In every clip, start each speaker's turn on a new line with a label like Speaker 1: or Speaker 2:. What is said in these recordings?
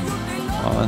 Speaker 1: Ja,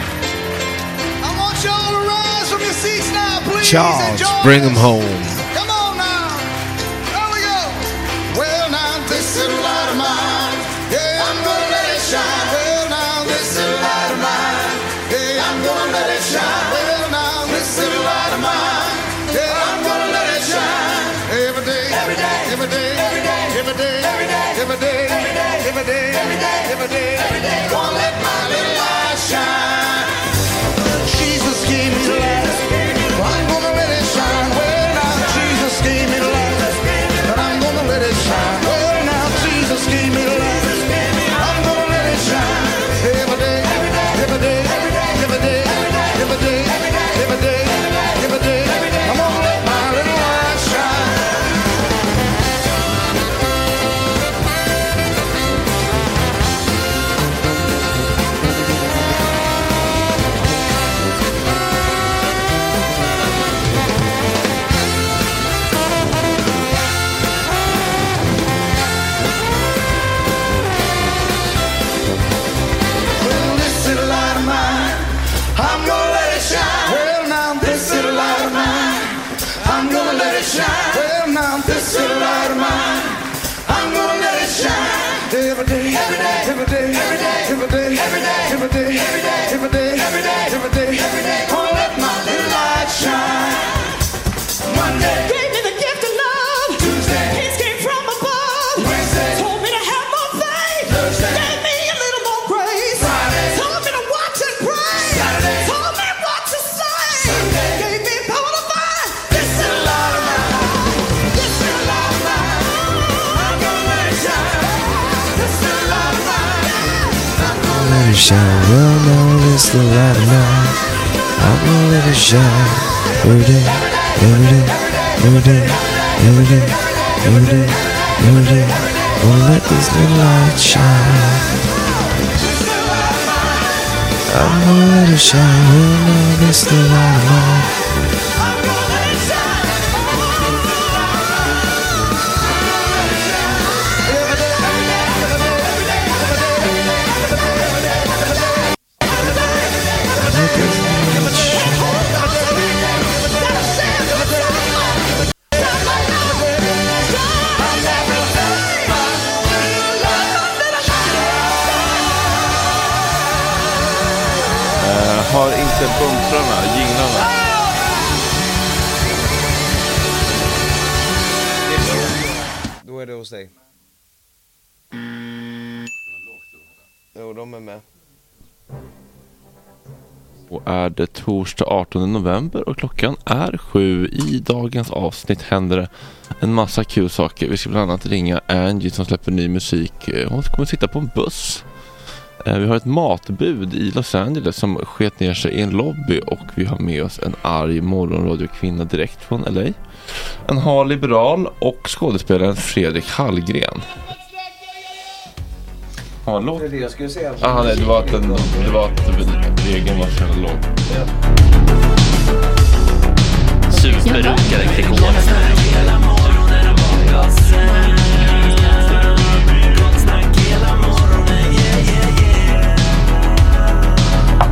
Speaker 2: I want y'all to rise from your seats now, please.
Speaker 3: Charles,
Speaker 2: Enjoy
Speaker 3: bring
Speaker 2: this.
Speaker 3: him home.
Speaker 2: Come on now. There we go. Well, now, this is a light of mine. Yeah, I'm gonna let it shine. Well, now, this is a light of mine. Yeah, I'm gonna let it shine. Well, now, this is a light of mine. Yeah, I'm gonna let it shine. Every day, every day, every day, every day, every day, every day, every day, every day, every day, every day, every day. Gonna let my little light shine. Jesus gave me life. I'm gonna let it shine. Well now, Jesus gave me life. And I'm gonna let it shine. Well now, Jesus gave me life. I'm gonna let it shine. Every day, every day, every day, every day, every day, every day, every day. I'm gonna let my little light shine. Well, this is a light of mine. I'm gonna let it shine. Well, now this is a light of mine. I'm gonna let it shine. Well, now this is a light of mine. I'm gonna let it shine. Every day, every day, every day, every day, every day, every day, every day, every day, every day, every day, every day, every day. Gonna let my little light shine. Monday.
Speaker 4: Gave me the gift of love.
Speaker 2: Tuesday.
Speaker 4: Peace came from above.
Speaker 2: Wednesday.
Speaker 4: Told me to have more faith.
Speaker 2: Thursday.
Speaker 4: Gave me a little more grace.
Speaker 2: Friday.
Speaker 4: Told me to watch and pray.
Speaker 2: Saturday.
Speaker 4: Told me what to say.
Speaker 2: Sunday.
Speaker 4: Gave me power to fight. This is
Speaker 2: a lot of
Speaker 4: mine. This is a lot of mine. I'm gonna let it shine. This is a lot of mine.
Speaker 3: Let it shine, well now it's the light of night. I'm gonna let it shine every day, every day, every day, every day, every day, every day, every day, Won't let this little light shine. I'm gonna let it shine. We'll know this the light of mine. Let this little light shine.
Speaker 1: Jag Eh, har inte bumprarna, jinglarna.
Speaker 3: Då är det hos dig. Jo, de är med.
Speaker 1: Och är det torsdag 18 november och klockan är sju. I dagens avsnitt händer det en massa kul saker. Vi ska bland annat ringa Angie som släpper ny musik. Eh, Hon kommer sitta på en buss. Eh, Vi har ett matbud i Los Angeles som sket ner sig i en lobby och vi har med oss en arg morgonradiokvinna direkt från LA. En hal liberal och skådespelaren Fredrik Hallgren. Har han låt?
Speaker 3: Det är det jag skulle säga.
Speaker 1: Ah, nej, det var att, den, det var att regeln var så jävla låg.
Speaker 5: Superrunkare Gregor.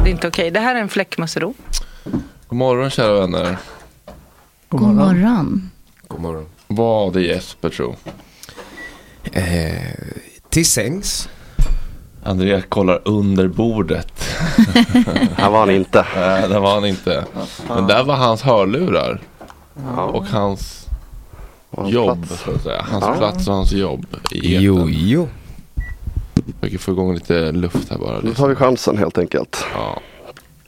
Speaker 6: Det är inte okej. Det här är en fläckmussero.
Speaker 1: God morgon kära vänner.
Speaker 5: God morgon.
Speaker 3: God morgon.
Speaker 1: Vad är Jesper tro?
Speaker 3: Eh, till sängs.
Speaker 1: Andrea kollar under bordet.
Speaker 7: Här var han inte.
Speaker 1: Nej, där var han inte. Men där var hans hörlurar. Och hans
Speaker 7: Och
Speaker 1: jobb,
Speaker 7: plats.
Speaker 1: så att säga. Hans plats och hans jobb i
Speaker 3: Jo,
Speaker 1: etern.
Speaker 3: jo.
Speaker 1: Försöker få igång lite luft här bara.
Speaker 7: Nu tar vi chansen helt enkelt.
Speaker 1: Ja.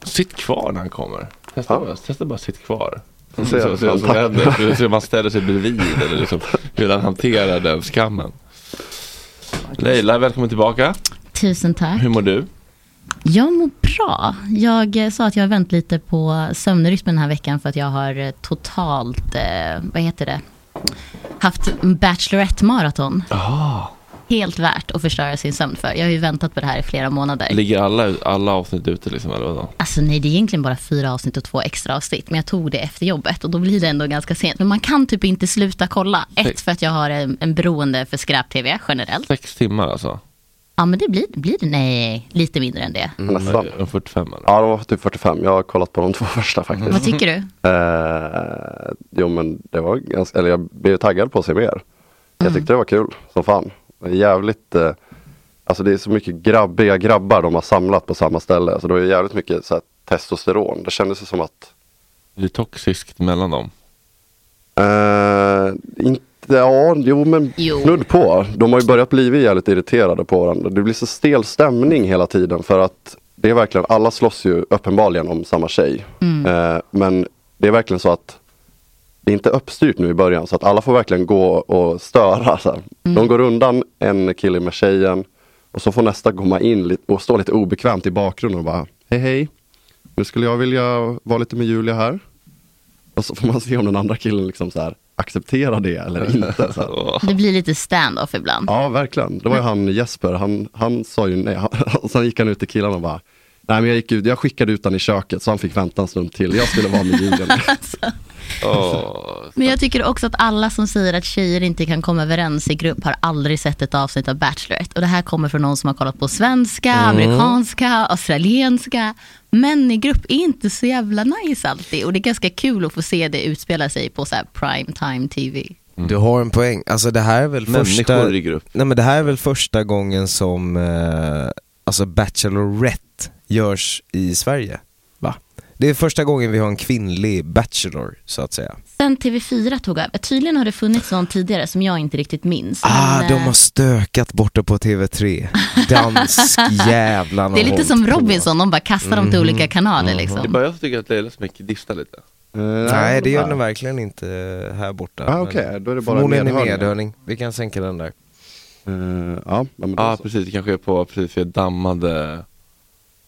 Speaker 1: Sitt kvar när han kommer. Testa,
Speaker 7: Ja.
Speaker 1: bara, testa bara sitt kvar. Mm.
Speaker 7: Vi
Speaker 1: Se
Speaker 7: ser.
Speaker 1: vad som
Speaker 7: Tack.
Speaker 1: händer. Se hur man ställer sig bredvid eller liksom, hur han hanterar den skammen. Leila, välkommen tillbaka.
Speaker 5: Tusen tack.
Speaker 1: Hur mår du?
Speaker 5: Jag mår bra. Jag eh, sa att jag har vänt lite på sömnrytmen den här veckan för att jag har eh, totalt, eh, vad heter det, haft en Bachelorette-maraton. Ah. Helt värt att förstöra sin sömn för. Jag har ju väntat på det här i flera månader.
Speaker 1: Ligger alla, alla avsnitt ute liksom eller vadå?
Speaker 5: Alltså nej, det är egentligen bara fyra avsnitt och två extra avsnitt, men jag tog det efter jobbet och då blir det ändå ganska sent. Men man kan typ inte sluta kolla. Ett, för att jag har en, en beroende för skräp-tv generellt.
Speaker 1: Sex timmar alltså?
Speaker 5: Ja, men det blir, blir det, nej, lite mindre än det.
Speaker 3: Mm.
Speaker 7: Nästan.
Speaker 1: En 45 eller?
Speaker 7: Ja, de var typ 45. Jag har kollat på de två
Speaker 3: Mm.
Speaker 7: första faktiskt.
Speaker 5: Vad tycker du?
Speaker 7: Eh, jo, men det var ganska, eller jag blev taggad på att se mer.
Speaker 5: Mm.
Speaker 7: Jag tyckte det var kul som fan. Jävligt, eh, alltså det är så mycket grabbiga grabbar de har samlat på samma ställe. Så det var ju jävligt mycket så här, testosteron. Det kändes ju som att,
Speaker 1: Det är toxiskt mellan dem.
Speaker 7: eh, inte, ja, jo men
Speaker 5: Jo.
Speaker 7: snudd på. De har ju börjat bli jävligt irriterade på varandra. Det blir så stel stämning hela tiden för att det är verkligen, alla slåss ju uppenbarligen om samma tjej. Eh, men det är verkligen så att det är inte uppstyrt nu i början så att alla får verkligen gå och störa. Så här. De går undan en kille med tjejen och så får nästa komma in lite- och stå lite obekvämt i bakgrunden och bara Hej hej, nu skulle jag vilja vara lite med Julia här. Och så får man se om den andra killen liksom så här, accepterar det eller inte. Så här.
Speaker 5: Det blir lite stand-off ibland.
Speaker 7: Ja, verkligen. Det var ju han Jesper, han, han sa ju nej. Han, sen gick han ut till killarna och bara Nej men jag gick ut, jag skickade ut han i köket så han fick vänta en stund till. Jag skulle vara med Julian.
Speaker 5: Alltså.
Speaker 1: Åh.
Speaker 5: Men jag tycker också att alla som säger att tjejer inte kan komma överens i grupp har aldrig sett ett avsnitt av Bachelorette. Och det här kommer från någon som har kollat på svenska,
Speaker 3: Mm.
Speaker 5: amerikanska, australienska. Män i grupp är inte så jävla nice alltid. Och det är ganska kul att få se det utspela sig på så här prime time tv.
Speaker 3: Du har en poäng. Alltså det här är väl
Speaker 1: Människor
Speaker 3: första...
Speaker 1: i grupp.
Speaker 3: Nej men det här är väl första gången som eh, alltså Bachelorette görs i Sverige. Va? Det är första gången vi har en kvinnlig Bachelor så att säga.
Speaker 5: Sen TV4 tog över. Tydligen har det funnits någon tidigare som jag inte riktigt minns.
Speaker 3: Ah,
Speaker 5: Men,
Speaker 3: de
Speaker 5: eh,
Speaker 3: har stökat borta på TV3. Dansk jävlarna Mhm,
Speaker 5: det är lite som Robinson, de bara kastar dem till olika kanaler liksom.
Speaker 1: Det är bara jag som tycker att Leilas mick diftar lite.
Speaker 3: Nej det gör den verkligen inte här borta.
Speaker 7: Eh, Ah,
Speaker 3: Men
Speaker 7: okej. Då är det bara
Speaker 3: Förmodligen i
Speaker 7: medhörning.
Speaker 3: medhörning. Vi kan sänka den där.
Speaker 7: Eh, ja, ja, men
Speaker 1: Ja
Speaker 7: då
Speaker 1: ah,
Speaker 7: så.
Speaker 1: precis, det kanske är på, precis för jag dammade,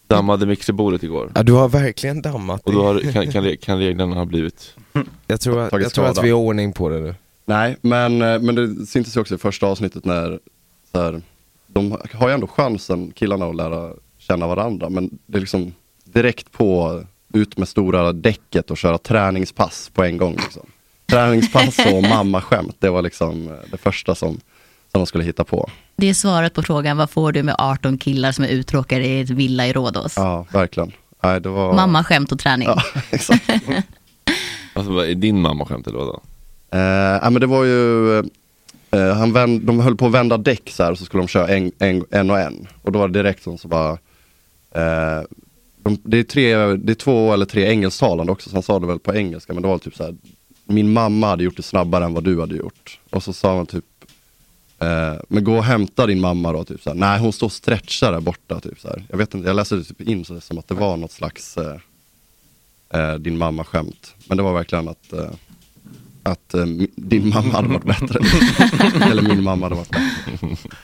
Speaker 1: dammade mixerbordet igår.
Speaker 3: Ja, du har verkligen dammat
Speaker 1: Och
Speaker 3: det.
Speaker 1: då har, kan, kan, kan reglerna ha blivit
Speaker 3: Jag tror, att,
Speaker 7: Mm. Tagit
Speaker 3: jag tror att
Speaker 7: skada.
Speaker 3: vi har ordning på det nu.
Speaker 7: Nej, men, eh, men det syntes ju också i första avsnittet när så här, de har ju ändå chansen, killarna, att lära känna varandra. Men det är liksom direkt på, ut med stora däcket och köra träningspass på en gång. Liksom. Träningspass och mammaskämt, det var liksom eh, det första som, som de skulle hitta på.
Speaker 5: Det är svaret på frågan, vad får du med 18 killar som är uttråkade i ett villa i Rhodos?
Speaker 7: Ja, verkligen. Nej, det var...
Speaker 5: Mamma, skämt och träning.
Speaker 7: Ja, exakt.
Speaker 1: Alltså, vad är din mamma skämt eller vadå?
Speaker 7: Eh, ja, men det var ju, eh, han vänd, de höll på att vända däck så här och så skulle de köra en, en, en och en. Och då var det direkt som så bara, eh, de, det, är tre, det är två eller tre engelsktalande också, så han sa det väl på engelska, men det var typ så här, min mamma hade gjort det snabbare än vad du hade gjort. Och så sa han typ, eh, men gå och hämta din mamma då, typ så här, nej hon står och stretchar där borta, typ så här. Jag vet inte, jag läste det typ in så det som att det var något slags eh, eh, din mamma-skämt. Men det var verkligen att eh, att eh, mi- din mamma hade varit bättre. Eller min mamma hade varit bättre.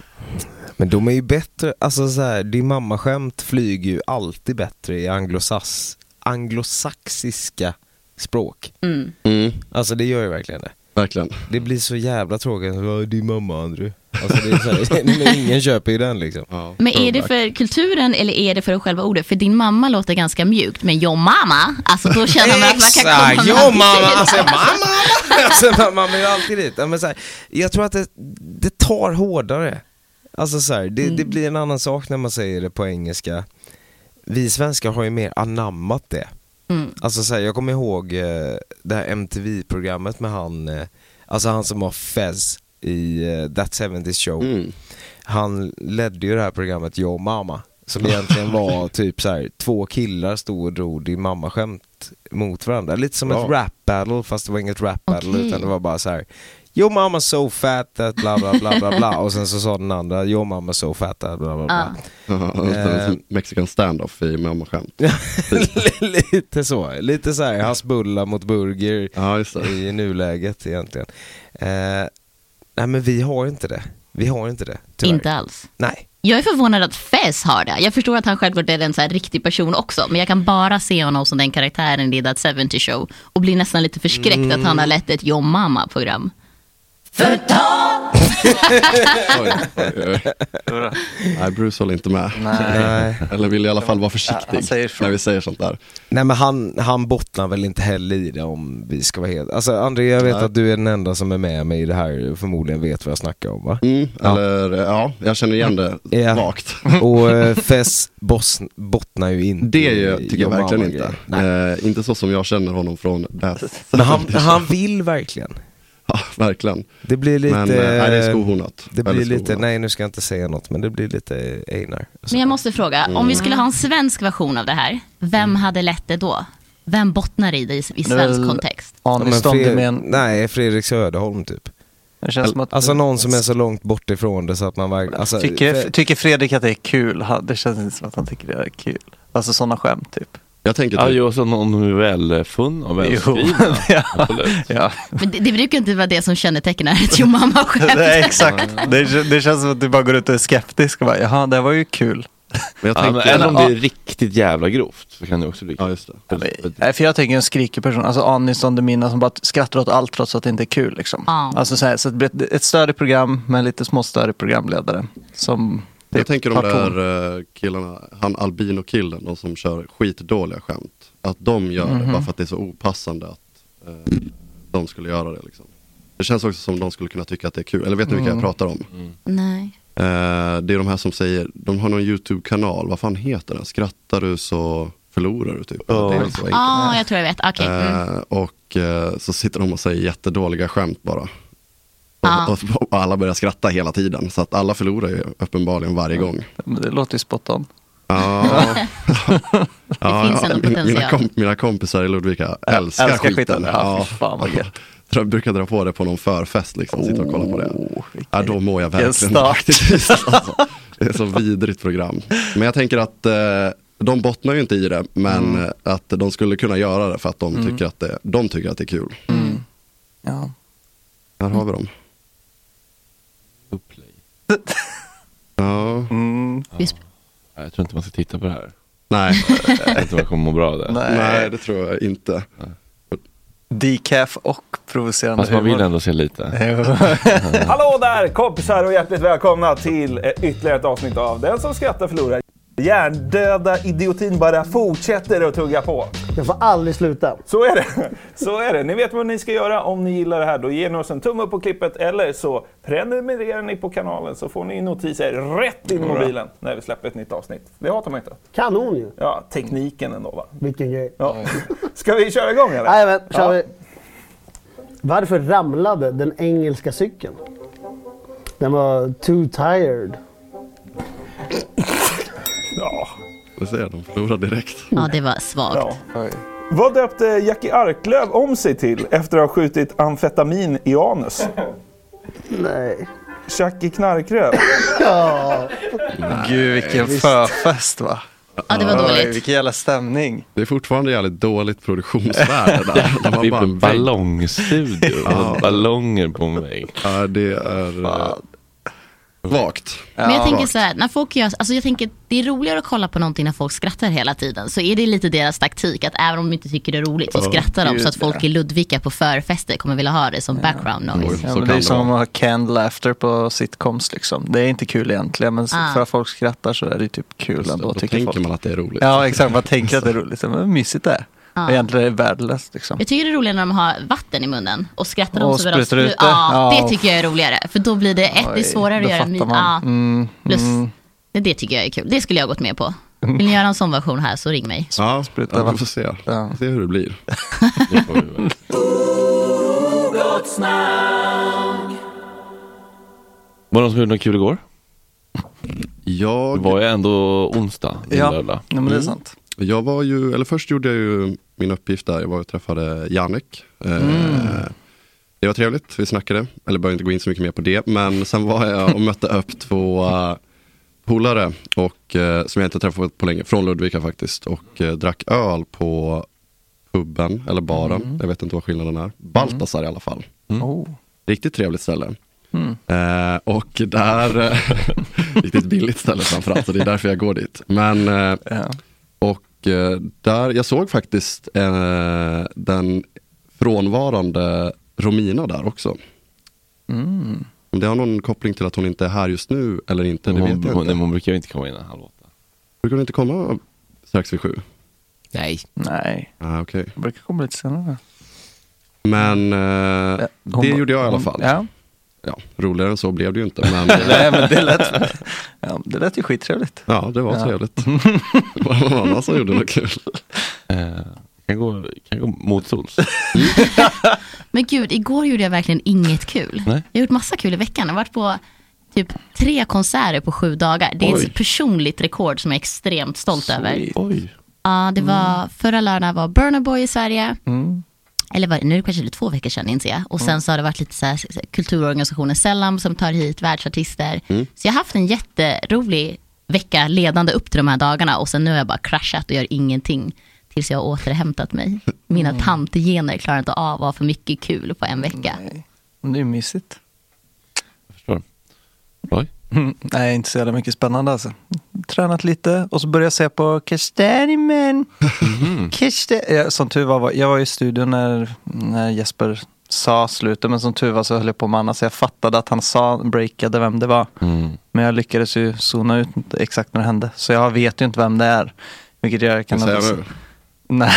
Speaker 3: Men de är ju bättre, alltså så här, din mammaskämt flyger ju alltid bättre i anglosas, anglosaxiska språk.
Speaker 5: Mm.
Speaker 3: Alltså det gör ju verkligen det.
Speaker 7: Verkligen.
Speaker 3: Det blir så jävla tråkigt, "Ja, din mamma Andrew. Alltså det är så här, men ingen köper ju den liksom.
Speaker 5: Men är det för kulturen eller är det för själva ordet? För din mamma låter ganska mjukt, men yo mamma, alltså då känner man att man kan komma
Speaker 3: Exakt,
Speaker 5: med
Speaker 3: jo
Speaker 5: allting.
Speaker 3: mamma, alltså mamma, alltså, man- man vill ju alltid dit. Ja, Men så här, jag tror att det, det tar hårdare. Alltså så här, det, det
Speaker 5: Mm.
Speaker 3: blir en annan sak när man säger det på engelska. Vi svenskar har ju mer anammat det.
Speaker 5: Mm.
Speaker 3: Alltså så här, jag kommer ihåg eh, det här MTV-programmet med han, eh, alltså han som var Fez i eh, That 70's Show.
Speaker 7: Mm.
Speaker 3: Han ledde ju det här programmet Yo Mama som egentligen var typ så här, två killar stod och drog din mamma skämt mot varandra. Lite som ett
Speaker 7: Bra.
Speaker 3: rap battle fast det var inget rap battle
Speaker 5: Okej.
Speaker 3: utan det var bara så här Yo mama so fat that bla bla bla bla bla och sen så sa den andra Yo mama so fat that bla bla
Speaker 2: Ah.
Speaker 3: bla. Eh,
Speaker 7: Uh, Mexican standoff i mammaskämt.
Speaker 3: lite så, lite så här hasbulla mot burger
Speaker 7: Ja, just det.
Speaker 3: i nuläget egentligen. Eh, nej men vi har inte det. Vi har inte det. Tyvärr.
Speaker 5: Inte alls.
Speaker 3: Nej.
Speaker 5: Jag är förvånad att Fez har det. Jag förstår att han självklart är en så här riktig person också, men jag kan bara se honom som den karaktären i That 70 Show och blir nästan lite förskräckt att han har
Speaker 7: Mm.
Speaker 5: lett ett yo mamma-program.
Speaker 7: Oj, oj, oj. Nej, Bruce håller inte med.
Speaker 3: nej.
Speaker 7: Eller vill i alla fall vara försiktig
Speaker 8: Han säger så.
Speaker 7: när vi säger sånt där.
Speaker 3: Nej men han, han bottnar väl inte heller i det om vi ska vara helt... Alltså André jag vet att du är den enda som är med mig i det här och förmodligen vet vad jag snackar om va?
Speaker 7: Mm, Eller eh, ja, jag känner igen det
Speaker 3: Ja.
Speaker 7: vagt.
Speaker 3: Och eh, Fess boss, bottnar ju inte
Speaker 7: Det
Speaker 3: i-
Speaker 7: ju,
Speaker 3: i
Speaker 7: tycker jag
Speaker 3: de
Speaker 7: verkligen
Speaker 3: andra
Speaker 7: inte.
Speaker 3: grejerna. Nej.
Speaker 7: Eh, inte så som jag känner honom från Bass.
Speaker 3: Men han, han vill verkligen.
Speaker 7: Ja, verkligen.
Speaker 3: Det blir lite...
Speaker 7: Men eh, nej, det är skohornat.
Speaker 3: det blir
Speaker 7: Väldigt
Speaker 3: lite,
Speaker 7: skohornat.
Speaker 3: nej nu ska jag inte säga något men det blir lite Einar.
Speaker 5: Men jag måste fråga, om vi skulle ha en svensk version av det här, vem
Speaker 8: Mm.
Speaker 5: hade lett det då? Vem bottnar i det i, i
Speaker 8: Det är väl-
Speaker 5: svensk kontext?
Speaker 3: Men
Speaker 8: Anis Don
Speaker 3: Fre-
Speaker 8: Demén.
Speaker 3: Nej, Fredrik Söderholm typ.
Speaker 8: Det känns som att...
Speaker 3: Alltså någon som är så långt bort ifrån det så att man verkligen... Alltså,
Speaker 8: tycker,
Speaker 3: Fe-
Speaker 8: tycker Fredrik att det är kul? Han- Det känns inte som att han tycker det är kul. Alltså sådana skämt typ.
Speaker 7: Jag tänker
Speaker 1: Ja,
Speaker 7: typ,
Speaker 1: jo, alltså någon de är välfunna och välskrivna.
Speaker 8: ja.
Speaker 1: Absolut.
Speaker 8: ja.
Speaker 5: Men det, det brukar inte vara det som kännetecknar ett yo mamma-skämt.
Speaker 8: Nej, exakt. Det, det känns som att du bara går ut och är skeptisk och bara, jaha, det var ju kul.
Speaker 7: men jag
Speaker 1: Ja, men
Speaker 7: tänker,
Speaker 1: eller om det
Speaker 8: ja.
Speaker 1: är riktigt jävla grovt så kan det också bli
Speaker 7: ja just det.
Speaker 8: Nej, för jag tänker en skrikig person, alltså Anis Don Demina som bara skrattar åt allt trots att det inte är kul. Liksom.
Speaker 5: Ja.
Speaker 8: Alltså, så här, så det blir ett, ett större program med lite små större programledare. Som
Speaker 7: Jag tänker de
Speaker 8: tar ton.
Speaker 7: där eh, killarna, han albino-killen, de som kör skitdåliga skämt. Att de gör det bara för att det är så opassande att eh, de skulle göra det. Liksom. Det känns också som de skulle kunna tycka att det är kul. Eller vet ni vilka jag pratar om?
Speaker 2: Mm.
Speaker 5: Nej.
Speaker 7: Eh, det är de här som säger, de har någon YouTube-kanal, vad fan heter den? Skrattar du så förlorar du typ. Det är väl så enkelt.
Speaker 5: Ja, jag tror jag vet. Okej. Mm.
Speaker 7: Eh, och eh, så sitter de och säger jättedåliga skämt bara.
Speaker 5: Ja.
Speaker 7: Och, och, och alla börjar skratta hela tiden. Så att alla förlorar ju uppenbarligen varje gång.
Speaker 8: Men det låter ju spot on.
Speaker 7: Ja. Ja,
Speaker 5: finns ändå
Speaker 7: min- Mina,
Speaker 5: potential.
Speaker 7: komp mina kompisar i Ludvika älskar,
Speaker 8: älskar
Speaker 7: skiten.
Speaker 8: skiten. Ja, fy fan vad gött.
Speaker 7: Jag brukar dra på det på någon förfest liksom, sitta och kolla på det. Ja, då mår jag
Speaker 8: Oh, vilken
Speaker 7: verkligen
Speaker 8: start.
Speaker 7: faktiskt, alltså. Det är så vidrigt program. Men jag tänker att eh, de bottnar ju inte i det, men
Speaker 8: Mm.
Speaker 7: eh, att de skulle kunna göra det för att de, tycker, att det, de tycker att det är kul.
Speaker 8: Mm. Ja.
Speaker 7: Här har vi dem. Ja,
Speaker 8: Mm.
Speaker 1: Ja, Jag tror inte man ska titta på det här.
Speaker 7: nej,
Speaker 1: Jag tror inte man kommer må bra av det.
Speaker 8: Nej.
Speaker 7: nej det tror jag inte.
Speaker 8: decaf och provocerande
Speaker 1: Fast man vill
Speaker 8: humor.
Speaker 1: ändå se lite.
Speaker 9: Hallå där kompisar och hjärtligt välkomna till eh, ytterligare ett avsnitt av Den som skrattar förlorar. Hjärndöda idiotin bara fortsätter att tugga på.
Speaker 10: Jag får aldrig sluta.
Speaker 9: Så är det. Så är det. Ni vet vad ni ska göra om ni gillar det här. Då ger ni oss en tumme upp på klippet eller så prenumererar ni på kanalen så får ni notiser rätt in i mobilen när vi släpper ett nytt avsnitt. Det hatar man inte.
Speaker 10: Kanon ju.
Speaker 9: Ja, tekniken ändå va.
Speaker 10: Vilken grej.
Speaker 9: Ja. Ska vi köra igång eller?
Speaker 10: Jajamän, kör
Speaker 9: Ja.
Speaker 10: vi. Varför ramlade den engelska cykeln? Den var too tired.
Speaker 9: Ja.
Speaker 7: Vad säger jag? De förlorar direkt.
Speaker 5: Ja, det var svagt.
Speaker 9: Ja. Vad döpte Jackie Arklöv om sig till efter att ha skjutit amfetamin i anus?
Speaker 10: Nej.
Speaker 9: Jackie Knarkröv.
Speaker 8: Gud vilken förfest va?
Speaker 5: Ja, det var
Speaker 8: Oj,
Speaker 5: dåligt.
Speaker 8: vilken jävla stämning.
Speaker 7: Det är fortfarande jävligt dåligt produktionsvärde där. De har
Speaker 1: Vi är
Speaker 7: bara
Speaker 1: på
Speaker 5: typ
Speaker 7: en
Speaker 1: en
Speaker 7: vägg.
Speaker 1: ballongstudio.
Speaker 7: Ja.
Speaker 1: Ballonger på mig.
Speaker 7: Ja, det är eh, vagt.
Speaker 5: Men jag tänker
Speaker 7: Vagt.
Speaker 5: så här, när folk gör, alltså jag tänker, det är roligare att kolla på någonting när folk skrattar hela tiden. Så är det lite deras taktik att även om de inte tycker det är roligt så skrattar de
Speaker 8: gud,
Speaker 5: så att folk i Ludvika på förfester kommer vilja ha det som background noise.
Speaker 8: Ja, men
Speaker 7: Så kan
Speaker 8: det är
Speaker 7: det
Speaker 8: som
Speaker 7: vara.
Speaker 8: att ha canned laughter på sitcoms liksom. Det är inte kul egentligen men s-
Speaker 5: Ah.
Speaker 8: för att folk skrattar så är det typ kul
Speaker 7: Då
Speaker 8: ändå tycker
Speaker 7: tänker
Speaker 8: folk.
Speaker 7: man att det är roligt.
Speaker 8: Ja exakt, man tänker att det är roligt. Men vad mysigt det är.
Speaker 5: Ah.
Speaker 8: Men Egentligen är det värdelöst liksom.
Speaker 5: Jag tycker det är roligare när de har vatten i munnen och skrattar de
Speaker 8: Och
Speaker 5: så börjar de
Speaker 8: sprutar ut det.
Speaker 5: Ja,
Speaker 8: Ja.
Speaker 5: det tycker jag är roligare. För då blir det ett, det är
Speaker 8: Oj,
Speaker 5: svårare
Speaker 8: då
Speaker 5: att göra ah, en
Speaker 8: fattar
Speaker 5: min.
Speaker 8: man.
Speaker 5: Ja,
Speaker 8: Mm,
Speaker 5: plus,
Speaker 8: mm.
Speaker 5: det, det tycker jag är kul. Det skulle jag ha gått med på. Vill ni göra en sån version här så ring mig.
Speaker 7: Ja,
Speaker 8: Spruta
Speaker 7: ja, vi
Speaker 8: vatten.
Speaker 7: får se.
Speaker 8: Ja.
Speaker 7: se hur det blir.
Speaker 1: Det får vi väl. Var det någon som gjorde något kul igår? Det
Speaker 7: Jag
Speaker 1: var ju ändå onsdag, ja.
Speaker 8: Ja,
Speaker 1: lördag.
Speaker 8: nej, men det är
Speaker 7: Mm.
Speaker 8: sant.
Speaker 7: Jag var ju, eller först gjorde jag ju min uppgift där, jag var och träffade Jannik. Eh,
Speaker 8: Mm.
Speaker 7: Det var trevligt, vi snackade, eller behöver inte gå in så mycket mer på det. Men sen var jag och mötte upp två eh, polare, och, eh, som jag inte träffat på länge, från Ludvika faktiskt. Och eh, drack öl på puben, eller baren,
Speaker 8: Mm.
Speaker 7: jag vet inte vad skillnaden är. Baltasar i alla fall.
Speaker 8: Oh.
Speaker 7: Riktigt trevligt ställe.
Speaker 8: Hmm.
Speaker 7: Eh, och där, eh, riktigt billigt ställe framförallt, så det är därför jag går dit. Men, eh,
Speaker 8: Ja.
Speaker 7: och eh, där, jag såg faktiskt eh, den frånvarande Romina där också.
Speaker 8: Mm.
Speaker 7: Om det har någon koppling till att hon inte är här just nu eller inte, det
Speaker 1: hon,
Speaker 7: vet jag
Speaker 1: hon, nej,
Speaker 7: inte.
Speaker 1: hon brukar ju inte komma innan halv åtta.
Speaker 7: Brukar hon inte komma strax vid sju?
Speaker 3: Nej.
Speaker 8: Nej,
Speaker 7: Ah, okej.
Speaker 8: jag brukar komma lite senare.
Speaker 7: Men eh,
Speaker 8: Hon-
Speaker 7: det gjorde jag i alla
Speaker 8: hon-
Speaker 7: fall.
Speaker 8: Ja.
Speaker 7: Ja, roligare än så blev det ju inte. Men, eh,
Speaker 8: Nej men det lät, ja, det lät ju skittrevligt.
Speaker 7: ja, det var trevligt. Det var någon annan som gjorde något kul.
Speaker 1: Eh, kan gå, kan gå motsols.
Speaker 5: Men gud, igår gjorde jag verkligen inget kul.
Speaker 1: Nej.
Speaker 5: Jag har gjort massa kul i veckan. Jag har varit på typ tre konserter på sju dagar. Det är typ-
Speaker 1: Oj.
Speaker 5: ett personligt rekord som jag är extremt stolt över.
Speaker 1: Oj.
Speaker 5: Ja, det var
Speaker 8: Mm.
Speaker 5: förra lördagen var Burna Boy i Sverige. Eller var det, nu är det kanske två veckor sedan inser jag. Och sen
Speaker 8: Mm.
Speaker 5: så har det varit lite så här, kulturorganisationen Sellam som tar hit världsartister.
Speaker 7: Mm.
Speaker 5: Så jag har haft en jätterolig vecka ledande upp till de här dagarna och sen nu har jag bara kraschat och gör ingenting tills jag har återhämtat mig. Mina
Speaker 8: Mm.
Speaker 5: tantegener klarar inte av att ha för mycket kul på en vecka.
Speaker 8: Men Det är ju mysigt.
Speaker 1: Jag förstår. Oj.
Speaker 8: Mm. Nej, inte så jävla mycket spännande alltså. Tränat lite och så började jag se på Kastermen.
Speaker 1: Mhm.
Speaker 8: Kaster... Som tur var, var, jag var i studion när, när Jesper sa slutet, men som tur var så höll jag på med annat, så jag fattade att han sa, breakade vem det var.
Speaker 1: Mm.
Speaker 8: Men jag lyckades ju zona ut exakt när det hände, så jag vet ju inte vem det är. Vilket jag kan...
Speaker 7: Kan säga
Speaker 8: aldrig-
Speaker 7: nu?
Speaker 8: Nej.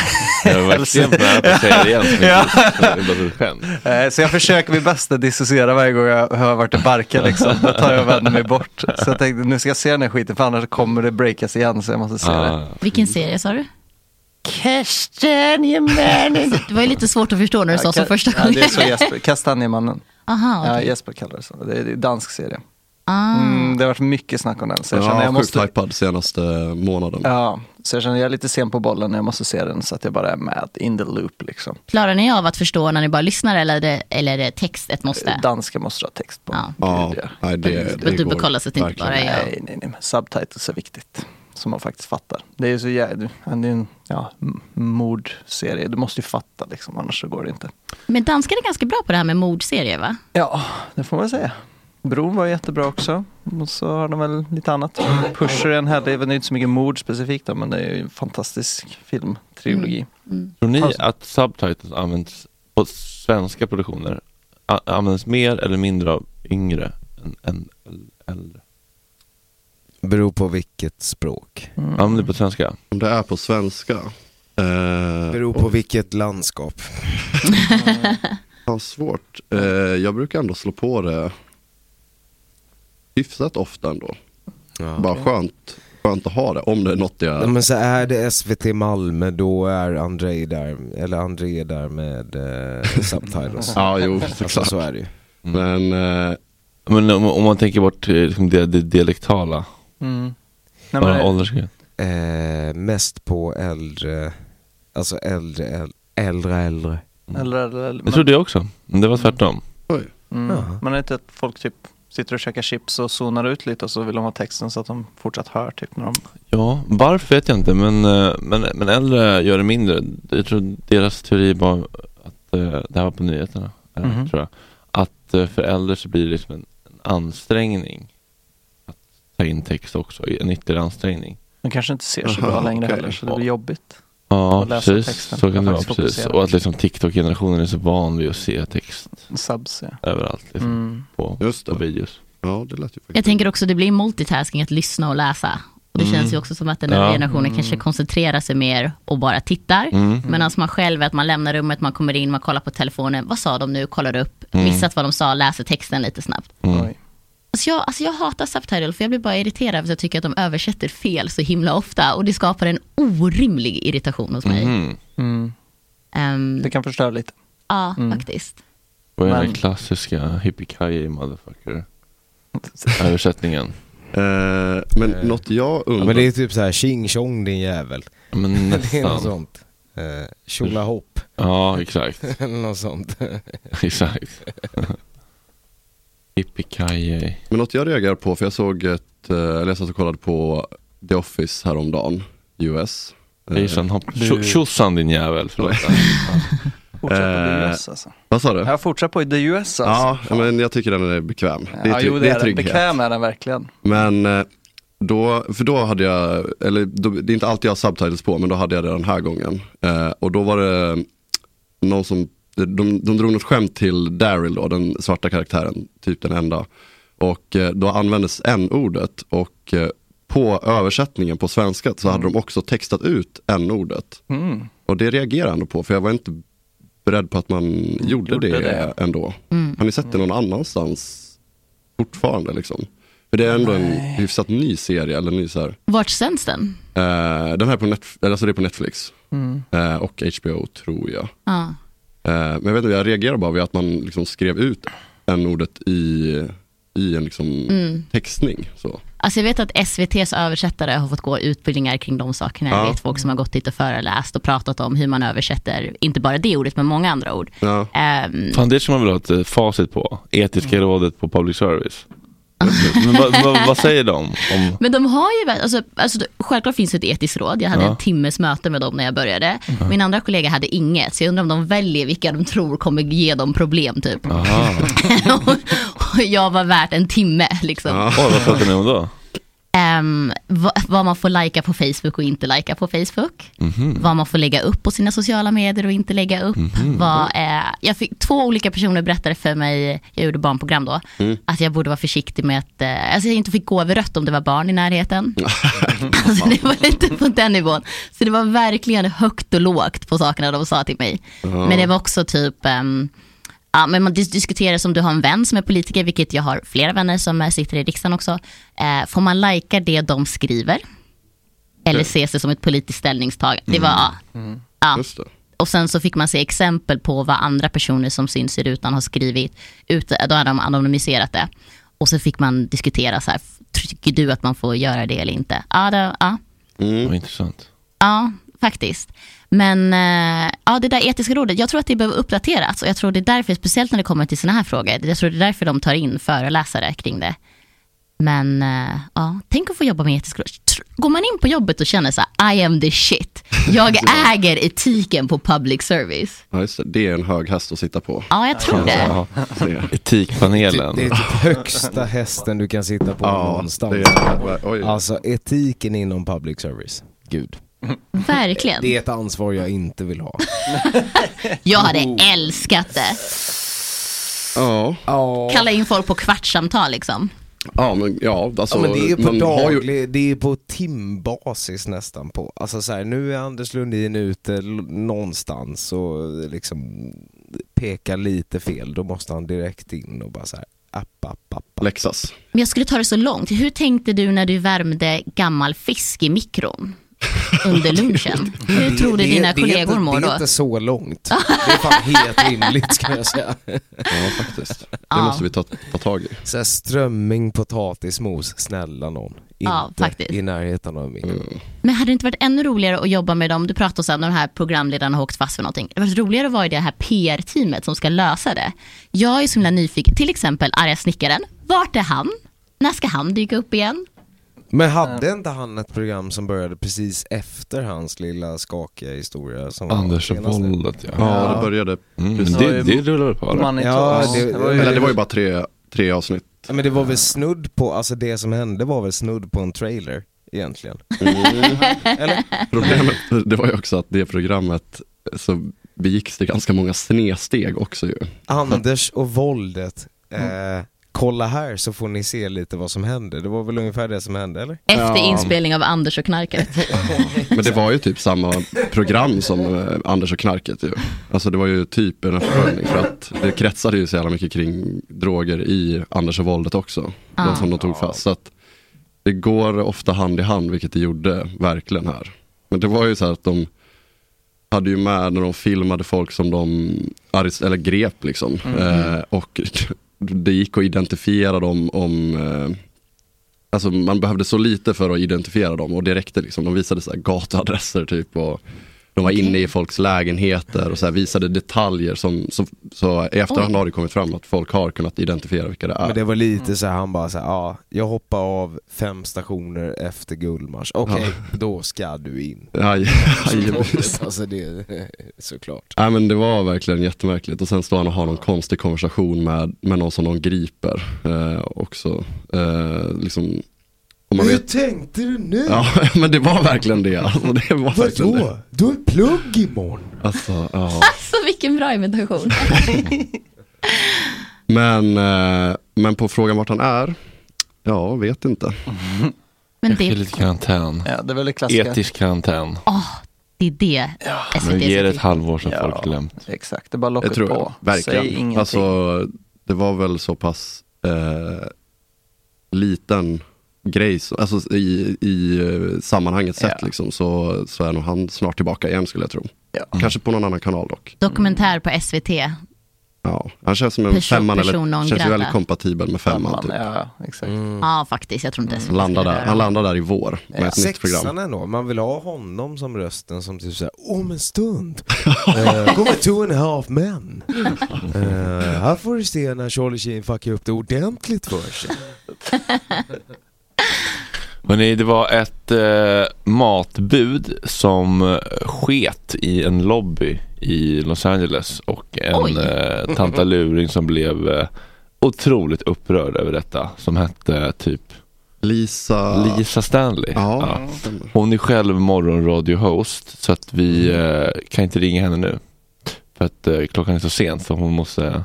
Speaker 8: Alltså-
Speaker 1: Jag var extremt nära på att säga det igen. som
Speaker 8: Ja.
Speaker 1: inte- Det är bara ett skämt.
Speaker 8: Eh, Så jag försöker mitt bästa att dissociera varje gång jag hör vart det barkar liksom. Då tar jag och vänder mig bort. Så jag tänkte, nu ska jag se den här skiten för annars kommer det breakas igen så jag måste se det.
Speaker 1: Ah,
Speaker 5: Vilken serie sa du?
Speaker 8: Kastanjemannen.
Speaker 5: Det var ju lite svårt att förstå när du sa så första
Speaker 8: Ja,
Speaker 5: gången.
Speaker 8: det är så Jesper, Kastanjemannen.
Speaker 5: Aha,
Speaker 8: Ja,
Speaker 5: okej.
Speaker 8: Jesper kallar det så. Det är det är en dansk serie.
Speaker 5: ah.
Speaker 8: Mm, det har varit mycket snack om den. Så jag känner
Speaker 7: Ja,
Speaker 8: jag
Speaker 7: sjukt
Speaker 8: måste...
Speaker 7: hypad senaste månaden.
Speaker 8: Ja, så jag känner jag är lite sen på bollen. Jag måste se den så att jag bara är med in the loop liksom.
Speaker 5: Klarar ni av att förstå när ni bara lyssnar eller är det, eller är det text ett måste?
Speaker 8: Danska måste ha text på.
Speaker 5: Ja.
Speaker 7: Ja,
Speaker 8: Gud, ja.
Speaker 7: nej, det,
Speaker 5: Men
Speaker 7: det
Speaker 5: du
Speaker 7: går
Speaker 5: bekollar så att det inte
Speaker 7: verkligen.
Speaker 5: bara är jag.
Speaker 8: Nej, nej, nej. men Subtitles är viktigt. Som man faktiskt fattar. Det är ju så jävla, det är en ja, m- mordserie. Du måste ju fatta liksom, annars så går det inte.
Speaker 5: Men danskar är ganska bra på det här med mordserier va?
Speaker 8: Ja, det får man säga. Bron var jättebra också. Och så har de väl lite annat. Pusher är en härlig, det är inte så mycket mord specifikt
Speaker 5: Mm.
Speaker 8: då, men det är ju en fantastisk filmtrilogi. Alltså,
Speaker 1: Tror ni att subtitles används på svenska produktioner a- används mer eller mindre av yngre än, än äldre?
Speaker 3: Beror på vilket språk.
Speaker 1: Mm. Ja, men det är på svenska.
Speaker 7: Om det är på svenska. eh,
Speaker 3: Beror på vilket landskap.
Speaker 7: Fan svårt. Eh, jag brukar ändå slå på det hyfsat ofta ändå. Bara skönt, skönt att ha det, om det är något jag...
Speaker 3: Ja, men så är det SVT Malmö då är André där, eller André där med eh, subtitles.
Speaker 7: Ja, jo,
Speaker 3: alltså,
Speaker 7: såklart.
Speaker 3: så är det ju.
Speaker 7: Men,
Speaker 1: Mm. men om, om man tänker bort eh, liksom det, det dialektala,
Speaker 8: Mm.
Speaker 1: Nej,
Speaker 8: Nej,
Speaker 1: men...
Speaker 8: men-
Speaker 1: åldersgräns?
Speaker 3: Eh, mest på äldre, alltså äldre, äldre, äldre. äldre.
Speaker 8: Eller, eller, eller,
Speaker 1: Jag trodde jag också, men det var tvärtom.
Speaker 8: Mm. Man är inte att folk typ sitter och käkar chips och zonar ut lite och så vill de ha texten så att de fortsatt hör typ när de...
Speaker 1: Ja, varför vet jag inte, men, eh, men, men äldre gör det mindre. Jag tror deras teori var att, eh, det här var på nyheterna, eh,
Speaker 8: Mhm.
Speaker 1: tror jag, att eh, för äldre så blir det liksom en, en ansträngning att ta in text också, en ytterligare ansträngning.
Speaker 8: De kanske inte ser så
Speaker 7: Aha,
Speaker 8: bra längre
Speaker 7: okej.
Speaker 8: heller så det blir jobbigt.
Speaker 1: Ja,
Speaker 8: att läsa
Speaker 1: precis.
Speaker 8: texten.
Speaker 1: Så kan
Speaker 8: Att
Speaker 1: det vara,
Speaker 8: faktiskt
Speaker 1: precis.
Speaker 8: fokusera.
Speaker 1: Och att liksom TikTok-generationen är så van vid att se text
Speaker 8: Subs ja.
Speaker 1: överallt liksom,
Speaker 8: Mm.
Speaker 1: på,
Speaker 7: Just det.
Speaker 1: på videos.
Speaker 7: Ja, det lät ju
Speaker 5: Jag tänker också det blir multitasking att lyssna och läsa. Och det
Speaker 1: Mm.
Speaker 5: känns ju också som att den här
Speaker 1: Ja.
Speaker 5: generationen kanske koncentrerar sig mer och bara tittar.
Speaker 1: Mm.
Speaker 5: Medan man själv, är att man lämnar rummet, man kommer in, man kollar på telefonen. Vad sa de nu? Kollar upp,
Speaker 1: Mm.
Speaker 5: missat vad de sa, läser texten lite snabbt.
Speaker 1: Mm.
Speaker 8: Oj.
Speaker 5: Alltså jag, alltså jag hatar subtitle för jag blir bara irriterad för att jag tycker att de översätter fel så himla ofta. Och det skapar en orimlig irritation hos mig.
Speaker 1: Mhm.
Speaker 8: Mm.
Speaker 5: Ehm,
Speaker 8: Det kan förstöra lite.
Speaker 5: ja,
Speaker 8: Mm.
Speaker 5: faktiskt.
Speaker 1: Vad är den
Speaker 8: Men-
Speaker 1: klassiska hippie motherfucker översättningen?
Speaker 7: Eh, men något jag
Speaker 3: Ja,
Speaker 7: undrar...
Speaker 3: men det är typ så här tjing tjong din jävel.
Speaker 1: Men
Speaker 3: Det är något
Speaker 1: nästan.
Speaker 3: sånt. Eh, Tjolahopp
Speaker 1: Ja, exakt. Mm.
Speaker 3: eller något sånt.
Speaker 1: Exakt. Yippee-ki-yay.
Speaker 7: Men något jag reagerar på, för jag såg ett, eh, eller jag satt och kollade på The Office häromdagen, US. Eh,
Speaker 1: Hejsan hopp.
Speaker 8: Du-
Speaker 1: Tjo- Tjosan din jävel, förlåt.
Speaker 8: Fortsätt på
Speaker 7: Eh,
Speaker 8: the US alltså.
Speaker 7: Vad sa du?
Speaker 8: Jag fortsätter på the US alltså.
Speaker 7: Ja, men jag tycker den är bekväm. Det är,
Speaker 8: ja,
Speaker 7: trygg-
Speaker 8: jo, det, är den.
Speaker 7: trygghet.
Speaker 8: Bekväm är den verkligen.
Speaker 7: Men eh, då, för då hade jag, eller då, det är inte alltid jag har subtitles på, men då hade jag det den här gången. Eh, och då var det någon som, de, de drog något skämt till Daryl då, den svarta karaktären, typ den enda. Och eh, då användes n-ordet och eh, på översättningen på svenska så hade de också textat ut n-ordet.
Speaker 8: Mm.
Speaker 7: Och det reagerade jag ändå på, för jag var inte beredd på att man gjorde,
Speaker 8: Gjorde
Speaker 7: det,
Speaker 8: det.
Speaker 7: ändå.
Speaker 5: Mm.
Speaker 7: Har ni sett det någon annanstans fortfarande liksom? För det är ändå en hyfsat ny serie, eller ny så här.
Speaker 5: Vart sänds den?
Speaker 7: Eh, den här är på, Netf- eller, alltså det är på Netflix
Speaker 8: Mm.
Speaker 7: eh, och HBO tror jag.
Speaker 5: Ja.
Speaker 7: Eh, men jag vet inte, jag reagerar bara vid att man liksom skrev ut en ordet i, i en liksom
Speaker 5: Mm.
Speaker 7: textning. Så.
Speaker 5: Alltså jag vet att SVTs översättare har fått gå utbildningar kring de sakerna. Jag
Speaker 7: Ja.
Speaker 5: vet folk som har gått dit och föreläst och pratat om hur man översätter, inte bara det ordet, men många andra ord.
Speaker 7: Ja.
Speaker 5: Ehm,
Speaker 1: Fan, det ska man väl ha ett eh, facit på. Etiska rådet på public service. Men vad, vad, vad säger de? Om,
Speaker 5: men de har ju, väl- alltså, alltså, självklart finns det ett etiskt råd. Jag hade
Speaker 1: Ja.
Speaker 5: en timmes möte med dem när jag började. Min andra kollega hade inget, så jag undrar om de väljer vilka de tror kommer ge dem problem typ.
Speaker 1: aha.
Speaker 5: och, och jag var värt en timme liksom.
Speaker 7: Ja.
Speaker 1: Oj, vad pratar ni om då?
Speaker 5: Ehm, vad, vad man får lajka på Facebook och inte lajka på Facebook. Vad man får lägga upp på sina sociala medier och inte lägga upp. Vad, eh, jag fick, två olika personer berättade för mig, jag gjorde barnprogram då, att jag borde vara försiktig med att eh, alltså jag inte fick gå över rött om det var barn i närheten. alltså det var inte på den nivån. Så det var verkligen högt och lågt på sakerna de sa till mig. Men det var också typ, ehm, Ja, men man dis- diskuterar som du har en vän som är politiker, vilket jag har flera vänner som eh, sitter i riksdagen också. Eh, får man lajka det de skriver? Eller ses det som ett politiskt ställningstagande? Det
Speaker 2: Mm.
Speaker 5: var,
Speaker 8: Mm.
Speaker 5: ja.
Speaker 7: Just det.
Speaker 5: Och sen så fick man se exempel på vad andra personer som syns i rutan har skrivit. Ute, då hade de anonymiserat det. Och så fick man diskutera så här, tycker du att man får göra det eller inte? Ja, det, ja.
Speaker 7: Mm.
Speaker 1: Vad intressant.
Speaker 5: Ja, faktiskt. Men eh, ja, det där etiska rådet, jag tror att det behöver uppdateras och jag tror det är därför, speciellt när det kommer till sådana här frågor, jag tror det är därför de tar in föreläsare kring det. Men eh, ja, tänk att få jobba med etisk råd. Tr- Går man in på jobbet och känner så här, I am the shit, jag äger etiken på public service.
Speaker 7: Ja, just det. det är en hög häst att sitta på.
Speaker 5: Ja, jag tror det.
Speaker 1: Ja.
Speaker 7: Det-
Speaker 1: Etikpanelen.
Speaker 3: Det är typ högsta hästen du kan sitta på
Speaker 7: Ja,
Speaker 3: någonstans.
Speaker 7: det är, oj.
Speaker 3: Alltså etiken inom public service. Gud.
Speaker 5: Verkligen.
Speaker 3: Det är ett ansvar jag inte vill ha.
Speaker 5: Jag hade älskat det.
Speaker 7: Ja.
Speaker 5: Kalla in folk på kvartssamtal liksom.
Speaker 7: Ja men ja, alltså,
Speaker 3: ja, men det är ju på
Speaker 7: man har ju-
Speaker 3: daglig, det är ju på timbasis nästan på, alltså så här, nu är Anders Lundin ute l- någonstans och liksom pekar lite fel, då måste han direkt in och bara så här, app, app, app.
Speaker 7: Läxas.
Speaker 5: Men jag skulle ta det så långt. Hur tänkte du när du värmde gammal fisk i mikron under lunchen? Hur tror du dina kollegor mår
Speaker 3: Det är
Speaker 5: då?
Speaker 3: inte så långt. Det är fan helt rimligt ska jag säga.
Speaker 7: Ja faktiskt. Det
Speaker 5: Ja. måste
Speaker 7: vi ta, tag i.
Speaker 3: Så här, strömming, potatismos, snälla någon. Inte
Speaker 5: Ja, faktiskt.
Speaker 3: i närheten av mig.
Speaker 7: Mm.
Speaker 5: Men hade det inte varit ännu roligare att jobba med dem? Du pratade sen när de här programledarna har åkt fast för någonting. Det hade varit roligare att vara i det här PR-teamet som ska lösa det. Jag är så himla nyfiken. Till exempel arga snickaren. Vart är han? När ska han dyka upp igen?
Speaker 3: Men hade inte han ett program som började precis efter hans lilla skakiga historia? Som var
Speaker 1: Anders och
Speaker 3: senast nu?
Speaker 1: våldet ja.
Speaker 7: Ja, det började
Speaker 1: Mm,
Speaker 7: precis.
Speaker 1: det, det rullar på.
Speaker 8: Man är
Speaker 3: Ja,
Speaker 8: klar.
Speaker 3: det-
Speaker 8: Det var ju-
Speaker 7: Eller det var ju bara tre, tre avsnitt.
Speaker 3: Ja, men det var väl snudd på, alltså det som hände var väl snudd på en trailer egentligen.
Speaker 1: Mm.
Speaker 8: Mm.
Speaker 7: Problemet det var ju också att det programmet så begicks det ganska många snedsteg också ju.
Speaker 3: Anders och våldet, eh, kolla här så får ni se lite vad som händer. Det var väl ungefär det som hände eller?
Speaker 5: Efter
Speaker 7: Ja.
Speaker 5: inspelning av Anders och knarket.
Speaker 7: Men det var ju typ samma program som eh, Anders och knarket ju. Alltså det var ju typ en uppföljning för att det kretsade ju så jävla mycket kring droger i Anders och våldet också.
Speaker 5: Ah.
Speaker 7: De som de tog fast. Så att det går ofta hand i hand vilket det gjorde verkligen här. Men det var ju så här att de hade ju med när de filmade folk som de arrest- eller grep liksom. Eh, och det gick att identifiera dem om eh, Alltså man behövde så lite för att identifiera dem och det räckte liksom. De visade så här gatuadresser typ och de var inne i folks lägenheter och så här visade detaljer som, så, så i efterhand har det kommit fram att folk har kunnat identifiera vilka det är.
Speaker 3: Men det var lite så här, han bara så här, ja, jag hoppar av fem stationer efter Gullmars. Okej, då ska du in.
Speaker 7: Aj, aj,
Speaker 3: alltså det, såklart.
Speaker 7: Nej men det var verkligen jättemärkligt och sen står han och har någon konstig konversation med, med någon som de griper eh, också. Eh, liksom, om man vet.
Speaker 3: tänkte du nu?
Speaker 7: Ja men det var verkligen det. Alltså, det var verkligen det.
Speaker 3: Du har plugg imorgon.
Speaker 7: Alltså, ja.
Speaker 5: Alltså vilken bra imitation.
Speaker 7: Men, eh, men på frågan vart han är, ja vet inte.
Speaker 5: Men
Speaker 1: Det är
Speaker 5: det,
Speaker 1: lite karantän.
Speaker 8: Ja, det är väl det klassiska.
Speaker 1: Etisk karantän.
Speaker 5: det är det SVT
Speaker 1: Men ge det
Speaker 5: sitter
Speaker 1: ett
Speaker 5: i.
Speaker 1: halvår så
Speaker 8: Ja.
Speaker 1: folk glömt.
Speaker 8: Exakt, det är bara
Speaker 7: Jag
Speaker 8: locket
Speaker 7: tror
Speaker 8: på.
Speaker 7: jag, verkligen.
Speaker 8: Säg ingenting.
Speaker 7: Alltså, det var väl så pass eh, liten grej, så, alltså i, i eh, sammanhanget sett
Speaker 8: Ja.
Speaker 7: liksom, så, så är nog han snart tillbaka igen skulle jag tro. Mm.
Speaker 8: Ja.
Speaker 7: Kanske på någon annan kanal dock.
Speaker 5: Dokumentär på SVT.
Speaker 3: Mm.
Speaker 7: Ja. Han känns som en
Speaker 5: Person-
Speaker 7: femman,
Speaker 5: person
Speaker 7: eller,
Speaker 5: non
Speaker 7: känns ju
Speaker 5: grata.
Speaker 7: väldigt kompatibel med femman. Typ.
Speaker 8: Ja, exakt.
Speaker 5: Ja, faktiskt. Jag tror inte SVT
Speaker 7: Landar
Speaker 5: skulle
Speaker 7: där.
Speaker 5: röra dem.
Speaker 7: Han landar där i vår med ett nytt
Speaker 3: Sexan
Speaker 7: program.
Speaker 3: ändå, man vill ha honom som rösten som typ såhär, om en stund eh, kommer two and a half men. Eh, här får du se när Charlie Sheen fuckar upp det ordentligt för sig.
Speaker 1: Hörrni, det var ett eh, matbud som eh, sket i en lobby i Los Angeles och
Speaker 5: Oj.
Speaker 1: en eh, tantaluring som blev eh, otroligt upprörd över detta som hette typ
Speaker 7: Lisa...
Speaker 1: Lisa Stanley.
Speaker 7: Ja,
Speaker 1: Ja.
Speaker 7: stämmer.
Speaker 1: Hon är själv morgonradiohost så att vi
Speaker 7: Mm.
Speaker 1: eh, kan inte ringa henne nu för att eh, klockan är så sent så hon måste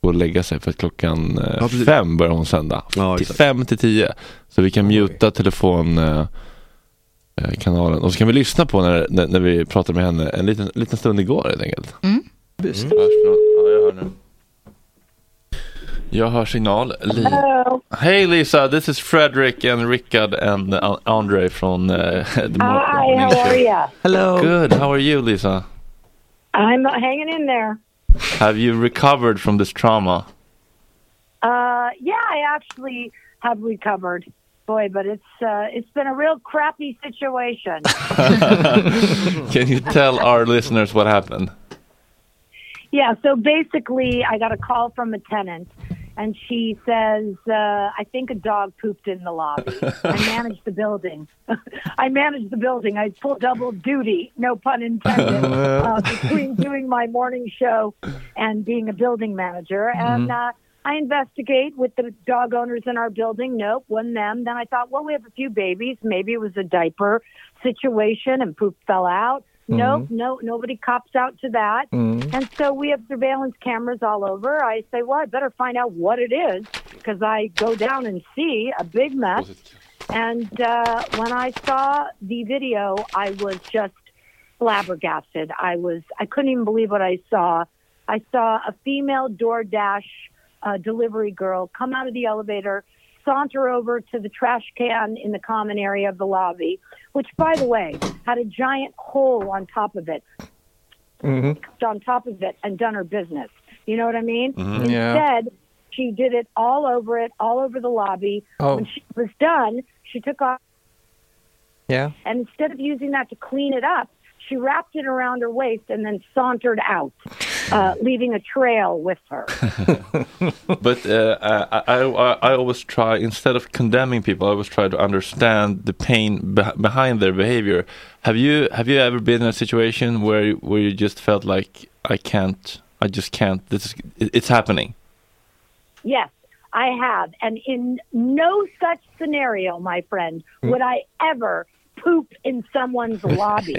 Speaker 1: gå och lägga sig för att klockan eh,
Speaker 7: Ja, precis.
Speaker 1: fem börjar hon sända
Speaker 7: Ja,
Speaker 1: till
Speaker 7: exakt.
Speaker 1: fem till tio. Så vi kan muta telefonkanalen eh, kanalen. och så kan vi lyssna på när, när, när vi pratade med henne en liten, liten stund igår helt enkelt.
Speaker 5: Mm.
Speaker 1: Varsågod. Ja, jag hör nu. Jag hör signal. Li- Hej Lisa, this is Fredrik and Rickard and uh, Andre från uh, the
Speaker 11: Hi, how are you?
Speaker 8: Hello.
Speaker 1: Good, how are you Lisa?
Speaker 11: I'm hanging in there.
Speaker 1: Have you recovered from this trauma?
Speaker 11: Uh, yeah, I actually have recovered. Boy, but it's uh, it's been a real crappy situation.
Speaker 1: Can you tell our listeners what happened?
Speaker 11: yeah, so basically, I got a call from a tenant, and she says, uh, "I think a dog pooped in the lobby." I manage the building. I manage the building. I pull double duty, no pun intended, uh, between doing my morning show and being a building manager. And uh, I investigate with the dog owners in our building. Nope, wasn't them. Then I thought, well, we have a few babies. Maybe it was a diaper. situation and poop fell out. Nope,
Speaker 2: Mhm.
Speaker 11: no, nobody cops out to that.
Speaker 2: Mhm.
Speaker 11: And so we have surveillance cameras all over. I say, well, I better find out what it is because I go down and see a big mess. And uh, when I saw the video, I was just flabbergasted. I was I couldn't even believe what I saw. I saw a female DoorDash uh, delivery girl come out of the elevator, saunter over to the trash can in the common area of the lobby, which, by the way, had a giant hole on top of it
Speaker 8: Mm-hmm.
Speaker 11: on top of it and done her business. You know what I mean?
Speaker 2: Mhm. Yeah.
Speaker 11: Instead, she did it all over it, all over the lobby.
Speaker 8: Oh.
Speaker 11: When she was done, she took off,
Speaker 8: Yeah.
Speaker 11: and instead of using that to clean it up, she wrapped it around her waist and then sauntered out, uh, leaving a trail with her.
Speaker 1: but uh, I, I, I I always try instead of condemning people, I always try to understand the pain beh behind their behavior. Have you have you ever been in a situation where you- where you just felt like I can't, I just can't. This is it- it's happening.
Speaker 11: Yes, I have. And in no such scenario, my friend,
Speaker 2: Hmm.
Speaker 11: would I ever poop in someone's lobby.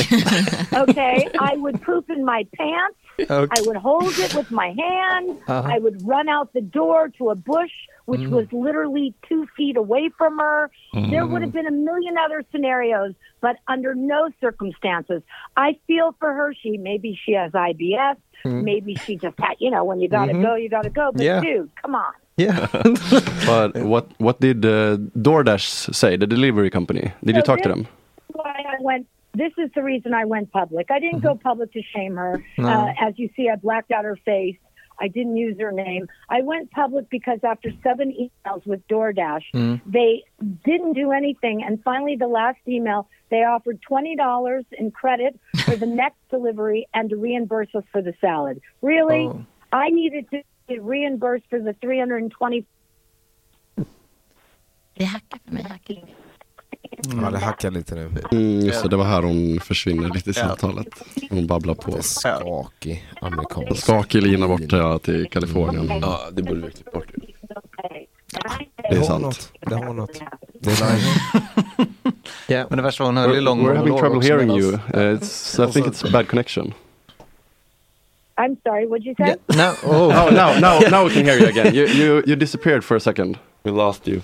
Speaker 11: okay? I would poop in my pants.
Speaker 2: Okay.
Speaker 11: I would hold it with my hand.
Speaker 2: Uh-huh.
Speaker 11: I would run out the door to a bush, which
Speaker 2: Mm.
Speaker 11: was literally two feet away from her. There
Speaker 2: Mm.
Speaker 11: would have been a million other scenarios, but under no circumstances. I feel for her. She maybe she has IBS.
Speaker 2: Hmm.
Speaker 7: Mm.
Speaker 11: Maybe she just had, you know, when you gotta
Speaker 2: Mm-hmm.
Speaker 7: Mhm.
Speaker 11: go, you gotta go. But
Speaker 7: Yeah.
Speaker 11: dude, come on.
Speaker 7: Yeah. but what what did uh, DoorDash say, the delivery company? Did you
Speaker 11: So
Speaker 7: talk to
Speaker 11: this
Speaker 7: them?
Speaker 11: is Why I went. This is the reason I went public. I didn't go public to shame her.
Speaker 7: Mm-hmm. No.
Speaker 11: Uh, as you see, I blacked out her face. I didn't use her name. I went public because after seven emails with DoorDash,
Speaker 2: Mm.
Speaker 11: they didn't do anything. And finally, the last email, they offered $20 in credit for the next delivery and to reimburse us for the salad. Really?
Speaker 2: Oh.
Speaker 11: I needed to be reimbursed for the 320
Speaker 3: Ja, det hackar lite nu.
Speaker 7: Mm, just det, det var här hon försvinner lite i
Speaker 3: Ja.
Speaker 7: samtalet. Hon babblar på.
Speaker 3: Skakig amerikansk.
Speaker 7: Skakig lina borta till Kalifornien.
Speaker 1: Ja, det borde vi klippa bort.
Speaker 7: Det är
Speaker 3: har
Speaker 7: sant.
Speaker 3: något. Det har något.
Speaker 7: Det är
Speaker 8: Men det värsta var hon höll ju lång
Speaker 7: We're having
Speaker 8: monolog
Speaker 7: trouble
Speaker 8: också
Speaker 7: hearing
Speaker 8: medans-
Speaker 7: you. Uh, it's, I think it's a bad connection.
Speaker 11: I'm sorry, what'd you say?
Speaker 8: No.
Speaker 7: Oh, now, now, now we can hear you again. You, you, you disappeared for a second.
Speaker 1: We lost you.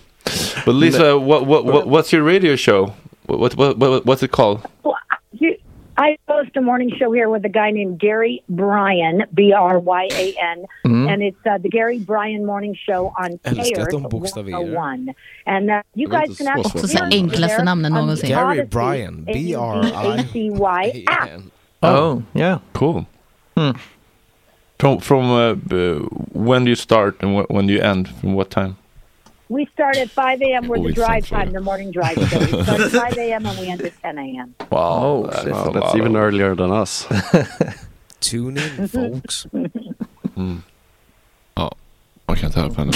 Speaker 1: But Lisa, what what, what what's your radio show? What what, what what's it called?
Speaker 11: Well, I- I host a morning show here with a guy named Gary Bryan, B R Y A N,
Speaker 2: Mhm.
Speaker 11: and it's uh, the Gary Bryan Morning Show on
Speaker 2: Älskar att
Speaker 11: Payers
Speaker 2: de bokstaverar.
Speaker 11: 101. And uh, you
Speaker 2: Det var
Speaker 11: guys
Speaker 2: inte
Speaker 11: can
Speaker 2: så
Speaker 11: actually
Speaker 2: svårt. Också så enklaste namnen
Speaker 11: Um,
Speaker 2: någonsin. Gary Bryan, B R I
Speaker 11: A C Y app.
Speaker 8: Oh, yeah.
Speaker 1: Cool. From from uh, b- when do you start and wh- when do you end? From what time?
Speaker 11: We start at 5 a.m. We're the
Speaker 1: Always
Speaker 11: drive
Speaker 1: central.
Speaker 11: time, the morning drive show. We start at 5 a.m. and we end at 10 a.m.
Speaker 1: Wow, oh,
Speaker 7: that's, even earlier than us.
Speaker 3: Tune in folks.
Speaker 1: Ja, man kan inte höra på henne.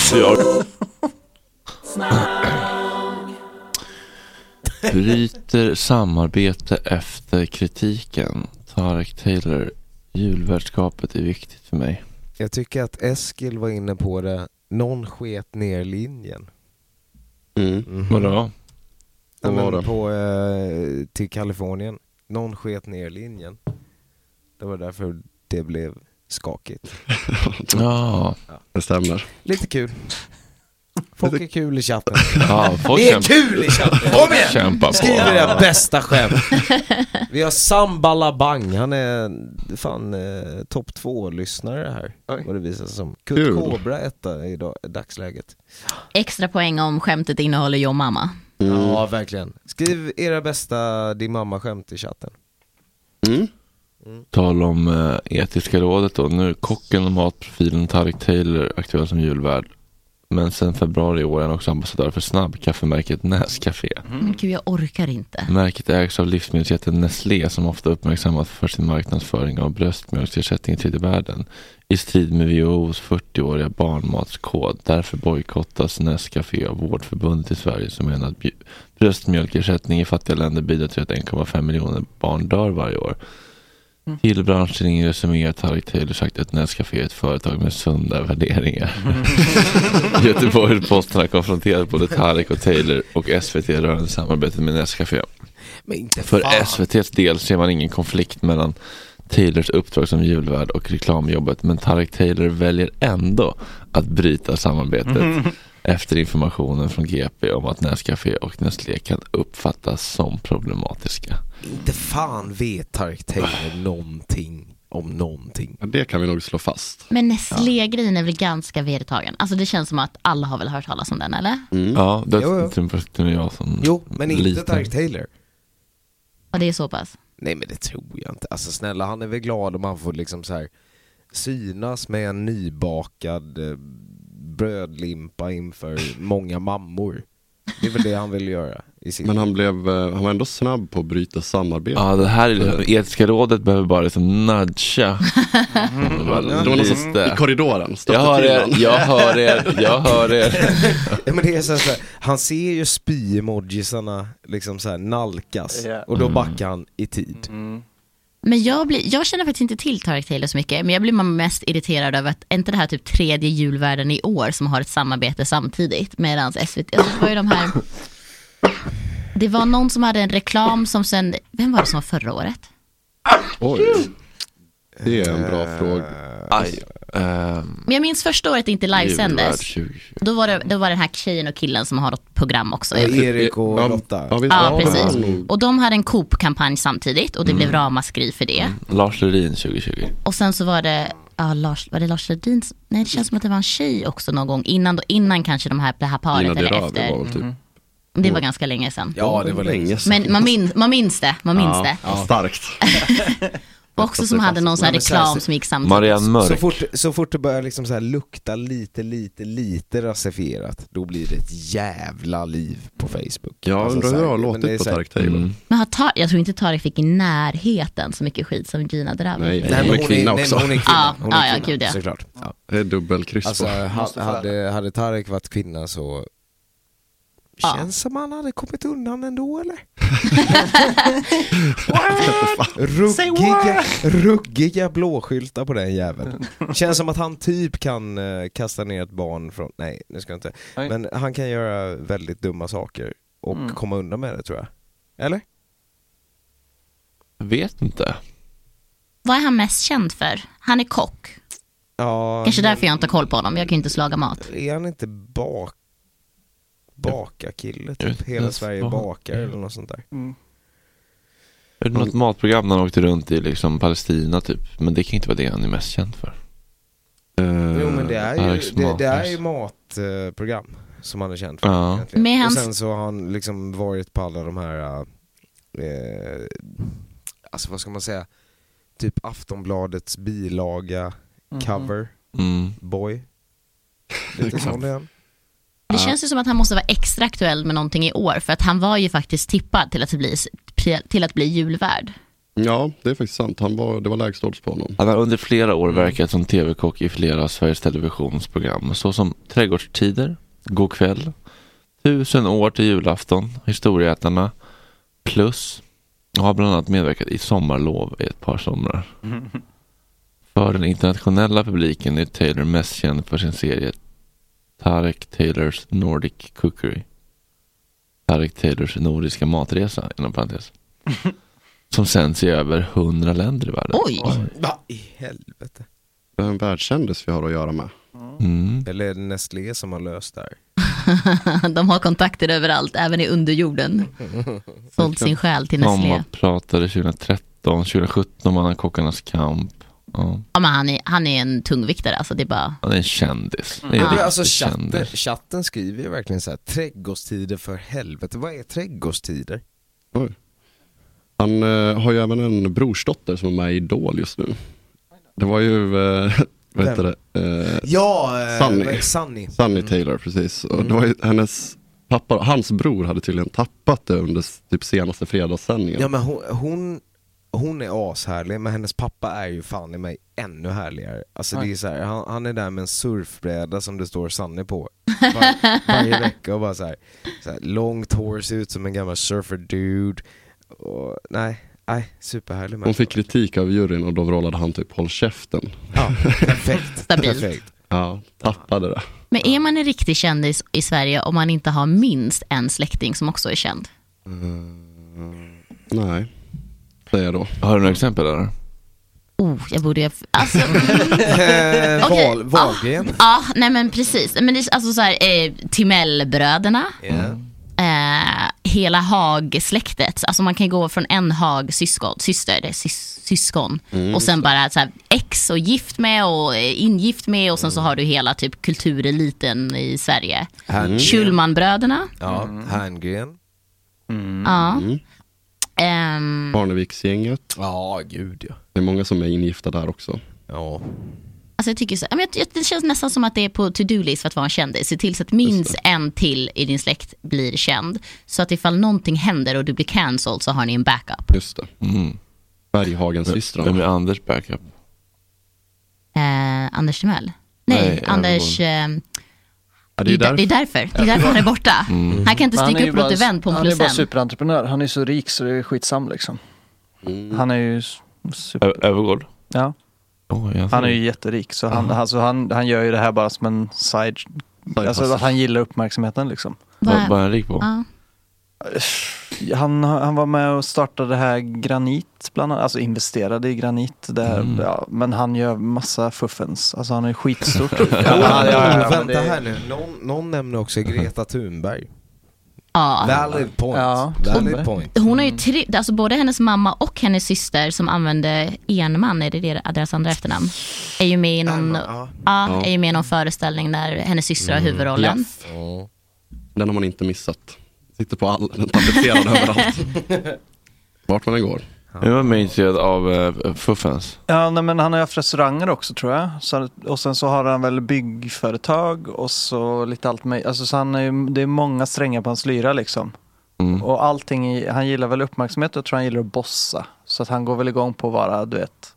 Speaker 1: Bryter samarbete efter kritiken. Tarek Taylor, julvärdskapet är viktigt för mig.
Speaker 3: Jag tycker att Eskil var inne på det. Någon sket ner linjen. Mhm.
Speaker 1: Vadå?
Speaker 3: Ja,
Speaker 1: Mm. Vad var
Speaker 3: men
Speaker 1: det?
Speaker 3: på, eh, till Kalifornien. Någon sket ner linjen. Det var därför det blev skakigt.
Speaker 7: Ah.
Speaker 1: Ja,
Speaker 7: det stämmer.
Speaker 3: Lite kul. Folk är kul i chatten.
Speaker 1: Ja, folk
Speaker 3: Ni är
Speaker 1: kämp-
Speaker 3: kul i chatten!
Speaker 1: folk
Speaker 3: Kom igen!
Speaker 1: kämpar på.
Speaker 3: Skriv era bästa skämt. Vi har Sambalabang, han är fan eh, topp två lyssnare här. Vad det visar sig som. Kurt
Speaker 5: Kul.
Speaker 3: Kobra etta i dag, dagsläget.
Speaker 5: Extra poäng om skämtet innehåller jag och mamma.
Speaker 3: Ja, verkligen. Skriv era bästa din mamma-skämt i chatten.
Speaker 1: Tal om eh, etiska rådet då. Nu är kocken och matprofilen Tarek Taylor aktuell som julvärd. Men sen februari i år är han också ambassadör för snabbkaffemärket Nescafé.
Speaker 3: Mm.
Speaker 5: Men gud, jag orkar inte.
Speaker 1: Märket ägs av livsmedelsjätten Nestlé som ofta uppmärksammas för sin marknadsföring av bröstmjölksersättning i tredje världen i strid med WHOs 40-åriga barnmatskod. Därför bojkottas Nescafé av Vårdförbundet i Sverige som menar att bj- bröstmjölkersättning i fattiga länder bidrar till att 1,5 miljoner barn dör varje år. Till branschtidningen resumerar Tarek Taylor sagt att Nescafé är ett företag med sunda värderingar. Göteborgs-Posten har konfronterat både Tarek och Taylor och SVT rörande samarbetet med Nescafé.
Speaker 3: Men inte
Speaker 1: För
Speaker 3: fan.
Speaker 1: SVTs del ser man ingen konflikt mellan Taylors uppdrag som julvärd och reklamjobbet men Tarek Taylor väljer ändå att bryta samarbetet
Speaker 9: Mhm.
Speaker 1: efter informationen från GP om att Nescafé och Nestlé kan uppfattas som problematiska.
Speaker 3: Inte fan vet Tarek Taylor någonting om någonting.
Speaker 7: Ah. Det kan vi nog slå fast.
Speaker 5: Men Nestlé-grejen är väl ganska vedertagen? Alltså det känns som att alla har väl hört talas om den eller?
Speaker 7: Mm.
Speaker 1: Ja, det
Speaker 3: Jo, jo.
Speaker 1: tror jag som
Speaker 3: Jo, men inte
Speaker 1: liten.
Speaker 3: Tarek Taylor.
Speaker 5: Ja det är så pass.
Speaker 3: Nej men det tror jag inte. Alltså snälla han är väl glad om han får liksom så här synas med en nybakad eh, brödlimpa inför många mammor. Det är väl det han vill göra. I sin...
Speaker 7: Men han, blev, eh, han var ändå snabb på att bryta samarbete. Eh.
Speaker 1: Ja, det här är liksom, etiska rådet behöver bara liksom nudga. Mm.
Speaker 7: Det var någon som- i korridoren,
Speaker 1: Jag
Speaker 7: stötte
Speaker 1: hör
Speaker 7: till
Speaker 1: er,
Speaker 7: honom.
Speaker 1: jag hör er, jag hör er.
Speaker 3: ja, men det är så här, så här, han ser ju spy-emojisarna liksom så här nalkas
Speaker 5: Ja.
Speaker 3: och
Speaker 7: Mm.
Speaker 3: då backar han i tid.
Speaker 5: Men jag, blir, jag känner faktiskt inte till Tarek Taylor så mycket, men jag blir mest irriterad över att är inte det här typ tredje julvärden i år som har ett samarbete samtidigt med hans SVT. Alltså, det var ju de här... Det var någon som hade en reklam som sen, vem var det som var förra året?
Speaker 7: Oj. Det är en bra
Speaker 3: Eh,
Speaker 7: fråga.
Speaker 1: Aj. eh,
Speaker 5: Men jag minns första året det inte livesändes.
Speaker 1: Julvärd 20.
Speaker 5: Då var, det, då var det den här tjejen och killen som har ett program också.
Speaker 3: Ja, Erik Mm. och
Speaker 5: ja,
Speaker 3: Lotta.
Speaker 5: Ja,
Speaker 1: Ja,
Speaker 5: precis.
Speaker 1: ja.
Speaker 5: Och de hade en Coop-kampanj samtidigt och det blev ramaskri för det.
Speaker 1: Lars Lerin 2020.
Speaker 5: Och sen så var det, ja, Lars, var det Lars Ledins? Nej, det känns som att det var en tjej också någon gång. Innan, då, innan kanske de här, det här paret
Speaker 7: Gina
Speaker 5: eller
Speaker 7: Dirawi
Speaker 5: efter. Mm.
Speaker 7: var väl typ-
Speaker 5: Det var ganska länge sedan.
Speaker 7: Ja, det var länge sedan.
Speaker 5: Men man minns, man minns det, man minns
Speaker 7: Ja,
Speaker 5: det.
Speaker 7: ja. Starkt.
Speaker 5: Också som hade någon sån här
Speaker 3: Nej, men så här,
Speaker 5: reklam
Speaker 3: så-
Speaker 5: som gick samtidigt.
Speaker 3: Så fort, så fort det börjar liksom så här lukta lite, lite, lite rasifierat, då blir det ett jävla liv på Facebook. Alltså
Speaker 7: Ja, undrar
Speaker 3: så
Speaker 7: hur
Speaker 3: här,
Speaker 7: jag har
Speaker 3: men
Speaker 7: låtit
Speaker 3: det är
Speaker 7: på
Speaker 3: så här-
Speaker 7: Tarek Taylor.
Speaker 5: Men har Tar- jag tror inte Tarek fick i närheten så mycket skit som Gina Dirawi.
Speaker 7: Nej,
Speaker 5: fick.
Speaker 7: hon är kvinna också.
Speaker 3: Nej, men hon är kvinna.
Speaker 5: Ja,
Speaker 3: Hon är
Speaker 5: ja,
Speaker 3: kvinna,
Speaker 5: gud, ja.
Speaker 3: såklart. Ja.
Speaker 7: Det är dubbelkryss
Speaker 3: Alltså,
Speaker 7: på.
Speaker 3: ha-
Speaker 7: Mustafa.
Speaker 3: hade, hade Tarek varit kvinna så... Känns som han hade kommit undan ändå eller? Ruggiga, ruggiga blåskyltar på den jäveln. Känns som att han typ kan eh, kasta ner ett barn från, nej nu ska jag inte.
Speaker 8: Nej.
Speaker 3: Men han kan göra väldigt dumma saker och
Speaker 8: Mm.
Speaker 3: komma undan med det tror jag. Eller?
Speaker 1: Vet inte.
Speaker 5: Vad är han mest känd för? Han är kock.
Speaker 3: Ja,
Speaker 5: Kanske därför jag inte har koll på honom. Jag kan ju inte slaga mat.
Speaker 3: Är han inte bak... Baka-kille typ? Hela
Speaker 1: jag-
Speaker 3: Sverige
Speaker 1: vad-
Speaker 3: bakar eller något sånt där.
Speaker 1: Är det något matprogram när han åkte runt i liksom Palestina typ? Men det kan inte vara det han är mest känd för. Eh,
Speaker 3: Jo men det är ju,
Speaker 1: Alex
Speaker 3: det, det är
Speaker 1: Magnus.
Speaker 3: ju matprogram som han är känd för.
Speaker 1: Ja.
Speaker 3: egentligen.
Speaker 5: Med hans-
Speaker 3: Och sen så har han liksom varit på alla de här, eh, eh, alltså vad ska man säga, typ Aftonbladets bilaga cover,
Speaker 1: Mm.
Speaker 3: boy. Lite sån är han.
Speaker 5: Det känns ju som att han måste vara extra aktuell med någonting i år, för att han var ju faktiskt tippad till att bli, till att bli julvärd.
Speaker 7: Ja, det är faktiskt sant. Han var, det var lägst odds på honom.
Speaker 1: Han har under flera år verkat som tv-kock i flera av Sveriges Televisions program såsom Trädgårdstider, God kväll, Tusen år till julafton, Historieätarna, plus och har bland annat medverkat i Sommarlov i ett par somrar. För den internationella publiken är Taylor mest känd för sin serie Tarek Taylors Nordic Cookery. Tarek Taylors nordiska matresa, inom parentes. Som sänds i över hundra länder i världen.
Speaker 3: Vad i helvete.
Speaker 7: Det är en världskändis vi har att göra med.
Speaker 1: Mm.
Speaker 3: Eller är det Nestlé som har löst det här?
Speaker 5: De har kontakter överallt, även i underjorden. Sålt sin själ till Nestlé.
Speaker 1: Sommarpratare 2013, 2017 vann han Kockarnas kamp. Ja.
Speaker 5: Ja, men han, är, han är en tungviktare, alltså det är bara...
Speaker 1: Han är en kändis. Det är en
Speaker 3: Ja, men
Speaker 1: riktig
Speaker 3: alltså chatten,
Speaker 1: kändis.
Speaker 3: chatten skriver ju verkligen så här, trädgårdstider för helvete, vad är trädgårdstider?
Speaker 7: Oj. Han eh, har ju även en brorsdotter som är med i Idol just nu. Det var ju, eh, vad heter det? Eh,
Speaker 3: Ja, eh, vad
Speaker 7: Sunny.
Speaker 3: är- Sunny. Mm.
Speaker 7: Sunny Taylor, precis. Och det var ju hennes pappa, hans bror hade tydligen tappat det under s- typ senaste fredagssändningen.
Speaker 3: Ja men hon, hon, hon är ashärlig men hennes pappa är ju fan i mig ännu härligare. Alltså det är så här, han, han är där med en surfbräda som det står Sanne på var, varje vecka och bara så här, så här långt hår, ser ut som en gammal surfer dude. Och, nej, nej, superhärlig
Speaker 7: Hon
Speaker 3: människa.
Speaker 7: fick kritik av juryn och då vrålade han typ håll käften.
Speaker 3: Ja, perfekt.
Speaker 5: Stabilt.
Speaker 3: perfekt.
Speaker 7: Ja, tappade det.
Speaker 5: Men är man en riktig kändis i Sverige om man inte har minst en släkting som också är känd?
Speaker 7: Mm. Nej. Säger jag då.
Speaker 1: Har du några exempel där?
Speaker 5: Oh, jag borde ju... Alltså,
Speaker 1: Eh,
Speaker 5: Okej,
Speaker 1: Wahl-
Speaker 5: ah,
Speaker 1: Wahlgren.
Speaker 5: Ja, nej men precis. Men det är alltså så här, eh, Timellbröderna. Eh, hela Haag-släktet. Alltså man kan gå från en Haag-syskon, syster, det är sys, syskon.
Speaker 2: Mm,
Speaker 5: och sen
Speaker 2: just
Speaker 5: bara så här, ex och gift med och eh, ingift med och sen så har du hela typ kultureliten i Sverige. Mm.
Speaker 3: Herrn-
Speaker 5: Schulmanbröderna.
Speaker 3: Ja, Herngren.
Speaker 5: Ja. Ehm,
Speaker 7: Mm. Barneviksgänget.
Speaker 3: Ja, gud ja.
Speaker 7: Det är många som är ingifta där också.
Speaker 3: Ja.
Speaker 5: Alltså jag tycker så, ja, men jag, jag, det känns nästan som att det är på to-do-list för att vara en kändis. Se till så att minst en till i din släkt blir känd. Så att ifall någonting händer och du blir cancelled så har ni en backup.
Speaker 7: Just det. Mm. Berghagens systrar.
Speaker 1: Vem är Anders backup?
Speaker 5: Eh, Anders Timell? Nej,
Speaker 1: Nej,
Speaker 5: Anders... Eh,
Speaker 7: Ja,
Speaker 5: det, är där, det är därför. Det är därför han är borta.
Speaker 1: Mm.
Speaker 5: Han kan inte
Speaker 8: är
Speaker 5: stycka
Speaker 8: ju
Speaker 5: upp något
Speaker 8: bara-
Speaker 5: event på en
Speaker 8: Han är bara
Speaker 5: procent.
Speaker 8: superentreprenör. Han är så rik så det är skitsam liksom.
Speaker 7: Mm.
Speaker 8: Han är ju s- super...
Speaker 1: Ö- Övergård?
Speaker 8: Ja.
Speaker 1: Oj, jag
Speaker 8: Han är
Speaker 1: ser.
Speaker 8: ju jätterik så han, alltså, han, han gör ju det här bara som en side... Alltså att han gillar uppmärksamheten liksom.
Speaker 1: Vad vad är han rik på?
Speaker 5: Ja.
Speaker 8: Han, han var med och startade det här Granit, bland annat, alltså investerade i Granit. Det här, ja, men han gör massa fuffens, alltså han är skitstort. ja, ja, ja, men
Speaker 3: vänta
Speaker 8: det-
Speaker 3: här nu, någon, någon nämner också Greta Thunberg.
Speaker 5: Ja.
Speaker 3: Valid point.
Speaker 8: Ja,
Speaker 3: Valid
Speaker 8: Thunberg.
Speaker 3: point. Mm.
Speaker 5: Hon har ju tre, alltså både hennes mamma och hennes syster som använde enman, är det det- deras andra efternamn? Är ju med i någon, ja,
Speaker 7: Ja. Mm.
Speaker 5: Är ju med i någon föreställning där hennes syster
Speaker 1: Mm.
Speaker 5: har huvudrollen.
Speaker 7: Jaff. Den har man inte missat. Sitter på all, den tapetserad överallt. Vart man än går.
Speaker 1: Jag var mer intresserad av eh, fuffens.
Speaker 8: Ja, nej, men han har ju haft restauranger också tror jag. Så, och sen så har han väl byggföretag och så lite allt möjligt. Alltså, så han är, ju- det är många strängar på hans lyra liksom. Och allting, i, han gillar väl uppmärksamhet och jag tror han gillar att bossa. Så att han går väl igång på att vara, du vet,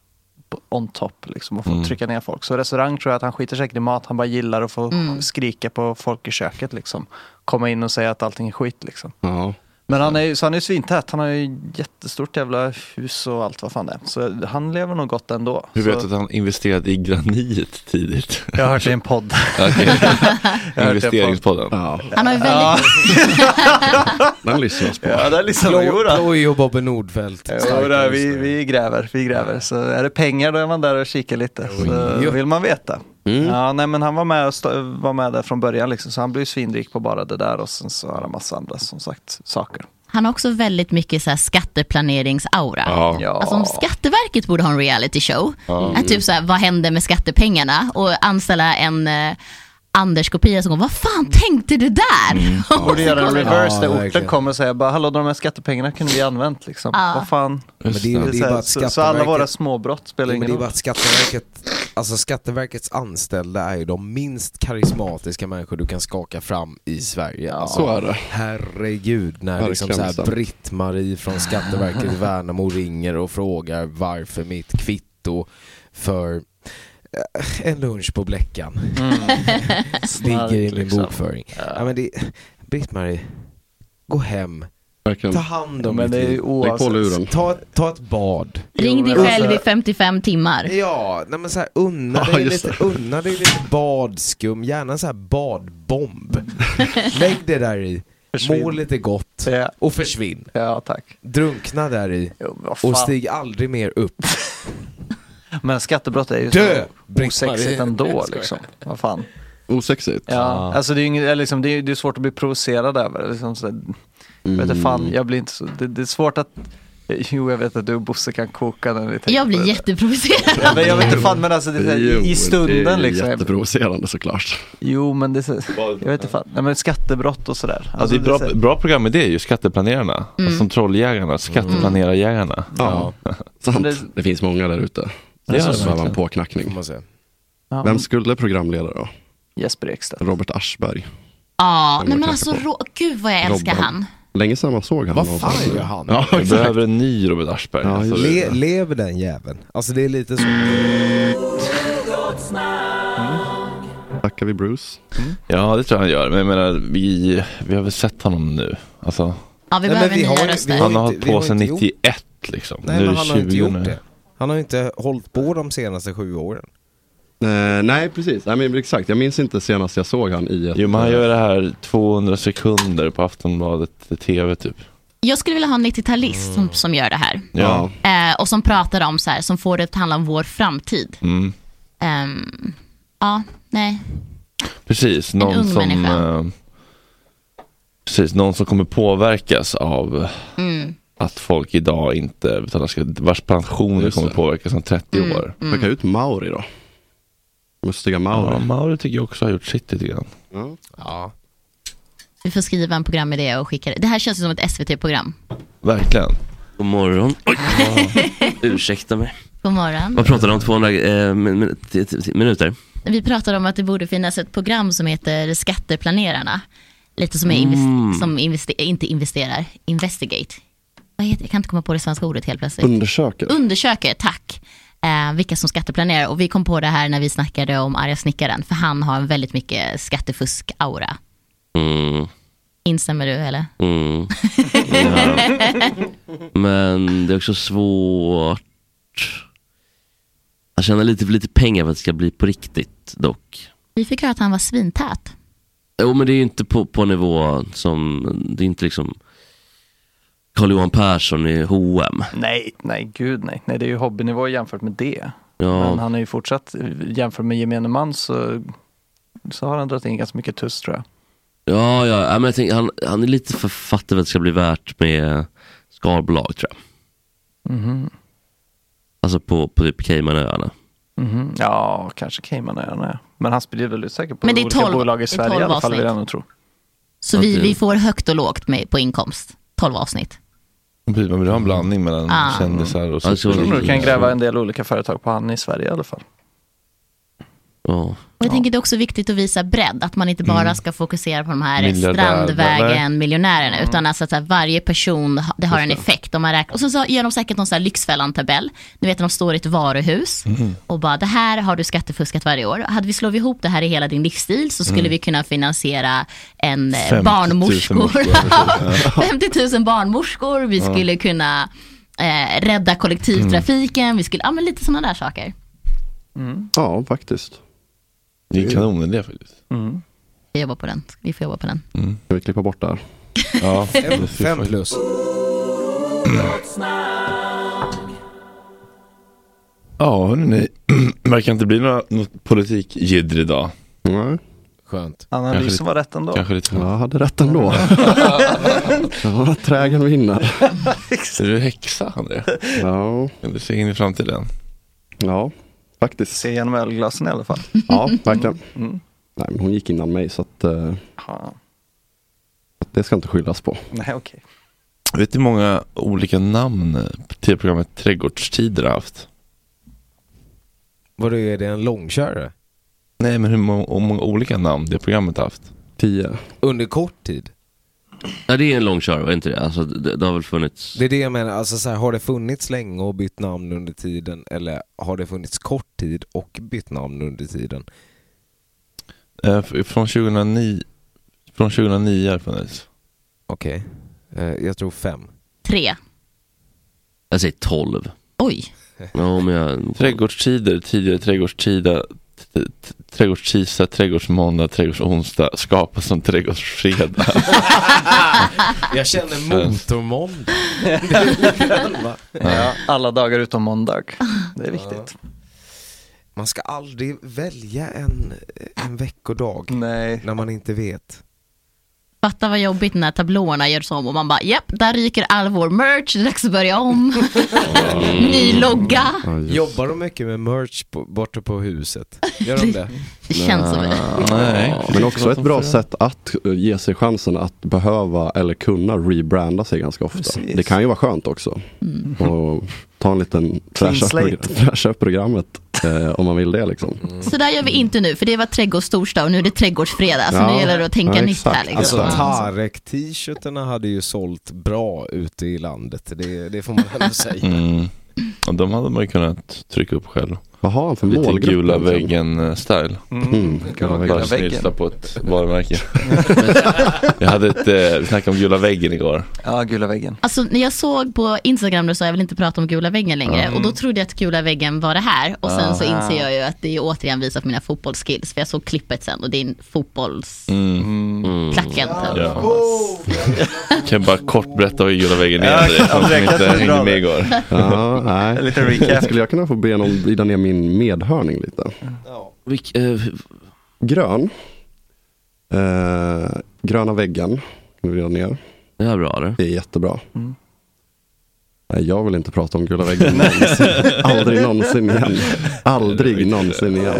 Speaker 8: på- on top liksom och få
Speaker 1: Mm.
Speaker 8: trycka ner folk. Så restaurang tror jag att han skiter säkert i mat, han bara gillar att få
Speaker 5: Mm.
Speaker 8: skrika på folk i köket liksom. Komma in och säga att allting är skit liksom.
Speaker 7: Ja.
Speaker 8: Men han är ju, så han är ju svintät, han har ju jättestort jävla hus och allt vad fan det är. Så han lever nog gott ändå.
Speaker 1: Hur vet
Speaker 8: så...
Speaker 1: du att han investerade i granit tidigt?
Speaker 8: Jag har hört det i en podd.
Speaker 1: Okej.
Speaker 8: Jag har hört det i en podd.
Speaker 1: Investeringspodden.
Speaker 5: Han har ju väldigt...
Speaker 7: Den lyssnas på.
Speaker 8: Ja, den lyssnar på. Jodå.
Speaker 3: Ploy och Bobbe Nordfeldt.
Speaker 8: Jo, då, vi, vi gräver, vi gräver. Så är det pengar då är man där och kikar lite. Så vill man veta.
Speaker 1: Mm.
Speaker 8: Ja, nej, men han var med, och sta- var med där från början liksom, så han blev ju svinrik på bara det där och sen så har han massa andra som sagt saker.
Speaker 5: Han har också väldigt mycket så här skatteplaneringsaura.
Speaker 8: Ja. Ja.
Speaker 5: Alltså om Skatteverket borde ha en reality show.
Speaker 8: Ja.
Speaker 5: Att typ så här, vad händer med skattepengarna? Och anställa en eh, Anders-kopia som går, vad fan tänkte du där?
Speaker 8: Han borde göra en reverse
Speaker 3: Ja,
Speaker 8: där orten
Speaker 3: verkligen.
Speaker 8: kommer och säga bara hallå de här skattepengarna kunde vi använt liksom.
Speaker 5: Ja.
Speaker 8: Vad fan.
Speaker 3: Men det är- det är
Speaker 8: Så här,
Speaker 3: bara att
Speaker 8: så, så alla
Speaker 3: Skatteverket-
Speaker 8: våra småbrott spelar
Speaker 3: Men
Speaker 8: ingen
Speaker 3: det är
Speaker 8: roll.
Speaker 3: bara att Skatteverket, alltså Skatteverkets anställda är ju de minst karismatiska människor du kan skaka fram i Sverige. alltså,
Speaker 7: så är det.
Speaker 3: Herregud, när liksom så
Speaker 7: Verkligen
Speaker 3: här
Speaker 7: sant.
Speaker 3: Britt-Marie från Skatteverket i Värnamo ringer och frågar varför mitt kvitto för eh, en lunch på Bleckan ligger i min
Speaker 8: Mm. liksom.
Speaker 3: bokföring. Ja, men det, Britt-Marie, gå hem.
Speaker 7: Verkligen.
Speaker 3: Ta hand om
Speaker 8: Men
Speaker 3: ditt
Speaker 8: det är
Speaker 3: liv.
Speaker 8: ju oavsett- Lägg på luren.
Speaker 3: Ta, ta ett bad.
Speaker 5: Ring dig själv i 55 timmar.
Speaker 3: alltså- Ja, nej men så här, unna
Speaker 5: Ja,
Speaker 3: dig
Speaker 5: just
Speaker 3: lite, unna dig lite badskum, gärna så här badbomb. Lägg det där i, må lite gott och försvinn.
Speaker 8: Ja, tack.
Speaker 3: Drunkna där i
Speaker 8: fan.
Speaker 3: och stig aldrig mer upp.
Speaker 8: Men skattebrott är ju
Speaker 3: Dö,
Speaker 8: så
Speaker 3: Britt-Marie.
Speaker 8: osexigt ändå
Speaker 3: Jag skojar.
Speaker 8: liksom. Vad fan.
Speaker 7: Osexigt.
Speaker 8: Ja, alltså det är, ju inget, eller liksom, det är, det är svårt att bli provocerad över. Liksom, så, jag vet inte
Speaker 3: Mm.
Speaker 8: fan, jag blir inte så, det, det är svårt att, jo jag vet att du och Bosse kan koka när ni tänker
Speaker 5: Jag blir
Speaker 8: på det.
Speaker 5: jätteprovocerad.
Speaker 8: Ja, men jag vet inte fan, men alltså det, är så här, i, i
Speaker 7: det är
Speaker 8: stunden
Speaker 7: ju
Speaker 8: liksom.
Speaker 7: Jätteprovocerande såklart.
Speaker 8: Jo men det är så, jag vet inte fan, nej men skattebrott och sådär.
Speaker 1: Alltså, det är bra, bra program med det är ju skatteplanerarna. Alltså,
Speaker 8: Mm.
Speaker 1: Som trolljägarna, skatteplanerarjägarna.
Speaker 7: Ja, sant. Det... finns många där ute.
Speaker 1: Det gör
Speaker 7: Det
Speaker 1: det
Speaker 7: som behöver
Speaker 1: verkligen.
Speaker 7: en påknackning.
Speaker 8: Ja.
Speaker 7: Vem skulle programleda då?
Speaker 8: Jesper Ekstedt.
Speaker 7: Robert Aschberg.
Speaker 5: Ja,
Speaker 7: Jag
Speaker 5: nej men
Speaker 7: tänker
Speaker 5: alltså
Speaker 7: på.
Speaker 5: ro- gud vad jag älskar
Speaker 7: Robban.
Speaker 5: han.
Speaker 7: Länge sedan man såg han.
Speaker 3: Vad
Speaker 7: någonstans.
Speaker 3: fan gör han?
Speaker 7: Ja,
Speaker 1: Jag
Speaker 7: exakt.
Speaker 1: behöver en ny Robert Aschberg.
Speaker 7: Ja,
Speaker 1: alltså, det-
Speaker 3: Le, lever den jäveln? Alltså det är lite så.
Speaker 7: Tackar vi Bruce.
Speaker 1: Ja, det tror jag han gör. Men jag menar, vi, vi har väl sett honom nu. Alltså,
Speaker 5: Ja, vi
Speaker 3: Nej,
Speaker 5: behöver
Speaker 3: men vi
Speaker 5: nya
Speaker 3: har ju- vi
Speaker 5: röster.
Speaker 3: har
Speaker 1: han
Speaker 3: ju
Speaker 1: har
Speaker 3: inte-
Speaker 1: hållit
Speaker 3: vi har
Speaker 1: på sedan
Speaker 3: inte gjort-
Speaker 1: 91 liksom.
Speaker 3: Nej
Speaker 1: nu är
Speaker 3: men
Speaker 1: det
Speaker 3: han har
Speaker 1: 20
Speaker 3: inte gjort
Speaker 1: nu.
Speaker 3: det. Han har ju inte hållit på de senaste sju åren.
Speaker 7: Eh, nej, precis. Nej, men exakt. Jag minns inte senast jag såg han i ett... eh,
Speaker 1: Jo, men han gör det här 200 sekunder på Aftonbladet TV eh, typ.
Speaker 5: Jag skulle vilja ha en 90-talist som, som gör det här.
Speaker 1: Ja.
Speaker 5: Eh, och som pratar om så här, som får det att handla om vår framtid.
Speaker 1: Mm.
Speaker 5: Ehm, ja, nej.
Speaker 1: Precis, någon
Speaker 5: ung
Speaker 1: som...
Speaker 5: människa.
Speaker 1: eh, precis, någon som kommer påverkas av
Speaker 5: Mm.
Speaker 1: att folk idag inte betalar skatt. Vars pensioner
Speaker 7: Just
Speaker 1: kommer
Speaker 7: det.
Speaker 1: påverkas om 30
Speaker 5: Mm,
Speaker 1: år.
Speaker 5: mm. Peka
Speaker 1: ut Mauri då. Mustiga Mauri. Ja, Mauri tycker jag också har gjort sitt lite grann.
Speaker 3: Ja.
Speaker 5: Vi får skriva en programidé och skicka det. Det här känns ju som ett SVT-program.
Speaker 1: Verkligen.
Speaker 12: God morgon. Oj. Ursäkta mig.
Speaker 5: God morgon.
Speaker 12: Vad pratade de om? 200 eh, min, min, t- t- minuter?
Speaker 5: Vi pratade om att det borde finnas ett program som heter Skatteplanerarna. Lite som, är
Speaker 12: Mm.
Speaker 5: invest- som investe- inte investerar, investigate. Vad heter, jag kan inte komma på det svenska ordet helt plötsligt.
Speaker 7: Undersöker.
Speaker 5: Undersöker, tack. Eh, vilka som skatteplanerar. Och vi kom på det här när vi snackade om arga snickaren. För han har en väldigt mycket skattefusk-aura.
Speaker 12: Mm.
Speaker 5: Instämmer du eller?
Speaker 12: Mm. Ja. Men det är också svårt att tjäna lite för lite pengar för att det ska bli på riktigt dock.
Speaker 5: Vi fick höra att han var svintät.
Speaker 12: Jo men det är ju inte på, på nivå som, det är inte liksom Carl-Johan Persson i H&M.
Speaker 8: Nej, nej, gud nej. Nej, det är ju hobbynivå jämfört med det.
Speaker 12: Ja.
Speaker 8: Men han är ju fortsatt, jämfört med gemene man så, så har han dragit in ganska mycket tuss tror jag.
Speaker 12: Ja, ja, ja, men jag tänker, han, han är lite för fattig för att det ska bli värt med skalbolag tror jag.
Speaker 8: Mhm.
Speaker 12: Alltså på, på typ Caymanöarna.
Speaker 8: Mhm. Ja, kanske Caymanöarna. Men han sprider väl ut säkert på
Speaker 5: Men det är
Speaker 8: olika
Speaker 5: 12
Speaker 8: bolag i
Speaker 5: det är
Speaker 8: Sverige
Speaker 5: 12
Speaker 8: i alla fall vill jag
Speaker 5: avsnitt.
Speaker 8: nog tro.
Speaker 5: Så
Speaker 1: Ja,
Speaker 5: vi,
Speaker 1: det-
Speaker 5: vi får högt och lågt med, på inkomst. 12 avsnitt.
Speaker 1: Precis, man vill ha en blandning mellan
Speaker 5: Ah.
Speaker 1: kändisar och
Speaker 12: Alltså,
Speaker 8: Jag tror nog du kan gräva en del olika företag på han i Sverige i alla fall.
Speaker 12: Ja.
Speaker 5: Och jag tänker det är också viktigt att visa bredd, att man inte bara ska fokusera på de här
Speaker 12: Miljardär- eller?
Speaker 5: strandvägen, miljonärerna, utan alltså att så här, varje person, ha- det har en effekt. Om man räknar. Och så, så gör de säkert någon så här Lyxfällan-tabell, ni vet när de står i ett varuhus
Speaker 2: Mhm.
Speaker 5: och bara det här har du skattefuskat varje år. Hade vi slagit ihop det här i hela din livsstil så skulle
Speaker 2: Mm.
Speaker 5: vi kunna finansiera en eh,
Speaker 2: 50 000
Speaker 5: barnmorskor.
Speaker 2: morskor, precis, ja.
Speaker 5: 50 000 barnmorskor, vi
Speaker 2: Ja.
Speaker 5: skulle kunna eh, rädda kollektivtrafiken,
Speaker 2: Mm.
Speaker 5: vi skulle, ja men lite sådana där saker.
Speaker 8: Mm.
Speaker 7: Ja, faktiskt.
Speaker 1: Det är en kanonidé faktiskt.
Speaker 2: Mm.
Speaker 1: Mm.
Speaker 5: Vi jobbar på den, vi får jobba på den.
Speaker 7: Mm. Ska vi klippa bort det här?
Speaker 1: Ja,
Speaker 3: Fem- fem plus.
Speaker 1: Ja, hörni, det verkar inte bli några, något politikjidder idag. Nej.
Speaker 3: Skönt.
Speaker 8: Analysen var rätt ändå. Mm.
Speaker 1: Kanske lite
Speaker 7: Jag hade rätt ändå. ja, trägen vinner.
Speaker 1: Är du häxa, André?
Speaker 7: Ja.
Speaker 1: Kan du se in i framtiden?
Speaker 7: Ja, faktiskt.
Speaker 8: Se genom ölglasen i alla fall.
Speaker 7: Ja, verkligen.
Speaker 8: Mm.
Speaker 7: Nej, men hon gick innan mig så att eh, det ska inte skyllas på.
Speaker 8: Nej, okej.
Speaker 1: Vet du hur många olika namn tv-programmet Trädgårdstider har haft?
Speaker 3: Vadå, är det en långkörare?
Speaker 1: Nej, men hur många, hur många olika namn det programmet har haft?
Speaker 7: Tio.
Speaker 3: Under kort tid?
Speaker 12: Ja det är en långkörare, är inte det? Alltså det, det har väl funnits
Speaker 3: Det är det jag menar, alltså så här, har det funnits länge och bytt namn under tiden eller har det funnits kort tid och bytt namn under tiden?
Speaker 1: Eh, f- från 2009 Från 2009 har det funnits.
Speaker 3: Okej. Eh, jag tror fem.
Speaker 5: Tre.
Speaker 12: Jag säger 12.
Speaker 5: Oj.
Speaker 12: Ja, men jag...
Speaker 1: Trädgårdstider, tidigare trädgårdstida, t- t- trädgårdstisa, trädgårdsmåndag, trädgårdsonsdag skapas som trädgårdsfredag.
Speaker 3: Ah! Jag känner motormåndag. Det är den, va?
Speaker 8: Ja, alla dagar utom måndag. Det är viktigt.
Speaker 3: Man ska aldrig välja en, en veckodag när man inte vet.
Speaker 5: Fatta vad jobbigt när tablåerna görs om och man bara japp, där ryker all vår merch, det är dags att börja om. Ny logga.
Speaker 3: Jobbar de mycket med merch på, borta på huset? Gör de det?
Speaker 5: Det känns som det.
Speaker 1: Nej.
Speaker 7: Ja, Men också ett bra sätt att eh, ge sig chansen att behöva eller kunna rebranda sig ganska ofta.
Speaker 8: Precis.
Speaker 7: Det kan ju vara skönt också.
Speaker 5: Mm.
Speaker 7: Och ta en liten
Speaker 8: Clean
Speaker 7: fräscha
Speaker 8: slate.
Speaker 7: progr- fräscha upp programmet eh, om man vill det liksom.
Speaker 5: Så där gör vi inte nu, för det var trädgårdstorsdag och nu är det trädgårdsfredag. Så
Speaker 7: Ja.
Speaker 5: nu gäller det att tänka
Speaker 7: Ja,
Speaker 5: nytt
Speaker 7: exakt.
Speaker 5: här. Liksom.
Speaker 3: Alltså
Speaker 7: Ja.
Speaker 3: Tarek-t-shirtarna hade ju sålt bra ute i landet, det, det får man ändå säga.
Speaker 1: Mm. Och de hade man ju kunnat trycka upp själv.
Speaker 7: Vad har han för
Speaker 1: Lite
Speaker 7: målgrupp
Speaker 1: gula
Speaker 7: egentligen?
Speaker 1: väggen-style.
Speaker 7: Mm, Mm, gula väggen.
Speaker 1: Bara snylta på ett varumärke. jag hade ett, eh, vi snackade om gula väggen igår.
Speaker 8: Ja, gula väggen.
Speaker 5: Alltså när jag såg på Instagram nu så jag vill inte prata om gula väggen längre
Speaker 1: Mm.
Speaker 5: och då trodde jag att gula väggen var det här och sen så
Speaker 1: Ah.
Speaker 5: inser jag ju att det är återigen visar på mina fotbollsskills för jag såg klippet sen och det är en fotbolls...
Speaker 1: Mm.
Speaker 5: Klacken, typ.
Speaker 1: Ja.
Speaker 5: Ja.
Speaker 1: Kan jag bara kort berätta vad Gula väggen är?
Speaker 7: Ja,
Speaker 1: André, för
Speaker 7: André,
Speaker 1: de som
Speaker 7: kanske
Speaker 1: inte
Speaker 7: du drar
Speaker 1: hängde med
Speaker 7: det.
Speaker 1: igår.
Speaker 7: Ja, nej.
Speaker 1: Lite recap.
Speaker 7: Skulle jag kunna få be någon vrida ner min medhörning lite?
Speaker 12: Vilk, eh,
Speaker 7: Grön. Eh, gröna väggen. Kan du vrida ner?
Speaker 12: Det är bra det.
Speaker 7: Det är jättebra.
Speaker 8: Mm.
Speaker 7: Nej, jag vill inte prata om gula väggen någonsin. Aldrig någonsin igen. Aldrig någonsin igen.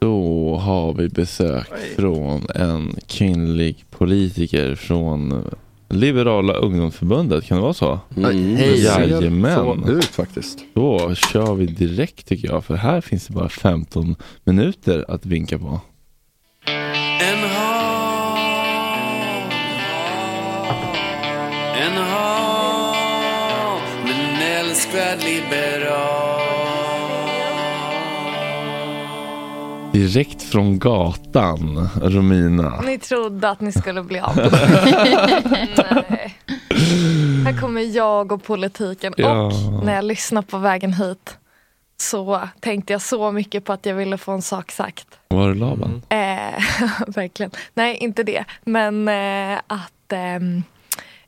Speaker 1: Då har vi besök från en kvinnlig politiker från Liberala ungdomsförbundet, kan det vara så?
Speaker 7: Mm.
Speaker 1: Hej.
Speaker 7: Det
Speaker 1: Jajamän.
Speaker 7: ser så ut faktiskt.
Speaker 1: Då kör vi direkt tycker jag, för här finns det bara 15 minuter att vinka på.
Speaker 2: En hav, en hav, men älskvärd liberal.
Speaker 1: Direkt från gatan, Romina.
Speaker 13: Ni trodde att ni skulle bli av med Nej. Här kommer jag och politiken.
Speaker 1: Ja.
Speaker 13: Och när jag lyssnade på vägen hit så tänkte jag så mycket på att jag ville få en sak sagt.
Speaker 1: Var är Laban?
Speaker 13: Eh, verkligen. Nej, inte det. Men eh, att ehm,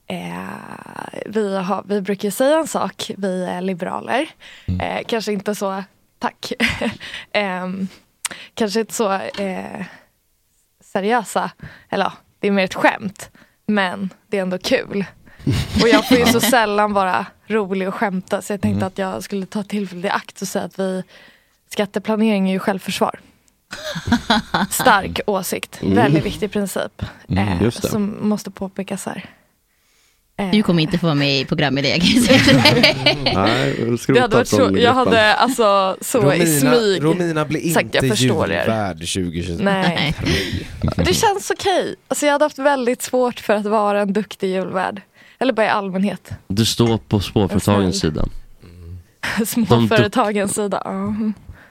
Speaker 13: eh, vi, har, vi brukar ju säga en sak, vi är liberaler. Eh, kanske inte så, tack. Ehm, kanske inte så eh, seriösa, eller ja, det är mer ett skämt. Men det är ändå kul. Och jag får ju så sällan vara rolig och skämta så jag tänkte att jag skulle ta tillfället i akt och säga att vi Skatteplanering är ju självförsvar. Stark åsikt,
Speaker 5: Mm.
Speaker 13: väldigt viktig princip. Eh,
Speaker 5: Mm, just det.
Speaker 13: som måste påpekas här.
Speaker 5: Du kommer inte få vara med i programmet det jag kan säga.
Speaker 7: Nej,
Speaker 13: Det hade varit så, jag hade alltså så i smyg.
Speaker 3: Romina blir
Speaker 13: sagt,
Speaker 3: inte
Speaker 13: jag förstår er.
Speaker 3: julvärd 2023.
Speaker 13: Nej. Det känns okej. Alltså jag hade haft väldigt svårt för att vara en duktig julvärd. Eller bara i allmänhet.
Speaker 12: Du står på spårföretagens
Speaker 13: snäll.
Speaker 12: sida.
Speaker 13: Småföretagens sida. Ja.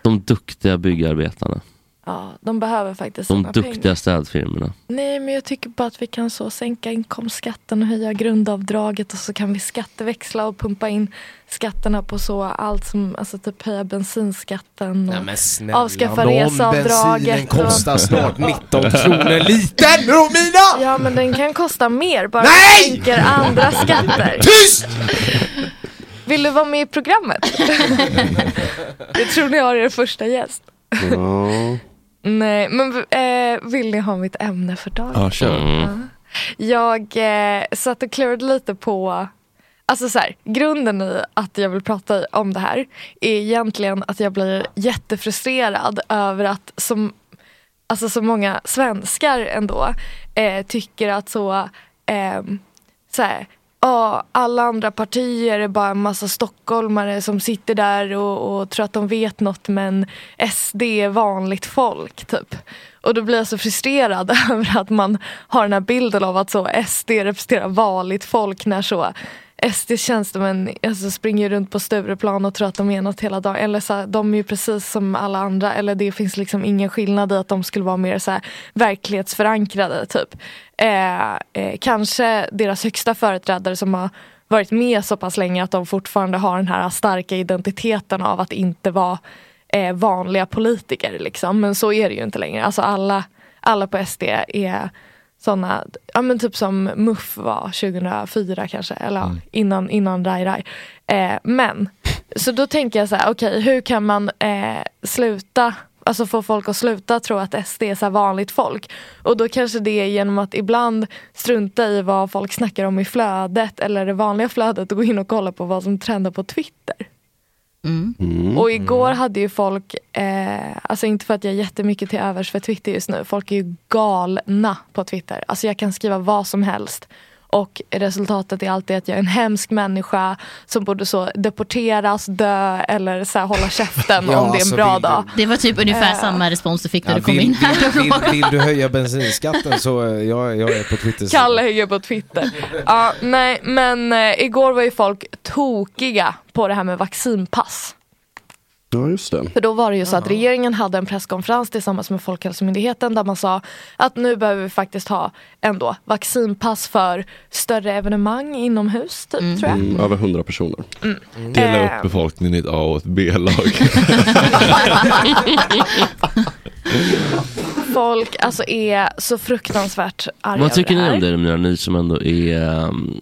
Speaker 12: De duktiga byggarbetarna.
Speaker 13: Ja, de behöver faktiskt
Speaker 12: De
Speaker 13: sina pengar.
Speaker 12: duktiga städfirmorna.
Speaker 13: Nej, men jag tycker bara att vi kan så sänka inkomstskatten och höja grundavdraget och så kan vi skatteväxla och pumpa in skatterna på så allt som, alltså typ höja bensinskatten och
Speaker 3: Nej, men snälla
Speaker 13: avskaffa
Speaker 3: nån,
Speaker 13: reseavdraget.
Speaker 3: bensinen
Speaker 13: och-
Speaker 3: kostar snart 19 kronor liten, Romina!
Speaker 13: Ja, men den kan kosta mer bara Nej! sänker andra skatter.
Speaker 3: Tyst!
Speaker 13: Vill du vara med i programmet? jag tror ni har er första gäst. Mm.
Speaker 7: Ja.
Speaker 13: Nej, men eh, vill ni ha mitt ämne för dagen?
Speaker 7: Ja, kör. Mm.
Speaker 13: Ja. Jag eh, satt och klurade lite på, alltså så här, grunden i att jag vill prata om det här är egentligen att jag blir jättefrustrerad över att som, alltså så många svenskar ändå eh, tycker att så, ehm, så här, Ja, alla andra partier är bara en massa stockholmare som sitter där och, och tror att de vet något men SD är vanligt folk typ. Och då blir jag så frustrerad över att man har den här bilden av att så SD representerar vanligt folk när så SD tjänstemän alltså, springer ju runt på Stureplan och tror att de är något hela dagen. Eller så här, de är ju precis som alla andra. Eller det finns liksom ingen skillnad i att de skulle vara mer så här, verklighetsförankrade. Typ. Eh, eh, kanske deras högsta företrädare som har varit med så pass länge att de fortfarande har den här starka identiteten av att inte vara eh, vanliga politiker. Liksom. Men så är det ju inte längre. Alltså alla, alla på SD är sådana, ja men typ som MUF var 2004 kanske, eller ja, innan, innan Rai Rai. Eh, men, så då tänker jag så här, okej hur kan man eh, sluta, alltså få folk att sluta tro att SD är så här vanligt folk. Och då kanske det är genom att ibland strunta i vad folk snackar om i flödet eller det vanliga flödet och gå in och kolla på vad som trendar på Twitter.
Speaker 12: Mm.
Speaker 3: Mm.
Speaker 13: Och igår hade ju folk, eh, alltså inte för att jag är jättemycket till övers för Twitter just nu, folk är ju galna på Twitter. Alltså jag kan skriva vad som helst. Och resultatet är alltid att jag är en hemsk människa som borde så deporteras, dö eller så här hålla käften
Speaker 3: Ja,
Speaker 13: om det är en
Speaker 3: alltså,
Speaker 13: bra
Speaker 3: vill du-
Speaker 13: dag.
Speaker 5: Det var typ ungefär
Speaker 13: Eh.
Speaker 5: samma respons du fick när
Speaker 3: Ja,
Speaker 5: du kom in här.
Speaker 3: vill, vill du höja bensinskatten så eh, jag, jag är på Twitter.
Speaker 13: Kalle hänger på Twitter. Ja, nej, men eh, igår var ju folk tokiga på det här med vaccinpass.
Speaker 7: Ja, just det.
Speaker 13: För då var det ju så att regeringen hade en presskonferens tillsammans med Folkhälsomyndigheten där man sa att nu behöver vi faktiskt ha ändå vaccinpass för större evenemang inomhus typ tror jag.
Speaker 7: Mm, över 100 personer.
Speaker 1: Dela
Speaker 13: Eh.
Speaker 1: upp befolkningen i ett A och ett B-lag.
Speaker 13: folk alltså är så fruktansvärt arga
Speaker 12: Vad tycker
Speaker 13: över
Speaker 12: ni
Speaker 13: det
Speaker 12: om
Speaker 13: här.
Speaker 12: det Romina, ni som ändå är ehm,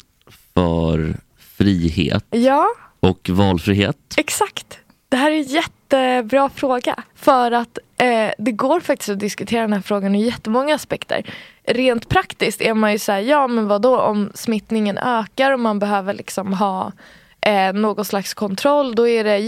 Speaker 12: för frihet
Speaker 13: Ja,
Speaker 12: och valfrihet?
Speaker 13: exakt. Det här är en jättebra fråga. För att eh, det går faktiskt att diskutera den här frågan ur jättemånga aspekter. Rent praktiskt är man ju såhär, ja men vad då om smittningen ökar och man behöver liksom ha eh, någon slags kontroll då är det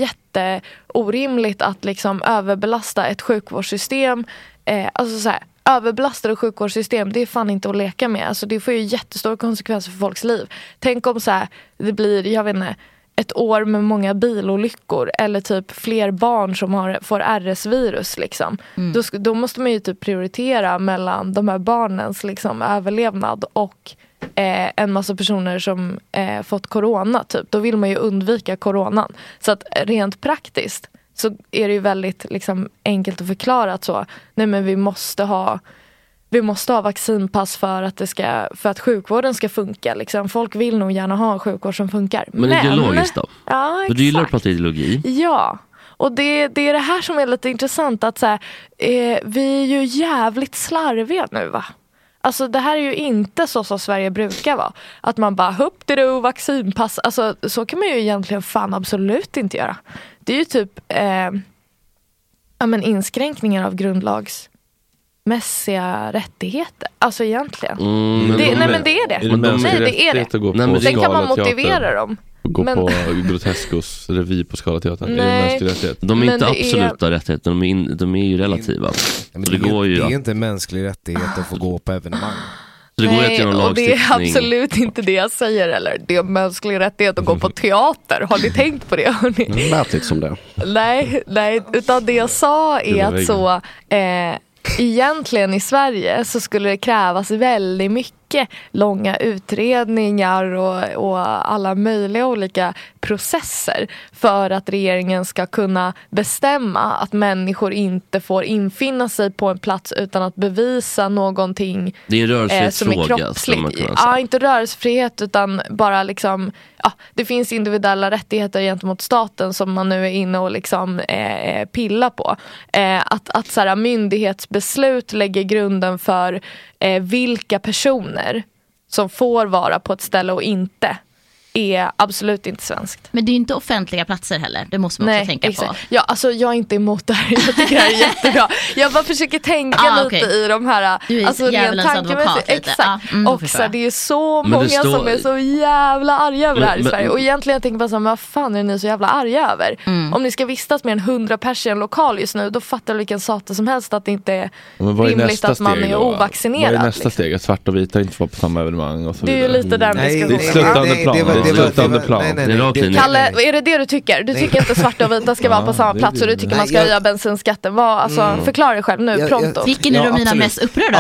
Speaker 13: jätteorimligt att liksom överbelasta ett sjukvårdssystem. Eh, alltså så här, överbelastade sjukvårdssystem det är fan inte att leka med. Alltså det får ju jättestora konsekvenser för folks liv. Tänk om så här, det blir, jag vet inte, ett år med många bilolyckor eller typ fler barn som har, får RS-virus. Liksom.
Speaker 5: Mm.
Speaker 13: Då, sk- då måste man ju typ prioritera mellan de här barnens liksom, överlevnad och eh, en massa personer som eh, fått corona. Typ. Då vill man ju undvika coronan. Så att eh, rent praktiskt så är det ju väldigt liksom, enkelt att förklara att så, nej men vi måste ha vi måste ha vaccinpass för att, det ska, för att sjukvården ska funka. Liksom. Folk vill nog gärna ha en sjukvård som funkar.
Speaker 12: Men ideologiskt då?
Speaker 13: Ja,
Speaker 12: För du gillar att
Speaker 13: exakt.
Speaker 12: prata ideologi.
Speaker 13: Ja, och det, det är det här som är lite intressant. att så här, eh, Vi är ju jävligt slarviga nu va? Alltså det här är ju inte så som Sverige brukar vara. Att man bara hupp du vaccinpass. Alltså så kan man ju egentligen fan absolut inte göra. Det är ju typ eh, ja, men inskränkningar av grundlagsmässiga rättigheter. Alltså egentligen.
Speaker 1: Mm, men
Speaker 13: det,
Speaker 1: de
Speaker 13: nej
Speaker 1: är-
Speaker 13: men det är
Speaker 1: är det
Speaker 13: det. nej
Speaker 1: mänsklig
Speaker 13: det är
Speaker 1: rättighet att gå på
Speaker 13: det. Sen kan man
Speaker 1: Scalateatern?
Speaker 13: motivera dem.
Speaker 1: Gå
Speaker 13: Men-
Speaker 1: på Grotescos revy på Scalateatern. Är det
Speaker 13: Nej.
Speaker 1: en mänsklig rättighet?
Speaker 12: De är
Speaker 13: Men
Speaker 12: inte
Speaker 13: det är-
Speaker 12: absoluta rättigheter, de är, in, de är ju relativa.
Speaker 3: Men
Speaker 12: Så det
Speaker 3: är-
Speaker 12: går ju
Speaker 3: det
Speaker 12: att-
Speaker 3: är inte en mänsklig rättighet att få gå på evenemang.
Speaker 12: så det går ju att
Speaker 13: Nej,
Speaker 12: genom
Speaker 13: och det är
Speaker 12: lagstiftning
Speaker 13: absolut inte det jag säger eller Det är en mänsklig rättighet att gå på teater. Har ni tänkt på det? Hörni?
Speaker 7: Det lät lite som det.
Speaker 13: Nej, nej, utan det jag sa
Speaker 7: Gud,
Speaker 13: är
Speaker 7: vad
Speaker 13: att så eh, egentligen i Sverige så skulle det krävas väldigt mycket långa utredningar och, och alla möjliga olika processer för att regeringen ska kunna bestämma att människor inte får infinna sig på en plats utan att bevisa någonting
Speaker 12: Det är en
Speaker 13: eh, som är
Speaker 12: rörelsefråga, skulle man
Speaker 13: kroppsligt.
Speaker 12: kunna säga.
Speaker 13: Ja, inte rörelsefrihet utan bara liksom, ja, det finns individuella rättigheter gentemot staten som man nu är inne och liksom eh, eh, pillar på. Eh, att att så här, myndighetsbeslut lägger grunden för eh, vilka personer som får vara på ett ställe och inte är absolut inte svenskt.
Speaker 5: Men det är ju inte offentliga platser heller, det måste man också tänka på.
Speaker 13: Ja, alltså jag är inte emot det här. Jag tycker det här är jättebra. Jag bara försöker tänka
Speaker 5: Ah,
Speaker 13: lite
Speaker 5: okej.
Speaker 13: i de här...
Speaker 5: Du är
Speaker 13: alltså, rent
Speaker 5: djävulens
Speaker 13: tankemässigt.
Speaker 5: advokat lite. Ja,
Speaker 13: Exakt.
Speaker 5: mm, då
Speaker 13: och
Speaker 5: förstår
Speaker 13: så här,
Speaker 5: jag.
Speaker 13: det är ju så
Speaker 12: Men det
Speaker 13: många
Speaker 12: står-
Speaker 13: som är så jävla arga över det här i
Speaker 12: Men- men-
Speaker 13: Sverige. Och egentligen tänker man så här, men vad fan är ni så jävla arga över?
Speaker 12: Mm.
Speaker 13: Om ni ska vistas med en hundra pers i en lokal just nu, då fattar du vilken satan som helst att det inte är
Speaker 1: Men vad är
Speaker 13: rimligt
Speaker 1: nästa
Speaker 13: att man
Speaker 1: steg
Speaker 13: är
Speaker 1: då?
Speaker 13: ovaccinerad.
Speaker 1: Vad är nästa steg? Att svarta och vita inte får vara på samma evenemang och så
Speaker 13: Det är ju
Speaker 1: vidare.
Speaker 13: lite den Nej, diskussionen.
Speaker 1: Det är ett sluttande
Speaker 3: nej,
Speaker 1: plan.
Speaker 3: det var-
Speaker 1: Det är
Speaker 3: det
Speaker 1: ett
Speaker 3: var- det var-
Speaker 1: sluttande plan.
Speaker 3: nej, nej,
Speaker 1: Det är rakt in i-
Speaker 13: Kalle, är det det du tycker? Du tycker inte svarta och vita ska vara på samma
Speaker 1: det
Speaker 13: plats och du
Speaker 1: blir-
Speaker 13: tycker man
Speaker 3: Nej,
Speaker 13: ska
Speaker 3: jag-
Speaker 13: höja bensinskatten? Vad, alltså,
Speaker 3: Mm.
Speaker 13: Förklara dig själv nu,
Speaker 3: Jag-
Speaker 13: pronto.
Speaker 3: jag- ja, absolut. Absolut.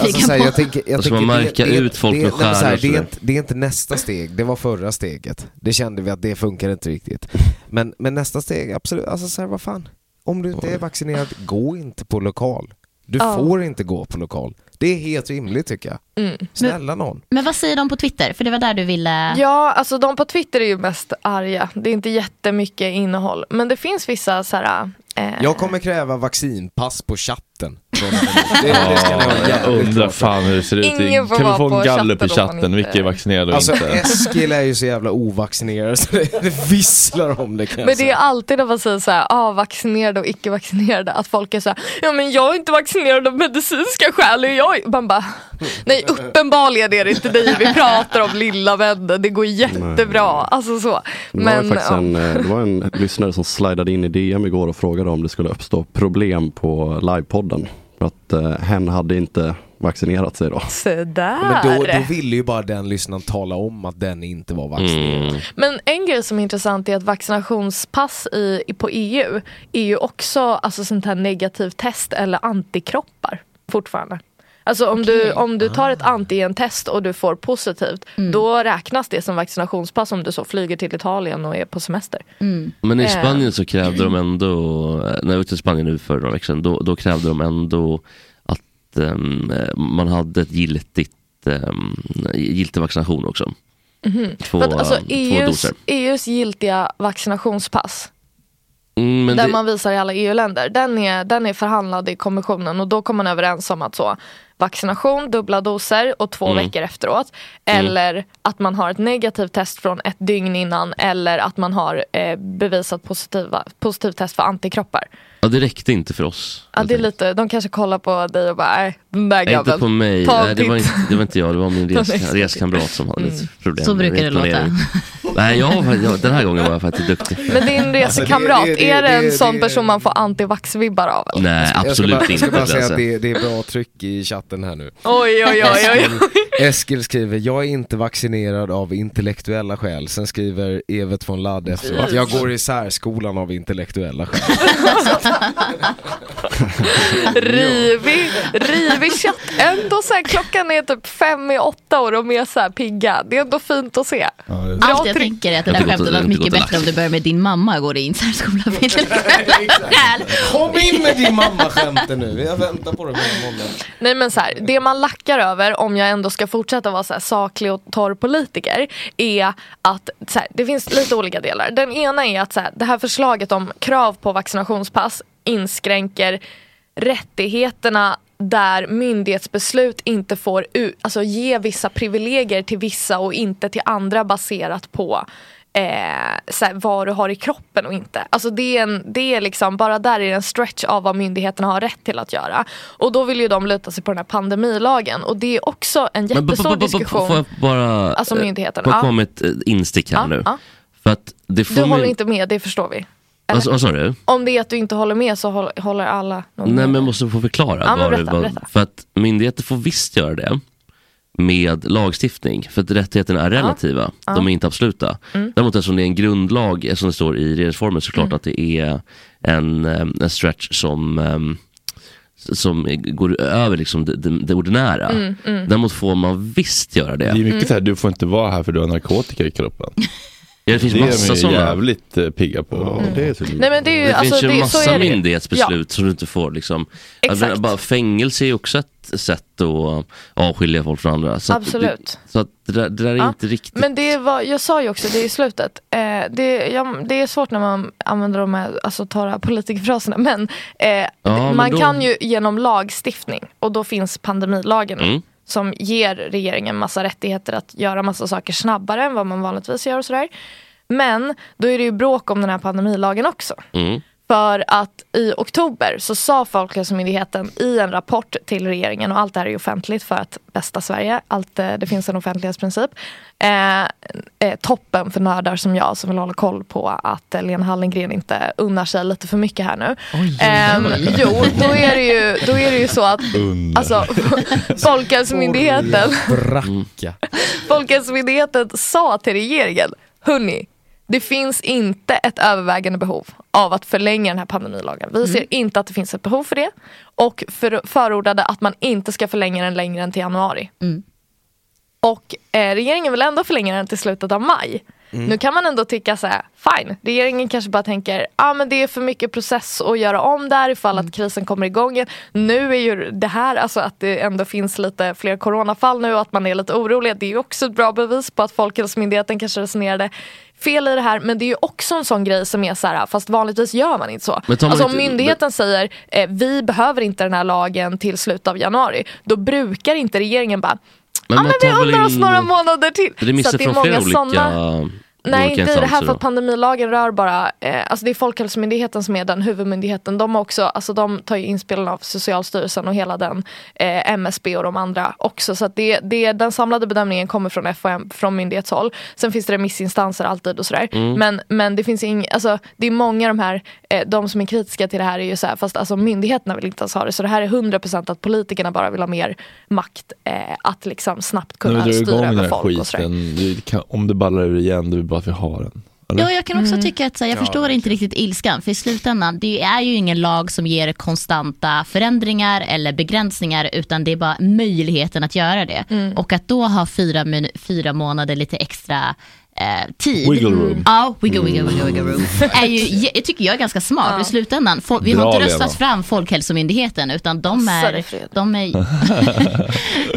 Speaker 3: Alltså, så här, jag tänker- jag
Speaker 12: Då ska
Speaker 3: tänker
Speaker 12: man
Speaker 3: det-
Speaker 12: märka
Speaker 3: det-
Speaker 12: ut folk
Speaker 3: det-
Speaker 12: med
Speaker 3: nej, men så här,
Speaker 12: stjärnor,
Speaker 3: Det
Speaker 12: så
Speaker 3: är,
Speaker 12: det-
Speaker 3: inte, det är inte nästa steg, det var förra steget. Det kände vi att det funkar inte riktigt. Men, men nästa steg, absolut. Alltså så här, vad fan. Om du inte är vaccinerad, gå inte på lokal. Du
Speaker 5: Ja.
Speaker 3: får inte gå på lokal. Det är helt rimligt tycker jag.
Speaker 13: Mm.
Speaker 3: Snälla någon.
Speaker 5: Men vad säger de på Twitter? För det var där du ville...
Speaker 13: Ja, alltså de på Twitter är ju mest arga. Det är inte jättemycket innehåll. Men det finns vissa så här... Eh,
Speaker 3: Jag kommer kräva vaccinpass på chatten. Från det, det ska ni ha
Speaker 1: Ja, jag
Speaker 3: jävligt
Speaker 1: undrar
Speaker 3: klart för.
Speaker 1: fan hur det ser ut. i-
Speaker 13: Ingen får
Speaker 1: Kan vi
Speaker 13: vara
Speaker 1: få
Speaker 13: på
Speaker 1: en gallup i
Speaker 13: chatten om man
Speaker 1: chatten? Vilka är vaccinerade och
Speaker 3: Alltså
Speaker 1: inte?
Speaker 3: Eskil är ju så jävla ovaccinerad så det, det visslar om det kan jag
Speaker 13: men det är
Speaker 3: säga.
Speaker 13: alltid när man säger så här, ah, vaccinerade och icke-vaccinerade, att folk är så här, ja men jag är inte vaccinerad av medicinska skäl, är jag? Man bara, nej uppenbarligen är det inte dig vi pratar om lilla vännen, det går jättebra. Alltså så.
Speaker 7: Det var, ju faktiskt en, eh, det var en lyssnare som slidade in i DM igår och frågade om det skulle uppstå problem på livepodden. För att eh, hen hade inte vaccinerat sig då.
Speaker 13: Så där.
Speaker 3: Men då, då ville ju bara den lyssnaren tala om att den inte var vaccinerad.
Speaker 12: Mm,
Speaker 13: Men en grej som är intressant är att vaccinationspass i, i- på EU är ju också alltså, sånt här negativt test eller antikroppar fortfarande. Alltså om du, om du tar ett antigentest och du får positivt, då räknas det som vaccinationspass om du så flyger till Italien och är på semester.
Speaker 12: Men i
Speaker 13: Eh,
Speaker 12: Spanien så krävde de ändå, när jag var ute i Spanien nu för några veckor sedan, då, då krävde de ändå att ehm, man hade ett giltigt, um, giltig vaccination också.
Speaker 13: Mhm.
Speaker 12: Två,
Speaker 13: För att, alltså,
Speaker 12: två
Speaker 13: EUs,
Speaker 12: doser.
Speaker 13: EUs giltiga vaccinationspass
Speaker 12: Mm, men
Speaker 13: den
Speaker 12: det-
Speaker 13: man visar i alla EU-länder. Den är, den är förhandlad i kommissionen och då kom man överens om att så vaccination, dubbla doser och två
Speaker 14: Mm.
Speaker 13: veckor efteråt.
Speaker 14: Mm.
Speaker 13: Eller att man har ett negativt test från ett dygn innan eller att man har eh, bevisat positiva, positivt test för antikroppar.
Speaker 12: Ja, det räckte inte för oss.
Speaker 13: Ja, det är lite, de kanske kollar på dig och bara, nej den där
Speaker 12: Nej,
Speaker 13: grabben.
Speaker 12: inte på mig.
Speaker 13: Ta
Speaker 12: Nej, det, var
Speaker 13: ditt."
Speaker 12: inte, det var inte jag, det var min
Speaker 13: Den är
Speaker 12: res,
Speaker 13: exakt.
Speaker 12: reskamrat som hade
Speaker 13: Mm.
Speaker 12: ett problem.
Speaker 13: Så brukar
Speaker 12: med
Speaker 13: det låta.
Speaker 12: planering. Nej, jag, var- jag, den här gången var jag faktiskt duktig.
Speaker 13: Men din resekamrat,
Speaker 3: Alltså, det- det-
Speaker 13: är det en
Speaker 3: det-
Speaker 13: sån
Speaker 3: det-
Speaker 13: person man får antivax-vibbar av? Eller?
Speaker 12: Nej,
Speaker 3: Jag ska
Speaker 12: absolut
Speaker 3: bara, jag ska
Speaker 12: inte, alltså.
Speaker 3: bara säga
Speaker 12: Lasse.
Speaker 3: att det, är- det är bra tryck i chatten här nu.
Speaker 13: Oj, oj, oj, oj.
Speaker 3: Eskil, Eskil skriver, jag är inte vaccinerad av intellektuella skäl. Sen skriver Evert von Ladd efteråt, jag går i särskolan av intellektuella skäl.
Speaker 13: Rivig, rivig chatt. Ändå så här, klockan är typ fem i åtta och de är så här pigga. Det är ändå fint att se.
Speaker 5: Allt jag tänker är att det
Speaker 13: Jag
Speaker 5: där
Speaker 13: har inte
Speaker 5: skämtet
Speaker 13: gått- jag har
Speaker 5: var
Speaker 13: inte
Speaker 5: mycket
Speaker 13: gått och
Speaker 5: bättre om
Speaker 13: lagt.
Speaker 5: du börjar med din mamma går i en särskola.
Speaker 3: Kom in med din mamma-skämten nu, jag väntar på det här morgonen.
Speaker 13: Nej men så här, det man lackar över om jag ändå ska fortsätta vara så här saklig och torr politiker är att så här, det finns lite olika delar. Den ena är att så här, det här förslaget om krav på vaccinationspass inskränker rättigheterna där myndighetsbeslut inte får u- alltså, ge vissa privilegier till vissa och inte till andra baserat på eh, så här, vad du har i kroppen och inte. Alltså det är, en, det är liksom, bara där är det en stretch av vad myndigheterna har rätt till att göra. Och då vill ju de luta sig på den här pandemilagen och det är också en
Speaker 12: Men b- b-
Speaker 13: jättestor
Speaker 12: b- b-
Speaker 13: diskussion.
Speaker 12: Får jag bara
Speaker 13: Alltså
Speaker 12: eh,
Speaker 13: myndigheten,
Speaker 12: får jag
Speaker 13: ja.
Speaker 12: komma med ett eh, instick här
Speaker 13: Ja,
Speaker 12: nu?
Speaker 13: ja.
Speaker 12: För att det får
Speaker 13: Du
Speaker 12: mig-
Speaker 13: håller inte med, det förstår vi.
Speaker 12: Vad sa- vad sa du?
Speaker 13: Om det är att du inte håller med så håll- håller alla nog
Speaker 12: Nej
Speaker 13: med.
Speaker 12: men jag måste få förklara.
Speaker 13: Ja, men
Speaker 12: vad det
Speaker 13: berätta,
Speaker 12: var-
Speaker 13: berätta.
Speaker 12: För att myndigheter får visst göra det med lagstiftning. För att rättigheterna är relativa.
Speaker 13: Ja.
Speaker 12: De är inte absoluta.
Speaker 13: Mm.
Speaker 12: Däremot eftersom det är en grundlag, eftersom det står i regeringsformen, så är det klart
Speaker 13: Mm.
Speaker 12: att det är en, eh, en stretch som eh, som eh, går över liksom det, det, det ordinära.
Speaker 13: Mm, mm.
Speaker 12: Däremot får man visst göra det.
Speaker 15: Det är mycket
Speaker 13: Mm.
Speaker 15: så här, du får inte vara här för du har narkotika i kroppen.
Speaker 12: Ja, det finns
Speaker 15: är
Speaker 12: massa
Speaker 15: de ju
Speaker 12: sådana.
Speaker 15: jävligt eh, pigga på. det är så
Speaker 13: Nej, men det är ju-
Speaker 12: det
Speaker 13: alltså,
Speaker 12: finns ju
Speaker 13: det- så
Speaker 12: massa
Speaker 13: är det ju.
Speaker 12: myndighetsbeslut som du inte får. Liksom. Jag
Speaker 13: Exakt.
Speaker 12: menar, bara fängelse är ju också ett sätt att avskilja folk från andra. Så Att
Speaker 13: Absolut.
Speaker 12: det, så att det, där, det där är
Speaker 13: Ja.
Speaker 12: inte riktigt...
Speaker 13: Men det var, jag sa ju också det i slutet, eh, det, ja, det är svårt när man använder de här alltså, torra politikerfraserna men, eh,
Speaker 12: men
Speaker 13: man
Speaker 12: då-
Speaker 13: kan ju genom lagstiftning och då finns pandemilagen
Speaker 12: Mm.
Speaker 13: som ger regeringen massa rättigheter att göra massa saker snabbare än vad man vanligtvis gör och sådär. Men då är det ju bråk om den här pandemilagen också.
Speaker 12: Mm.
Speaker 13: För att i oktober så sa Folkhälsomyndigheten i en rapport till regeringen och allt det här är ju offentligt för att bästa Sverige, allt, eh, det finns en offentlighetsprincip. Eh, eh, toppen för nördar som jag som vill hålla koll på att eh, Lena Hallengren inte unnar sig lite för mycket här nu. Ehm, jo, då är, det ju, då är det ju så att
Speaker 12: Mm.
Speaker 13: alltså, Folkhälsomyndigheten
Speaker 12: Mm.
Speaker 3: Bracka.
Speaker 13: Folkhälsomyndigheten sa till regeringen, hörni, det finns inte ett övervägande behov av att förlänga den här pandemilagen. Vi ser inte att det finns ett behov för det och för, förordade att man inte ska förlänga den längre än till januari. Och eh, regeringen vill ändå förlänga den till slutet av maj.
Speaker 14: Mm.
Speaker 13: Nu kan man ändå tycka så här, fine, regeringen kanske bara tänker, ah, men det är för mycket process att göra om där ifall
Speaker 14: Mm.
Speaker 13: att krisen kommer igång igen. Nu är ju det här, alltså att det ändå finns lite fler coronafall nu och att man är lite orolig, det är ju också ett bra bevis på att Folkhälsomyndigheten kanske resonerade fel i det här. Men det är ju också en sån grej som är så här, fast vanligtvis gör man inte så.
Speaker 14: Men tar man
Speaker 13: Alltså om
Speaker 14: inte-
Speaker 13: myndigheten säger, eh, vi behöver inte den här lagen till slutet av januari, då brukar inte regeringen bara,
Speaker 12: Men
Speaker 13: men,
Speaker 12: man
Speaker 13: ja, men vi
Speaker 12: tar väl
Speaker 13: undrar oss
Speaker 12: in
Speaker 13: några månader till.
Speaker 12: Remisser
Speaker 13: Så att det är
Speaker 12: från flera
Speaker 13: många
Speaker 12: olika...
Speaker 13: sådana- Nej,
Speaker 12: olika
Speaker 13: inte i det här
Speaker 12: instanser
Speaker 13: för
Speaker 12: då.
Speaker 13: att pandemilagen rör bara, eh, alltså det är Folkhälsomyndigheten som är den huvudmyndigheten. De, har också, alltså de tar ju inspelen av Socialstyrelsen och hela den, eh, MSB och de andra också. Så att det, det, den samlade bedömningen kommer från FHM, från myndighetshåll. Sen finns det remissinstanser alltid och sådär.
Speaker 14: Mm.
Speaker 13: Men, men det finns ing, alltså, det är många de här, eh, de som är kritiska till det här är ju så här, fast alltså myndigheterna vill inte ens ha det. Så det här är 100% att politikerna bara vill ha mer makt eh, att liksom snabbt kunna
Speaker 15: du
Speaker 13: styra
Speaker 15: igång den
Speaker 13: över
Speaker 15: här
Speaker 13: folk och sådär.
Speaker 15: skiten, du, kan, om det ballar ur igen, då är det bara att vi har den. Eller?
Speaker 5: Ja, jag kan också tycka att så här, jag
Speaker 15: Ja,
Speaker 5: förstår inte riktigt ilskan. För i slutändan, det är ju ingen lag som ger konstanta förändringar eller begränsningar. Utan det är bara möjligheten att göra det. Och att då ha fyra, min- fyra månader lite extra eh, tid.
Speaker 15: Wiggle room. Mm.
Speaker 5: Ja, wiggle, wiggle, wiggle, wiggle room. Är ju, jag tycker jag är ganska smart i slutändan. Fol- vi har
Speaker 15: Bra,
Speaker 5: inte röstat
Speaker 15: Lena.
Speaker 5: fram Folkhälsomyndigheten utan de
Speaker 13: Sorry,
Speaker 5: är, de är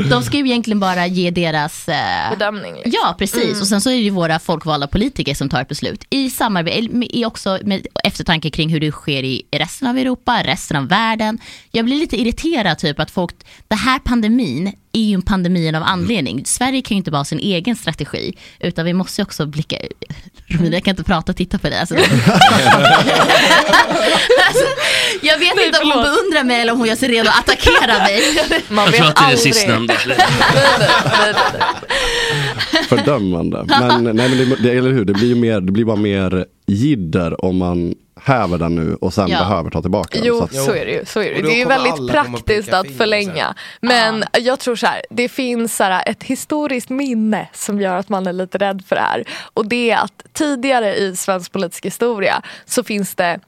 Speaker 5: de ska ju egentligen bara ge deras... Eh,
Speaker 13: Bedömning. Liksom.
Speaker 5: Ja, precis.
Speaker 13: Mm.
Speaker 5: Och sen så är det ju våra folkvalda politiker som tar ett beslut i samarbete, i också med eftertanke kring hur det sker i resten av Europa, resten av världen. Jag blir lite irriterad typ att folk, det här pandemin är ju en pandemin av anledning. Sverige kan ju inte bara ha sin egen strategi, utan vi måste ju också blicka, Romina jag kan inte prata, titta på dig. Alltså, alltså, jag vet inte om hon beundrar mig eller om hon gör sig redo att attackera mig.
Speaker 13: Man
Speaker 12: Jag tror att det är det sistnämnda.
Speaker 7: fördömande. Men, nej, men det, det, eller hur? Det, blir ju mer, det blir bara mer jidder om man häver den nu och sen
Speaker 13: Ja.
Speaker 7: behöver ta tillbaka den.
Speaker 13: Jo,
Speaker 7: att-
Speaker 13: så är det ju. Så är det. ju.
Speaker 7: Och då
Speaker 13: det är ju
Speaker 7: kommer
Speaker 13: väldigt
Speaker 7: alla komma och "Ah."
Speaker 13: praktiskt
Speaker 7: peka
Speaker 13: att
Speaker 7: finger
Speaker 13: förlänga. Men jag tror så här, det finns så här, ett historiskt minne som gör att man är lite rädd för det här. Och det är att tidigare i svensk politisk historia så finns det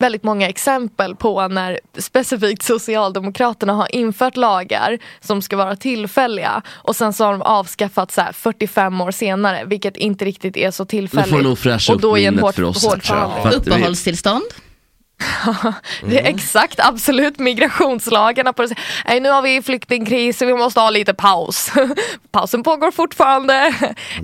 Speaker 13: väldigt många exempel på när specifikt Socialdemokraterna har infört lagar som ska vara tillfälliga och sen så har de avskaffat så här 45 år senare vilket inte riktigt är så
Speaker 12: Nu
Speaker 13: tillfälligt.
Speaker 12: får du nog fräscha
Speaker 13: och
Speaker 12: upp
Speaker 13: då är en
Speaker 12: minnet
Speaker 13: hård,
Speaker 12: för oss.
Speaker 13: hård
Speaker 12: här, tror jag.
Speaker 13: förhandling.
Speaker 12: För att vi-
Speaker 5: Uppehållstillstånd.
Speaker 13: Det är exakt, absolut migrationslagarna. På det. sättet. Nej, nu har vi flyktingkris och vi måste ha lite paus. Pausen pågår fortfarande.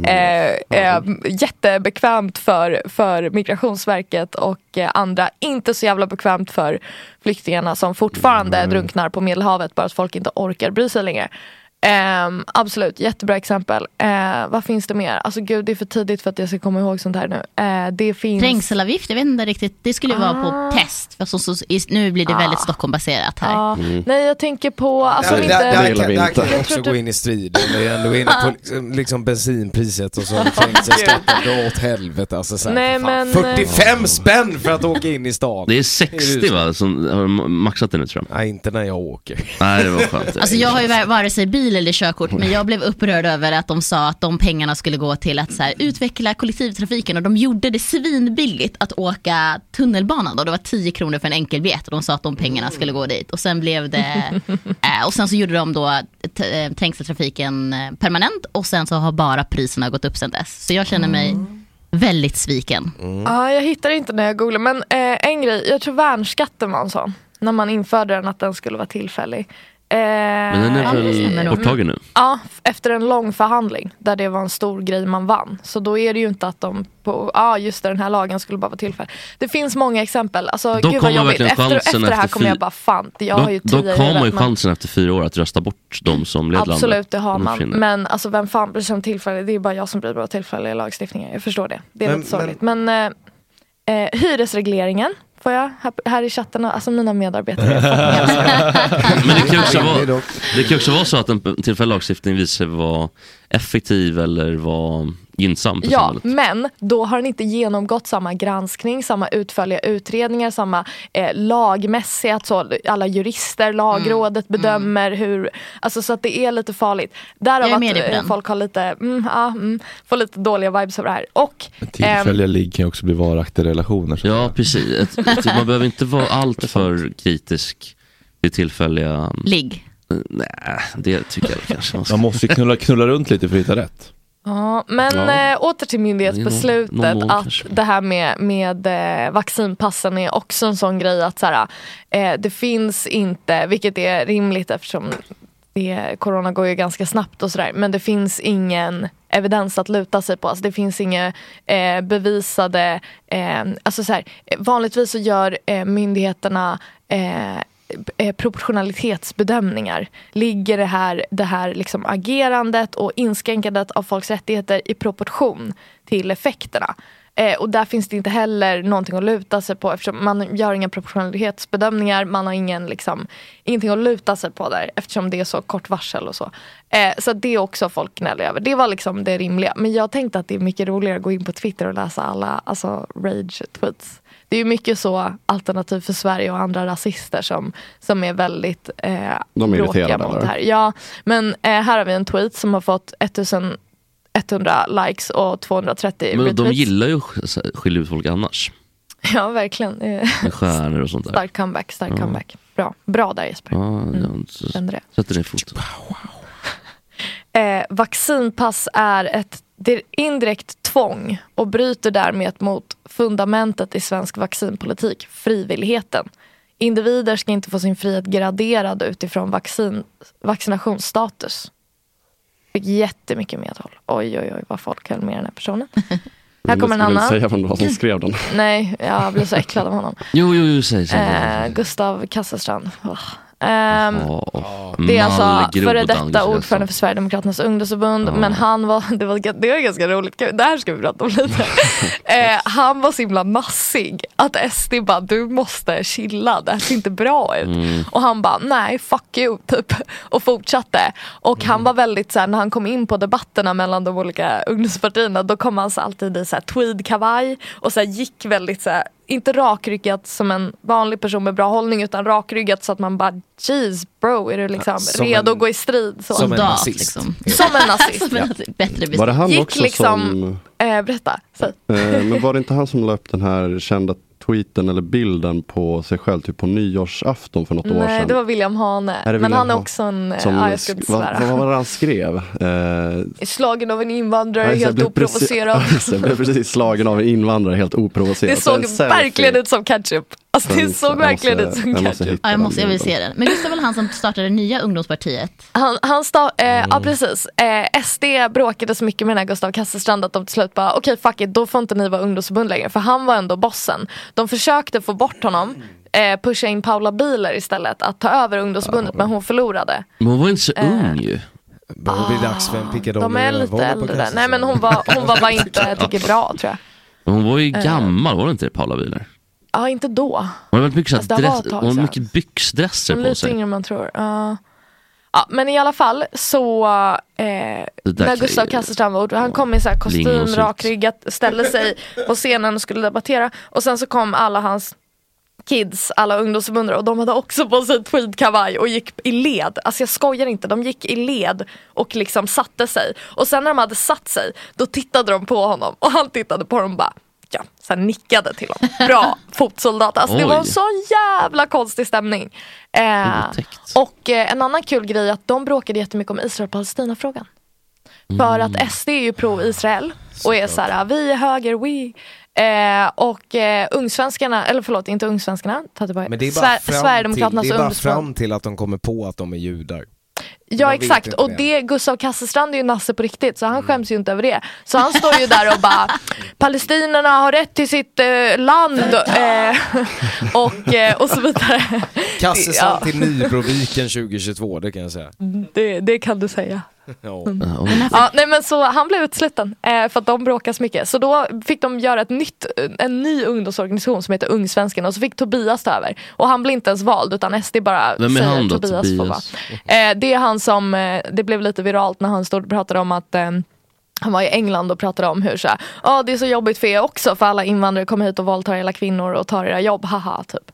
Speaker 13: Eh, eh, jättebekvämt för, för Migrationsverket och eh, andra. Inte så jävla bekvämt för flyktingarna som fortfarande drunknar på Medelhavet bara att folk inte orkar bry sig längre. Ehm, absolut, jättebra exempel. Eh, vad finns det mer? Alltså gud, det är för tidigt för att jag ska komma ihåg sånt här nu. Eh, det finns...
Speaker 5: Trängselavgift, jag vet inte riktigt. Det skulle ju vara
Speaker 13: Ah.
Speaker 5: på test. För så, så, i- nu blir det väldigt Stockholmbaserat här.
Speaker 13: Ja. Ah.
Speaker 12: Mm.
Speaker 13: Nej, jag tänker på... Alltså,
Speaker 3: där,
Speaker 13: inte...
Speaker 3: där, där, kan, där kan jag
Speaker 13: Jag tror
Speaker 3: också
Speaker 13: inte-
Speaker 3: gå in i strid. Vi är ändå inne på liksom, liksom bensinpriset och så har vi tänkt sig Stockholm, dra åt helvete alltså, så här,
Speaker 13: Nej,
Speaker 3: för fan.
Speaker 13: men, eh,
Speaker 3: 45 spänn för att åka in i stan!
Speaker 12: Det är 60 va? Som har de maxat det nu tror jag.
Speaker 3: Nej, inte när jag åker.
Speaker 12: Nej, det var skönt.
Speaker 5: Alltså jag har ju var- vare sig bil eller körkort men jag blev upprörd över att de sa att de pengarna skulle gå till att så här, utveckla kollektivtrafiken och de gjorde det svinbilligt att åka tunnelbanan då. Det var 10 kronor för en enkelbiljett och de sa att de pengarna skulle gå dit och sen blev det eh, och sen så gjorde de då t- eh, trängseltrafiken eh, permanent och sen så har bara priserna gått upp sen dess. Så jag känner mig
Speaker 13: Mm.
Speaker 5: väldigt sviken.
Speaker 13: Ja, jag hittar inte när jag googlar. Men eh, en grej, jag tror värnskatten var en sån. När man införde den, att den skulle vara tillfällig. Eh,
Speaker 12: Men den är väl borttagen nu?
Speaker 13: Ja, f- efter en lång förhandling där det var en stor grej man vann. Så då är det ju inte att de, på, ja just det, den här lagen skulle bara vara tillfällig. Det finns många exempel. Alltså,
Speaker 12: Då
Speaker 13: gud vad
Speaker 12: kommer
Speaker 13: jobbigt.
Speaker 12: verkligen
Speaker 13: Efter,
Speaker 12: chansen
Speaker 13: efter det här
Speaker 12: efter
Speaker 13: kommer jag
Speaker 12: fy-
Speaker 13: bara, fan, jag har ju
Speaker 12: Då, då
Speaker 13: tio i
Speaker 12: har man ju
Speaker 13: huvudet, men-
Speaker 12: chansen efter fyra år att rösta bort de som led landet.
Speaker 13: Absolut, det har
Speaker 12: De
Speaker 13: man.
Speaker 12: försvinner.
Speaker 13: Men alltså, vem fan bryr sig om tillfällig? Det är bara jag som bryr mig om tillfälliga lagstiftningar. Jag förstår det. Det är
Speaker 12: Men-
Speaker 13: lite sorgligt. Men, eh, eh, hyresregleringen får jag här, här i chatten. Alltså mina medarbetare.
Speaker 12: Men det kan, också vara, det kan också vara så att en tillfällig lagstiftning visar sig vara effektiv eller vara gynnsam för
Speaker 13: Ja,
Speaker 12: samhället.
Speaker 13: men då har den inte genomgått samma granskning, samma utförliga utredningar, samma eh, lagmässiga, att så alla jurister, lagrådet bedömer hur, alltså så att det är lite farligt. Därav
Speaker 5: Jag är med
Speaker 13: att
Speaker 5: dig på
Speaker 13: eh,
Speaker 5: den.
Speaker 13: folk har lite, mm, ah, mm, får lite dåliga vibes av det här. Och, ehm,
Speaker 15: Tillfälliga ligg kan ju också bli varaktiga relationer.
Speaker 12: Ja, precis. Ett- ett- Man behöver inte vara allt för kritisk till tillfälliga...
Speaker 5: Ligg.
Speaker 12: Eh, Nej, det tycker jag kanske man ska.
Speaker 15: Man måste ju knulla, knulla runt lite för att hitta rätt.
Speaker 13: Ja, men
Speaker 15: Ja.
Speaker 13: Eh, åter till myndighetsbeslutet
Speaker 15: Det är någon- någon mån
Speaker 13: att det här med, med eh, vaccinpassen är också en sån grej att så här, eh, det finns inte, vilket är rimligt eftersom det, corona går ju ganska snabbt och sådär, men det finns ingen evidens att luta sig på. Alltså det finns inga eh, bevisade, eh, alltså så här, eh, vanligtvis så gör eh, myndigheterna eh, eh, proportionalitetsbedömningar. Ligger det här, det här liksom agerandet och inskränkandet av folks rättigheter i proportion till effekterna? Eh, och där finns det inte heller någonting att luta sig på eftersom man gör inga proportionalitetsbedömningar. Man har ingen, liksom, ingenting att luta sig på där eftersom det är så kort varsel och så. Eh, så det är också folk gnäller över. Det var liksom det rimliga. Men jag tänkte att det är mycket roligare att gå in på Twitter och läsa alla alltså, rage-tweets. Det är ju mycket så alternativ för Sverige och andra rasister som, som är väldigt eh,
Speaker 7: De är
Speaker 13: bråkiga
Speaker 7: irriterade,
Speaker 13: mot det
Speaker 7: eller?
Speaker 13: här. Ja, men eh, här har vi en tweet som har fått 1100 likes och 230
Speaker 12: Men de
Speaker 13: retweets.
Speaker 12: gillar ju att skilja ut folk annars.
Speaker 13: Ja, verkligen. Eh,
Speaker 12: Med stjärnor och sånt där.
Speaker 13: Stark comeback, stark
Speaker 7: Mm.
Speaker 12: Ja.
Speaker 13: comeback. Bra, bra där Jesper.
Speaker 12: Ja,
Speaker 13: Mm,
Speaker 12: så-
Speaker 13: kände det.
Speaker 12: Sätter ner foten.
Speaker 13: Eh, vaccinpass är ett Det är indirekt tvång och bryter därmed mot fundamentet i svensk vaccinpolitik, frivilligheten. Individer ska inte få sin frihet graderad utifrån vaccin, vaccinationsstatus. Fick jättemycket medhåll. Oj, oj, oj vad folk höll med den här personen. Här kommer en
Speaker 7: Jag
Speaker 13: annan.
Speaker 7: skulle säga vem det var som skrev den.
Speaker 13: Nej, jag blir så äcklad av honom.
Speaker 12: Jo, jo, jo, säg så.
Speaker 13: Eh, Gustav Kasselstrand. Åh. Ehm,
Speaker 12: Åh,
Speaker 13: det är alltså
Speaker 12: mallgrodan,
Speaker 13: före
Speaker 12: Gustav
Speaker 13: detta
Speaker 12: Gustavsson.
Speaker 13: ordförande för Sverigedemokraternas ungdomsförbund.
Speaker 12: Ja.
Speaker 13: Men han var, det var, det var ganska roligt, Gud, det här ska vi prata om lite. eh, han var så himla massig. Att SD bara, du måste chilla, det här ser inte bra ut.
Speaker 2: Mm.
Speaker 13: Och han bara, nej fuck you, typ. Och fortsatte. Och
Speaker 7: Mm.
Speaker 13: han var väldigt så här, när han kom in på debatterna mellan de olika ungdomspartierna, då kom han så alltid i så här tweedkavaj och så här gick väldigt så här, inte rakryggat som en vanlig person med bra hållning utan rakryggat så att man bara jeez bro är du liksom
Speaker 5: Som
Speaker 13: redo
Speaker 5: en-
Speaker 13: att gå i strid? Så.
Speaker 5: som en Soldat, nazist. liksom.
Speaker 13: Som en nazist.
Speaker 5: Som en Bättre
Speaker 7: Var det han
Speaker 13: gick
Speaker 7: också
Speaker 13: liksom,
Speaker 7: som-
Speaker 13: eh, berätta, säg.
Speaker 7: Eh, men var det inte han som la upp den här kända tweeten eller bilden på sig själv typ på nyårsafton för något år
Speaker 13: Nej
Speaker 7: sedan?
Speaker 13: det var William Hane,
Speaker 7: Är det
Speaker 13: men
Speaker 7: William
Speaker 13: han är
Speaker 7: Hane?
Speaker 13: också en, eh,
Speaker 7: Som
Speaker 13: ja, jag ska inte
Speaker 7: sk- vad, vad
Speaker 13: svära.
Speaker 7: var det han skrev? Eh,
Speaker 13: Slagen av en invandrare,
Speaker 7: Ja, just det,
Speaker 13: helt
Speaker 7: jag blev precis-
Speaker 13: oprovocerad.
Speaker 7: Ja, just det, jag blev precis slagen av en invandrare helt oprovocerat.
Speaker 13: Det såg
Speaker 7: En selfie.
Speaker 13: verkligen ut som ketchup. Alltså det
Speaker 7: Sen-
Speaker 13: såg
Speaker 7: jag
Speaker 13: verkligen
Speaker 7: måste-
Speaker 13: ut som
Speaker 7: jag måste
Speaker 13: ketchup.
Speaker 7: hitta
Speaker 5: Ja, jag, måste, jag vill se den. Men just det var väl han som startade det nya ungdomspartiet?
Speaker 13: Han, han sta- eh,
Speaker 7: Mm.
Speaker 13: ja precis. Eh, SD bråkade så mycket med den här Gustav Kasselstrand att de till slut bara okej fuck it, då får inte ni vara ungdomsförbund längre. För han var ändå bossen. De försökte få bort honom, eh, pusha in Paula Biler istället att ta över ungdomsförbundet men hon förlorade.
Speaker 12: Men hon var inte så
Speaker 13: Eh,
Speaker 12: ung ju. Ah.
Speaker 3: Börjar bli dags för en picadoll
Speaker 13: De är lite äldre. Nej men hon var, hon var bara inte tycker bra tror jag.
Speaker 12: Men hon var ju
Speaker 13: Eh.
Speaker 12: gammal, var det inte det, Paula Wieler?
Speaker 13: Ja inte då.
Speaker 12: Hon har väldigt mycket, så
Speaker 13: Fast Alltså, det
Speaker 12: här
Speaker 13: var
Speaker 12: dress,
Speaker 13: ett tag
Speaker 12: hon har
Speaker 13: sedan.
Speaker 12: mycket byxdresser
Speaker 13: Hon är
Speaker 12: på
Speaker 13: lite
Speaker 12: sig.
Speaker 13: yngre än man tror. Ja. ja, men i alla fall så eh,
Speaker 12: där
Speaker 13: när
Speaker 12: kan
Speaker 13: Gustav
Speaker 12: ju-
Speaker 13: Kasselstrand var ord, han kom i så här kostym,
Speaker 12: Lingonsylt.
Speaker 13: rakryggat, ställde sig på scenen och skulle debattera och sen så kom alla hans kids, alla ungdomsförbundare och de hade också på sig tweedkavaj och gick i led. Alltså jag skojar inte, de gick i led och liksom satte sig. Och sen när de hade satt sig, då tittade de på honom och han tittade på dem och bara ja, sen nickade till dem. Bra fotsoldat. Alltså det var en
Speaker 2: Oj.
Speaker 13: sån jävla konstig stämning. Eh, och eh, en annan kul grej är att de bråkade jättemycket om Israel-Palestina-frågan. För att SD är ju pro-Israel och är så här, vi är höger, we. Eh, och eh, Ungsvenskarna, eller förlåt inte Ungsvenskarna, ta tillbaka.
Speaker 3: Men det är bara,
Speaker 13: Sver-
Speaker 3: fram till,
Speaker 13: Sverigedemokraternas
Speaker 3: det är bara
Speaker 13: ungdomsförbund.
Speaker 3: fram till att de kommer på att de är judar. Man
Speaker 13: Ja
Speaker 3: vet
Speaker 13: exakt
Speaker 3: inte
Speaker 13: och
Speaker 3: mer.
Speaker 13: det, Gustav Kasselstrand är ju nasse på riktigt så han skäms ju inte över det. Så han står ju där och bara Palestinierna har rätt till sitt eh, land eh, och, eh, och så vidare.
Speaker 3: Kassestrand
Speaker 13: Ja.
Speaker 3: till Nybroviken 2022, det kan jag säga.
Speaker 13: Det, det kan du säga.
Speaker 3: Ja.
Speaker 12: Mm.
Speaker 13: Ja, nej men så han blev utsliten eh, för att de bråkade så mycket. Så då fick de göra ett nytt, en ny ungdomsorganisation som heter Ungsvenskarna och så fick Tobias ta över. Och han blev inte ens vald utan SD bara
Speaker 12: Vem är
Speaker 13: säger
Speaker 12: han då,
Speaker 13: Tobias, får vara.
Speaker 12: Tobias?
Speaker 13: Eh, det är han som, eh, det blev lite viralt när han stod och pratade om att eh, han var i England och pratade om hur så här, "Ja, det är så jobbigt för er också för alla invandrare kommer hit och våldtar era kvinnor och tar era jobb, haha typ.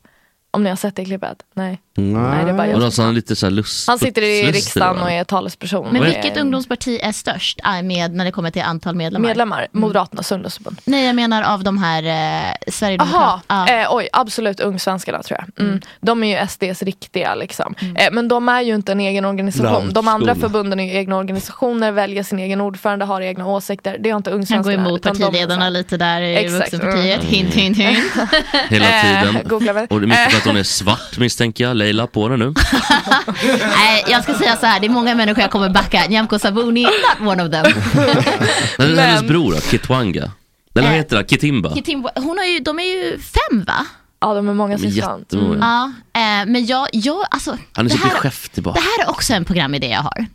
Speaker 13: Om ni har sett det klippet? Nej. Nej, det är bara jag.
Speaker 12: Och alltså, han är lite så här lust,
Speaker 13: Han sitter i
Speaker 12: putslustig,
Speaker 13: riksdagen
Speaker 12: va?
Speaker 13: och är talesperson.
Speaker 5: Men
Speaker 13: Eh,
Speaker 5: vilket ungdomsparti är störst eh, med, när det kommer till antal medlemmar? Mm.
Speaker 13: Medlemmar, Moderaternas ungdomsförbund.
Speaker 5: Nej, jag menar av de här eh,
Speaker 13: Jaha,
Speaker 5: Sverigedemokraterna. Ja.
Speaker 13: eh, oj, absolut Ungsvenskarna tror jag. Mm. De är ju SDs riktiga liksom.
Speaker 5: Mm.
Speaker 13: Eh, men de är ju inte en egen organisation. De andra
Speaker 5: Landsskola.
Speaker 13: förbunden är ju egna organisationer, väljer sin egen ordförande, har egna åsikter. Det har inte
Speaker 5: Han går
Speaker 13: Ungsvenskarna.
Speaker 5: emot
Speaker 13: utan de är så
Speaker 5: partiledarna
Speaker 13: här-
Speaker 5: lite där i
Speaker 13: Exakt.
Speaker 5: Vuxenpartiet.
Speaker 12: Mm.
Speaker 5: Hint, hint, hint.
Speaker 12: Hela
Speaker 13: Eh,
Speaker 12: tiden.
Speaker 13: googla väl.
Speaker 12: Och det är mycket för att
Speaker 13: Eh.
Speaker 12: hon är svart misstänker jag. Leila på det nu.
Speaker 5: Nej, jag ska säga så här, det är många människor jag kommer backa. Nyamko Sabuni, not one of them.
Speaker 12: Men hennes bror då? Kitwanga? Eller
Speaker 13: Eh.
Speaker 12: vad heter det? Kitimba?
Speaker 5: Kitimbo, hon har ju, de är ju fem va?
Speaker 13: Ja, de är många
Speaker 12: De är syskon. jättemånga.
Speaker 5: Ja, eh, men jag, jag alltså,
Speaker 12: Han
Speaker 5: det
Speaker 12: är så
Speaker 5: här,
Speaker 12: beskäftig bara.
Speaker 5: det här är också en programidé jag har.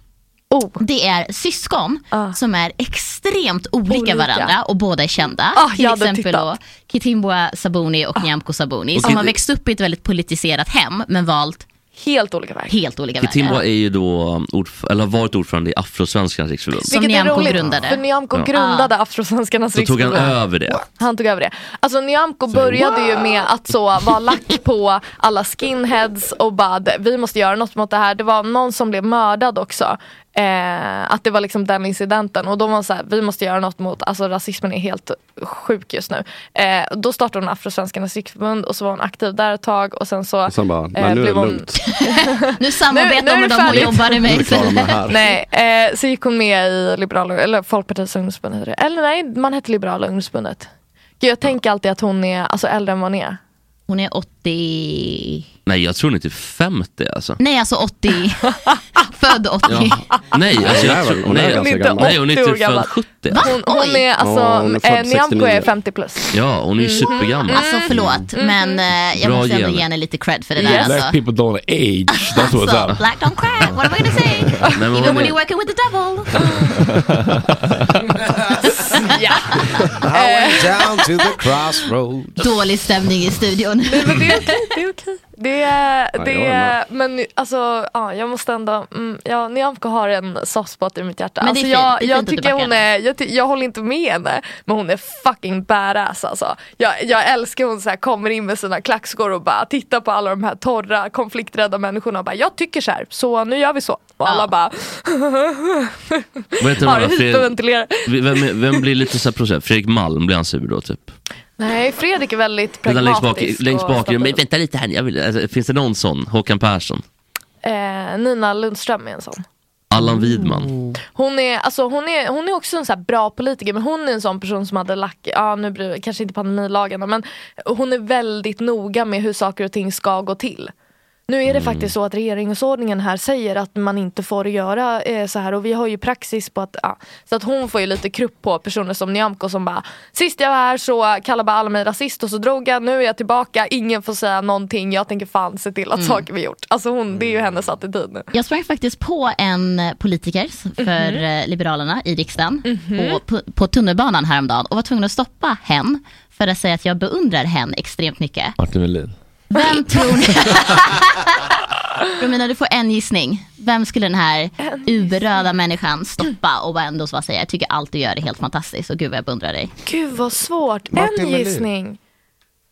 Speaker 13: Oh.
Speaker 5: Det är syskon som är extremt olika,
Speaker 13: Ah. Olika.
Speaker 5: varandra och båda är kända.
Speaker 13: Ah, jag
Speaker 5: Till
Speaker 13: hade
Speaker 5: exempel då
Speaker 13: tittat. Ah.
Speaker 5: Kitimboa Sabuni och Nyamko Sabuni
Speaker 12: Och
Speaker 5: som
Speaker 12: Kit-
Speaker 5: har växt upp i ett väldigt politiserat hem men valt
Speaker 13: helt olika vägar.
Speaker 5: Helt olika
Speaker 12: Kitimba är ju då ordf- eller har varit ordförande i Afrosvenskarnas riksförbund.
Speaker 13: Vilket är roligt, för Nyamko grundade Afrosvenskarnas
Speaker 12: Så tog han
Speaker 13: riksförbund.
Speaker 12: över det.
Speaker 13: Han tog över det. Alltså Nyamko började ju med att så vara lack på alla skinheads och bara vi måste göra något mot det här. Det var någon som blev mördad också. Eh, att det var liksom den incidenten och de var så här, vi måste göra något mot, alltså rasismen är helt sjuk just nu. Eh, då startade hon Afrosvenskarnas riksförbund och så var hon aktiv där ett tag och sen så eh,
Speaker 7: Och sen bara, nej, nu är det lugnt.
Speaker 5: nu samarbetar
Speaker 13: Nu- nu är
Speaker 5: hon med
Speaker 13: det
Speaker 5: dem och
Speaker 13: färdigt.
Speaker 5: jobbar med
Speaker 7: Nu är vi klara med det här.
Speaker 13: Nej, eh, så gick hon med i Liberaler, eller Folkpartiets ungdomsförbund. heter det. Eller nej, man hette Liberala ungdomsförbundet. Gud, jag tänker alltid att hon är alltså, äldre än vad hon är.
Speaker 5: Hon är 80...
Speaker 12: Nej, jag tror hon är typ 50 alltså.
Speaker 5: Nej, alltså 80. Född 80.
Speaker 12: Ja. Nej, alltså jag tror...
Speaker 7: Hon är
Speaker 12: nej,
Speaker 7: ganska
Speaker 12: alltså-
Speaker 7: gammal.
Speaker 12: Nej, hon är
Speaker 13: 80 år
Speaker 12: typ född
Speaker 13: gammal.
Speaker 12: 70.
Speaker 13: Hon, hon är alltså,
Speaker 12: Ja, hon är född
Speaker 13: eh, Nyamko
Speaker 12: 69.
Speaker 13: är 50 plus.
Speaker 12: Ja, hon är ju
Speaker 13: Mm.
Speaker 12: supergammal.
Speaker 5: Alltså förlåt, men eh, jag
Speaker 12: Bra
Speaker 5: måste ändå
Speaker 12: gener.
Speaker 5: ge henne lite cred för det där
Speaker 15: Black
Speaker 5: alltså.
Speaker 15: people don't age. That's what's
Speaker 5: Så,
Speaker 15: up.
Speaker 5: black don't crack, what am I gonna say?
Speaker 15: men hon
Speaker 5: Even when
Speaker 15: är-
Speaker 5: you're working with the devil.
Speaker 13: ja.
Speaker 3: I went down to the crossroad.
Speaker 5: Dålig stämning i studion.
Speaker 13: Men det är okej, det är okej. Det är,
Speaker 3: Ja,
Speaker 13: det
Speaker 3: jag
Speaker 13: är, men alltså, ja, jag måste ändå, mm, ja, Nyamko har en soft spot i mitt hjärta.
Speaker 5: Men det är
Speaker 13: alltså,
Speaker 5: fint,
Speaker 13: jag,
Speaker 5: det är
Speaker 13: jag
Speaker 5: fint att du
Speaker 13: tycker
Speaker 5: backar
Speaker 13: hon är, jag, ty- jag håller inte med henne, men hon är fucking badass alltså. Jag, jag älskar hon så här, kommer in med sina klackskor och bara tittar på alla de här torra, konflikträdda människorna och bara, jag tycker så här, så nu gör vi så. Och alla bara,
Speaker 12: Vad heter
Speaker 13: har
Speaker 12: han? då? Fred-
Speaker 13: hyperventilerar.
Speaker 12: Vem, är- vem blir lite så här process? Fredrik Malm blir han sur då typ?
Speaker 13: Nej, Fredrik är väldigt
Speaker 12: Den där längst
Speaker 13: pragmatisk.
Speaker 12: bak, längst
Speaker 13: och
Speaker 12: bak
Speaker 13: stabil.
Speaker 12: men vänta lite här, jag vill, alltså, finns det någon sån? Håkan Persson?
Speaker 13: eh, Nina Lundström är en sån.
Speaker 12: Allan Widman?
Speaker 13: Hon är, alltså, hon är, hon är också en så här bra politiker men hon är en sån person som hade lack, ja nu blir det kanske inte pandemilagarna men hon är väldigt noga med hur saker och ting ska gå till. Nu är det faktiskt så
Speaker 12: Mm.
Speaker 13: att regeringsordningen här säger att man inte får göra eh, så här och vi har ju praxis på att, ja. så att hon får ju lite krupp på personer som Nyamko som bara Sist jag var här så kallade bara alla mig rasist och så drog jag, nu är jag tillbaka, ingen får säga någonting, jag tänker fan se till att
Speaker 5: Mm.
Speaker 13: saker blir gjort. Alltså hon, det är ju hennes attityd nu.
Speaker 5: Jag sprang faktiskt på en politiker för eh, Liberalerna i riksdagen på, på, på tunnelbanan häromdagen och var tvungen att stoppa hen för att säga att jag beundrar hen extremt mycket.
Speaker 15: Martin Melin.
Speaker 5: Vem tror ni... Romina, du får en gissning. Vem skulle den här uberöda människan stoppa och bara ändå så bara säga jag tycker allt du gör är helt fantastiskt och gud vad jag beundrar dig.
Speaker 13: Gud vad svårt.
Speaker 5: Martin
Speaker 13: en
Speaker 5: Melin.
Speaker 13: gissning.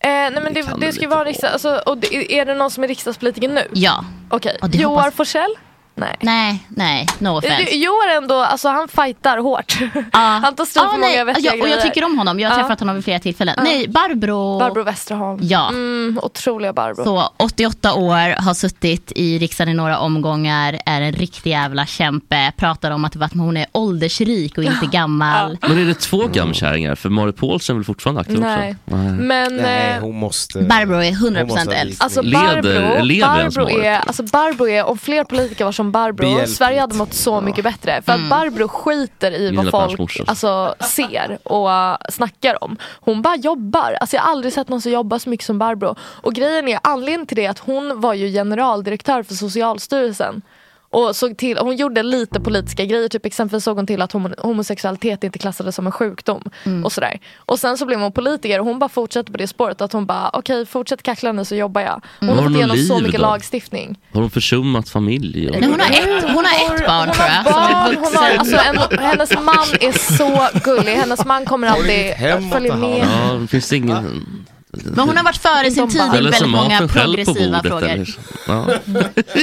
Speaker 13: Eh, nej men det, det, ska vara riksdag, alltså, och det, är det någon som är riksdagspolitiker nu?
Speaker 5: Ja.
Speaker 13: Okej,
Speaker 5: Och det
Speaker 13: Joar
Speaker 5: hoppas-
Speaker 13: Forsell? Nej.
Speaker 5: Nej, nej, no
Speaker 13: Eh,
Speaker 5: offense.
Speaker 13: Jo- Joar ändå, alltså han fightar hårt. Han tar strid
Speaker 5: Ja,
Speaker 13: för
Speaker 5: nej,
Speaker 13: många vettiga
Speaker 5: ja, och jag
Speaker 13: grejer.
Speaker 5: tycker om honom, jag har
Speaker 13: Ja.
Speaker 5: träffat honom vid flera tillfällen.
Speaker 13: Ja.
Speaker 5: Nej, Barbro...
Speaker 13: Barbro Westerholm.
Speaker 5: Ja.
Speaker 13: Mm, otroliga Barbro.
Speaker 12: Eh,
Speaker 5: Så 88 år, har suttit i riksdagen i några omgångar, är en riktig jävla kämpe, pratar om att att hon är åldersrik och inte gammal.
Speaker 12: Men är det två gamkärringar? För Marit Paulsen är väl fortfarande aktiv
Speaker 5: Nej.
Speaker 12: också?
Speaker 13: Men, Nej, eh,
Speaker 3: hon måste...
Speaker 5: Barbro är 100%
Speaker 12: Hon måste ha
Speaker 5: äldst.
Speaker 12: visning. Alltså, Leder-
Speaker 13: Barbro,
Speaker 12: lever ens
Speaker 13: Barbro,
Speaker 12: målet,
Speaker 13: är, alltså Barbro är, om fler politiker var som Barbro,
Speaker 12: Behjälpligt.
Speaker 13: Sverige hade mått så mycket bättre. För att
Speaker 5: Mm.
Speaker 13: Barbro skiter i
Speaker 12: Gunilla
Speaker 13: vad
Speaker 12: Persson
Speaker 13: folk
Speaker 12: morsa.
Speaker 13: alltså, ser och uh, snackar om. Hon bara jobbar. Alltså, jag har aldrig sett någon som jobbar så mycket som Barbro. Och grejen är, anledningen till det är att hon var ju generaldirektör för Socialstyrelsen. Och såg till, hon gjorde lite politiska grejer, typ exempelvis såg hon till att homo- homosexualitet inte klassades som en sjukdom.
Speaker 5: Mm.
Speaker 13: Och sådär. Och sen så blev hon politiker och hon bara fortsatte på det spåret att hon bara okej fortsätt kackla nu så jobbar jag. Hon
Speaker 12: Har
Speaker 13: har
Speaker 12: hon
Speaker 13: fått igenom
Speaker 12: något
Speaker 13: så
Speaker 12: liv
Speaker 13: mycket
Speaker 12: då?
Speaker 13: lagstiftning.
Speaker 12: Har hon försummat familj? Och...
Speaker 5: Nej, hon, har ett, hon har ett barn tror jag. som är
Speaker 13: Mm. Barn, hon har,
Speaker 5: vuxen.
Speaker 13: alltså, en, hennes man är så gullig, hennes man kommer alltid följa med.
Speaker 12: Ja, det finns ingen...
Speaker 5: Men hon har varit före sin tid i
Speaker 12: Eller
Speaker 5: väldigt
Speaker 12: som
Speaker 5: många
Speaker 12: maten själv på
Speaker 5: progressiva
Speaker 12: bordet.
Speaker 5: frågor.
Speaker 12: Eller... liksom. Ja.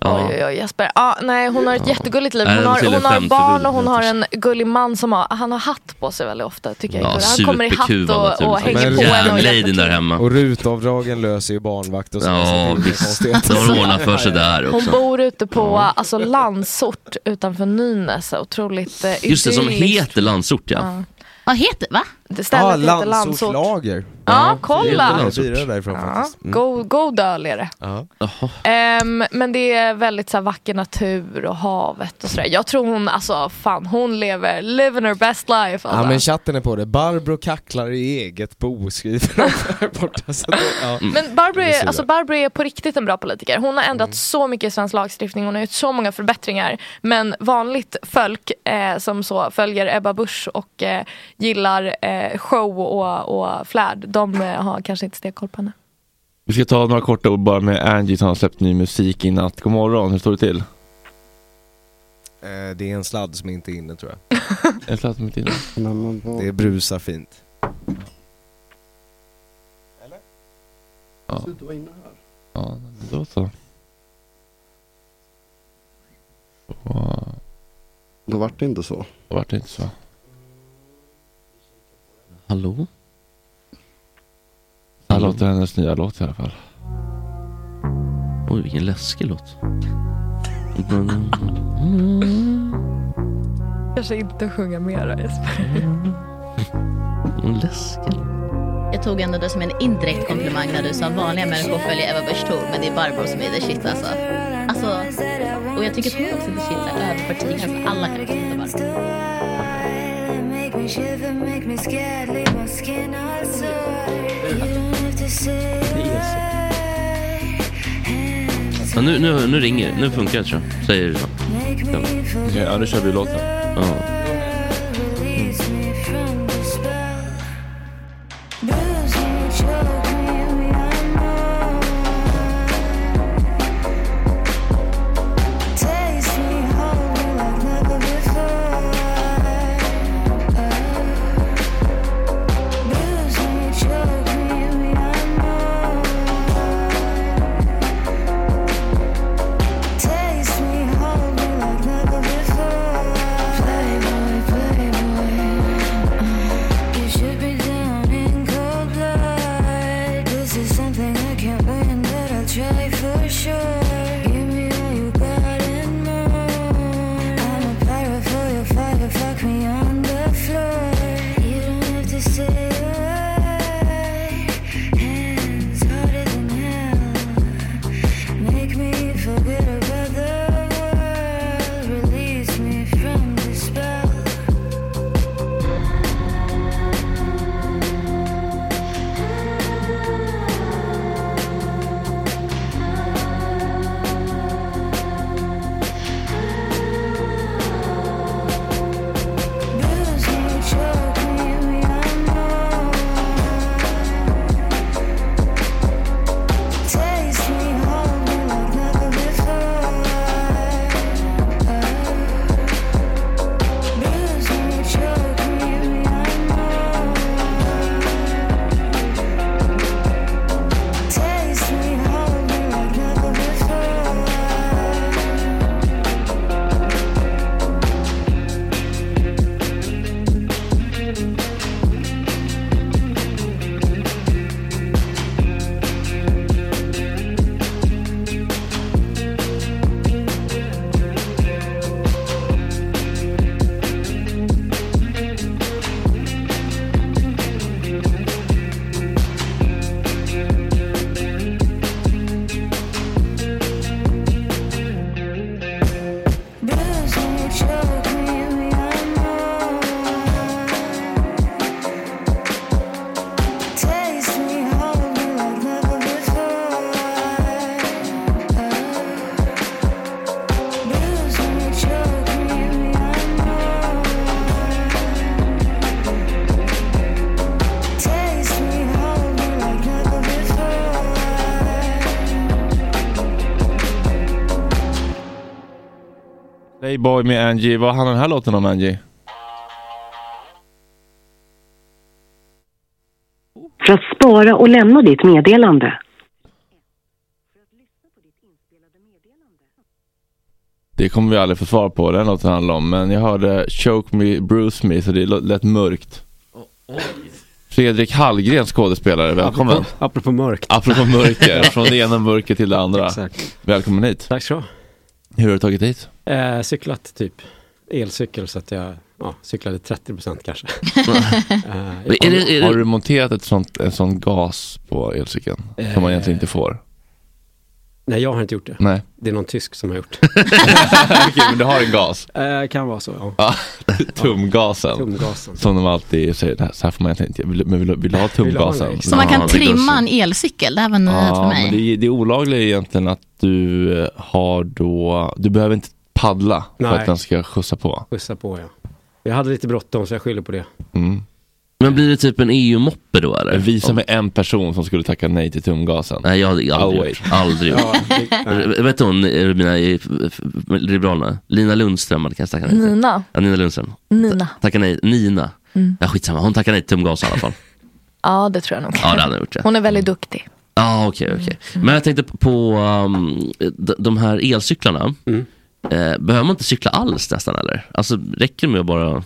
Speaker 12: ja.
Speaker 13: Oj, oj, oj, Jesper. Ja, nej, hon har ett jättegulligt liv.
Speaker 12: Nej,
Speaker 13: Hon
Speaker 12: det var
Speaker 13: har,
Speaker 12: till
Speaker 13: hon har
Speaker 12: skämt,
Speaker 13: barn
Speaker 12: det
Speaker 13: och hon
Speaker 12: var
Speaker 13: har en gullig man som har, han har hatt på sig väldigt ofta. tycker jag.
Speaker 12: Ja,
Speaker 13: han kommer i hatt
Speaker 12: superkuva
Speaker 13: och, och
Speaker 12: naturligtvis.
Speaker 13: hänger på
Speaker 12: Men-
Speaker 13: en och
Speaker 12: Jävla lady där hemma.
Speaker 3: Och rutavdragen löser ju barnvakt och så. så det är
Speaker 12: Ja,
Speaker 3: inga
Speaker 12: visst.
Speaker 3: konstigheter.
Speaker 12: Då har hon ordnat för sig där
Speaker 13: Hon
Speaker 12: också.
Speaker 13: bor ute på alltså, landsort utanför Nynäs. Otroligt eh,
Speaker 12: Just det, som
Speaker 13: idylliskt.
Speaker 12: heter Landsort ja.
Speaker 13: Ja.
Speaker 5: Vad heter, va?
Speaker 13: Det
Speaker 12: Ah,
Speaker 13: stället
Speaker 3: Ja,
Speaker 13: heter Landsort.
Speaker 3: landsortslager.
Speaker 13: Ja, kolla.
Speaker 3: Det är dyrare därifrån
Speaker 13: Ja,
Speaker 3: faktiskt. Mm.
Speaker 13: god, god öl är det.
Speaker 3: Ja.
Speaker 13: Ehm, men det är väldigt så här, vacker natur och havet och sådär. Jag tror hon, alltså fan hon lever, living her best life. Alltså.
Speaker 3: Ja men chatten är på det, Barbro kacklar i eget bo skriver de här borta. Så att det, ja.
Speaker 12: Mm.
Speaker 13: Men Barbro
Speaker 3: Det ser
Speaker 13: är,
Speaker 3: vi.
Speaker 13: alltså Barbro är på riktigt en bra politiker. Hon har ändrat så mycket i svensk lagstiftning, hon har gjort så många förbättringar. Men vanligt folk eh, som så följer Ebba Busch och eh, gillar eh, show och, och flärd, de eh, har kanske inte stenkoll på henne.
Speaker 15: Vi ska ta några korta ord bara med Angie som har släppt ny musik i natt. God morgon, hur står det till?
Speaker 3: Eh, Det är en sladd som inte är inne tror jag.
Speaker 15: En slatt mitt inne.
Speaker 3: Det brusar fint.
Speaker 15: Ja. Ja, men då så. Wow.
Speaker 7: Då vart det inte så.
Speaker 1: Då vart det inte så.
Speaker 12: Hallå?
Speaker 1: Det här låter hennes nya låt i alla fall.
Speaker 12: Oj, vilken läskig låt. Mm.
Speaker 13: Kanske inte sjunga mera Jesper.
Speaker 12: Läskig.
Speaker 5: Jag tog ändå det som en indirekt komplimang när du sa vanliga människor följer Eva Busch Thor, men det är Barbro som är the shit alltså. Alltså,
Speaker 12: Mm.
Speaker 5: och jag tycker att hon också är the shit, så här, överfört till engelska. Alla kan också hitta Barbro.
Speaker 2: Make me shiver, make me scared, leave my skin all sore. You don't have to say a
Speaker 12: Ja, nu, nu, nu ringer Nu funkar det tror jag. Säger det så.
Speaker 2: Okej, ja, nu kör vi låten.
Speaker 12: Ja.
Speaker 2: word. Release me from the spell. Bruise me, choke me, we are numb. Taste me, hold me like never before. Oh. Bruise me, choke me, we are numb. Taste me, hold me like never before. Playboy, playboy, you should be down in cold blood. This is something I can't win, but I'll try for sure. Give me all you got and more. I'm a pirate for your fire, fuck me on the floor. You don't have to say a word. Hands harder than hell, make me forget about the world. Release me from the spell. Bruise me, choke me, we are numb. Taste me, hold me like never before. Bruise me, choke me, we are numb. Taste me, hold me like never before. Bruise me, choke me, we are numb. Taste me, hold me like never before. Bruise me, choke me, we are numb. Taste me, hold me like never before.
Speaker 1: Playboy med Angie. Vad handlar den här låten om Angie?
Speaker 14: För att spara och lämna ditt meddelande.
Speaker 1: Det kommer vi aldrig få svar på. Den låten handlar om. Men jag hörde Choke Me, Bruce Me. Så det lå- lät mörkt. Fredrik Hallgren skådespelare. Välkommen.
Speaker 16: Apropå, apropå mörkt.
Speaker 1: Apropå mörker. från det ena mörkret till det andra. Välkommen hit.
Speaker 16: Tack så
Speaker 1: Hur har du tagit hit?
Speaker 16: Eh, cyklat typ. Elcykel så att jag ja, cyklade 30 procent kanske. Eh, jag
Speaker 1: Har,
Speaker 16: kom-
Speaker 1: du- har du monterat ett sånt, en sån gas på elcykeln? Som man egentligen inte får.
Speaker 16: Nej, jag har inte gjort det.
Speaker 1: Nej.
Speaker 16: Det är någon tysk som har gjort
Speaker 1: Okej, men du har en gas?
Speaker 16: Eh, kan vara så, ja.
Speaker 1: Ja, tumgasen.
Speaker 16: Tumgasen.
Speaker 1: Som de alltid säger, "Det här- så här får man egentligen inte, göra." men vill, vill du ha tumgasen?
Speaker 16: liksom.
Speaker 5: Så man kan trimma en elcykel, det här var en nyhet för
Speaker 1: Ja, men
Speaker 5: mig.
Speaker 1: det, det olagliga är egentligen att du eh, har då, du behöver inte paddla för
Speaker 16: Nej.
Speaker 1: att den ska skjutsa på.
Speaker 16: Skjutsa på, ja. Jag hade lite bråttom så jag skyller på det.
Speaker 1: Mm. Men blir det typ en EU-moppe då eller? Vi som är en person som skulle tacka nej till tumgasen.
Speaker 12: Nej, jag hade aldrig
Speaker 1: Always.
Speaker 12: gjort. Aldrig gjort. R- Vet du hon, eh, mina eh, f- f- Liberalerna? Lina Lundström hade kanske tackat nej. till.
Speaker 13: Nina.
Speaker 12: Ja, Nina Lundström.
Speaker 13: Nina.
Speaker 12: Tackar nej. Nina.
Speaker 13: Mm.
Speaker 12: Ja, skitsamma. Hon tackar nej till tumgas i alla fall.
Speaker 13: Ja, det tror jag nog.
Speaker 12: Ja, det hade hon gjort. Ja,
Speaker 13: Hon är Mm, väldigt duktig.
Speaker 16: Mm.
Speaker 12: Ja, okej, okej. Men jag tänkte på um, de, de här elcyklarna. Eh, behöver man inte cykla alls nästan eller? Alltså räcker det med att bara...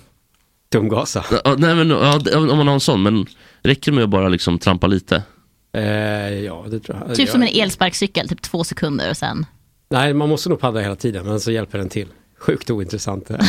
Speaker 16: Tumgasa?
Speaker 12: nej men ja, det- om man har en sån, men räcker det med att bara liksom trampa lite?
Speaker 16: Eh, ja, det tror jag.
Speaker 5: Typ
Speaker 16: jag,
Speaker 5: som en elsparkcykel, typ två sekunder och sen.
Speaker 16: Nej, man måste nog paddla hela tiden, men så hjälper den till. Sjukt ointressant ämne.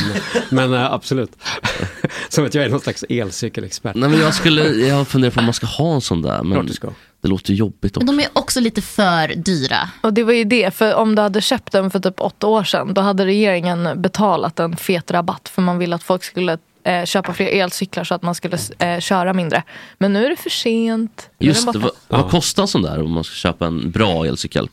Speaker 16: men eh, absolut. som att jag är någon slags elcykelexpert.
Speaker 12: Nej men jag skulle, jag funderar på om man ska ha en sån där, men
Speaker 16: Klart du ska.
Speaker 12: det låter ju jobbigt också.
Speaker 5: De är också lite för dyra.
Speaker 13: Och det var ju det, för om du hade köpt den för typ åtta år sedan då hade regeringen betalat en fet rabatt för man ville att folk skulle eh, köpa fler elcyklar så att man skulle eh, köra mindre. Men nu är det för sent. Nu är
Speaker 12: Just
Speaker 13: den
Speaker 12: det, vad,
Speaker 13: borta.
Speaker 12: vad kostar en sån där om man ska köpa en bra elcykel?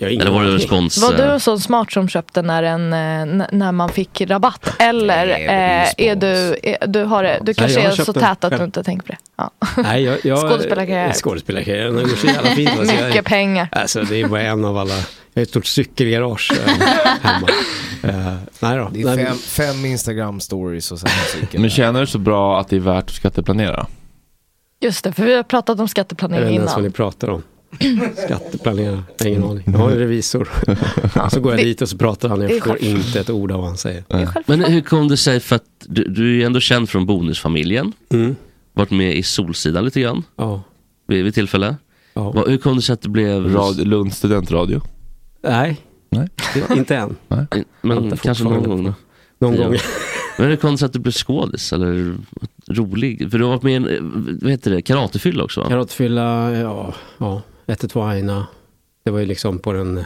Speaker 12: Eller var det respons?
Speaker 13: Var du
Speaker 12: eh,
Speaker 13: en sån smart som köpte när, en, eh, n- när man fick rabatt? Eller eh, är du, är, du, har, det- du
Speaker 16: Nej,
Speaker 13: kanske
Speaker 16: jag har
Speaker 13: är så
Speaker 16: köpt den
Speaker 13: tät att du
Speaker 16: själv.
Speaker 13: inte tänker på det? Ja.
Speaker 16: Nej, jag, jag,
Speaker 13: Skådespelarkarriär.
Speaker 16: Skådespelarkarriären har gjort så jävla fint. alltså. Jag-
Speaker 13: Mycket pengar.
Speaker 16: Alltså det är bara en av alla, jag har ett stort cykelgarage eh, hemma. Eh, nej då.
Speaker 3: Det är
Speaker 16: nej, men-
Speaker 3: fem, fem Instagram-stories och sen en cykel.
Speaker 1: Men känner du så bra att det är värt att skatteplanera?
Speaker 13: Just det, för vi har pratat om
Speaker 16: Jag vet
Speaker 13: skatteplanering
Speaker 16: inte ens vad ni
Speaker 13: innan.
Speaker 16: pratar om. Skatteplanera, jag har ingen aning. Jag har en revisor. Så går jag
Speaker 13: Det-
Speaker 16: dit och så pratar han och jag
Speaker 13: det är
Speaker 16: förstår
Speaker 13: självklart.
Speaker 16: inte ett ord av vad han säger.
Speaker 12: Men hur kom det sig, för att du, du är ju ändå känd från Bonusfamiljen. Varit med i Solsidan lite grann.
Speaker 16: Mm. Ja.
Speaker 12: Vid, vid tillfälle. Vad- Hur kom det sig att det blev...
Speaker 1: Radio, Lunds studentradio?
Speaker 16: Nej,
Speaker 1: Nej.
Speaker 16: Det- inte än.
Speaker 12: I- Men
Speaker 16: Vänta
Speaker 12: kanske någon
Speaker 16: fortfarande.
Speaker 12: gång då.
Speaker 16: Någon
Speaker 12: Ja.
Speaker 16: gång.
Speaker 12: Men hur kom det sig att du blev skådis eller rolig? För du har varit med i en, eh, vad heter det, karatefylla också? va?
Speaker 16: Karatfylla, ja, ja 112 Aina. Det var ju liksom på den,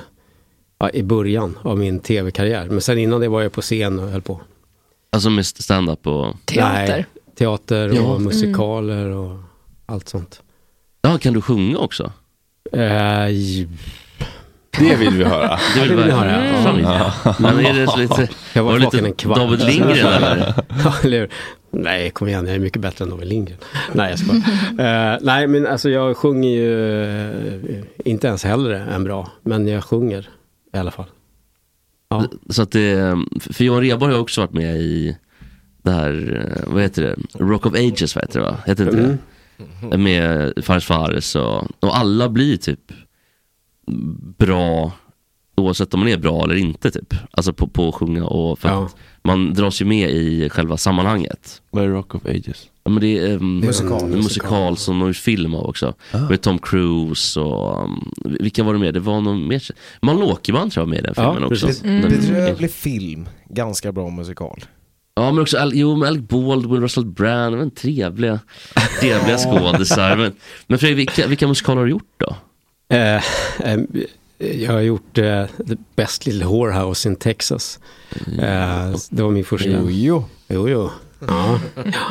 Speaker 16: ja, i början av min tv-karriär. Men sen innan det var jag på scen och höll på.
Speaker 12: Alltså med stand-up och...
Speaker 16: Nej, teater och
Speaker 12: Ja.
Speaker 16: musikaler och allt sånt.
Speaker 12: Ja, kan du sjunga också?
Speaker 16: Det
Speaker 12: vill vi höra.
Speaker 16: Det vill vi höra.
Speaker 12: Fan, ja. Mm. Men är det så lite-
Speaker 16: jag var,
Speaker 12: var det lite
Speaker 16: vaken en kvart.
Speaker 12: David Lindgren, eller?
Speaker 16: ja, eller hur? Nej, kom igen, jag är mycket bättre än David Lindgren. Nej, jag skojar. Eh, nej, men alltså jag sjunger ju eh, inte ens hellre än bra, men jag sjunger i alla fall.
Speaker 12: Så att det, för Johan Rheborg har också varit med i det här, eh, vad heter det, Rock of Ages, vad heter det va? Heter inte
Speaker 16: Mm.
Speaker 12: det? Med Fares Fares och, och alla blir typ bra, oavsett om man är bra eller inte typ. Alltså på, på att sjunga och för att man dras ju med i själva sammanhanget.
Speaker 1: Vad är Rock of Ages?
Speaker 12: Ja, men det är um,
Speaker 1: Musikal.
Speaker 12: en musikal Ah. som de gjort film av också. Med Tom Cruise och, um, vilka var det med? Det var någon mer, Malin Åkerman tror jag var med i den filmen också.
Speaker 3: Be-
Speaker 16: Mm.
Speaker 13: Mm.
Speaker 12: Den-
Speaker 3: Bedrövlig film, ganska bra musikal.
Speaker 12: Ja men också, Al- jo men Alec Baldwin, Russell Brand, men trevliga, trevliga skådisar. Men, men Fredrik, vilka, vilka musikaler har du gjort då?
Speaker 16: Eh, eh, jag har gjort eh, The Best Little Whorehouse in Texas. Eh, det var min första.
Speaker 12: Mm. Jo,
Speaker 16: jo. jo, jo. Ja.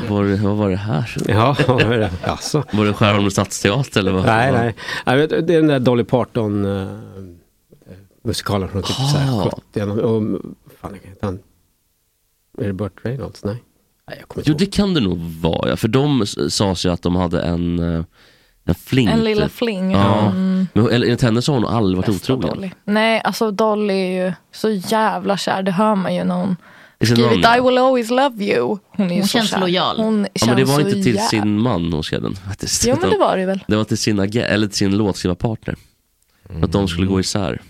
Speaker 12: Var, vad var det här?
Speaker 16: Ja, vad var det? Alltså.
Speaker 12: Var det Skärholmens stadsteater eller vad?
Speaker 16: Nej, nej. Jag vet, det är den där Dolly Parton eh, musikalen från typ så här
Speaker 12: Ah.
Speaker 16: 70 och, fan, jag kan inte, han, Är det Burt Reynolds? Nej.
Speaker 12: Jo det kan det nog vara ja, för de s- sades ju att de hade en, eh, en fling.
Speaker 13: En lilla
Speaker 12: typ.
Speaker 13: fling,
Speaker 12: Ja.
Speaker 13: ja. Mm.
Speaker 12: Men hon- eller- enligt henne så har hon aldrig varit otrogen.
Speaker 13: Nej, alltså Dolly är ju så jävla kär. Det hör man ju när hon
Speaker 12: I sin
Speaker 13: skrivit
Speaker 12: roll.
Speaker 13: I will always love you. Hon är ju
Speaker 5: Hon
Speaker 13: så
Speaker 5: känns
Speaker 13: kär.
Speaker 5: lojal.
Speaker 13: Hon
Speaker 12: Ja, men det var
Speaker 13: känns
Speaker 12: inte
Speaker 13: så
Speaker 12: till
Speaker 13: jä-
Speaker 12: sin man hon skrev den faktiskt.
Speaker 13: Jo, men det var det väl.
Speaker 12: Det var till sin, ag- eller till sin låtskrivarpartner. Att de
Speaker 13: Mm.
Speaker 12: skulle gå isär.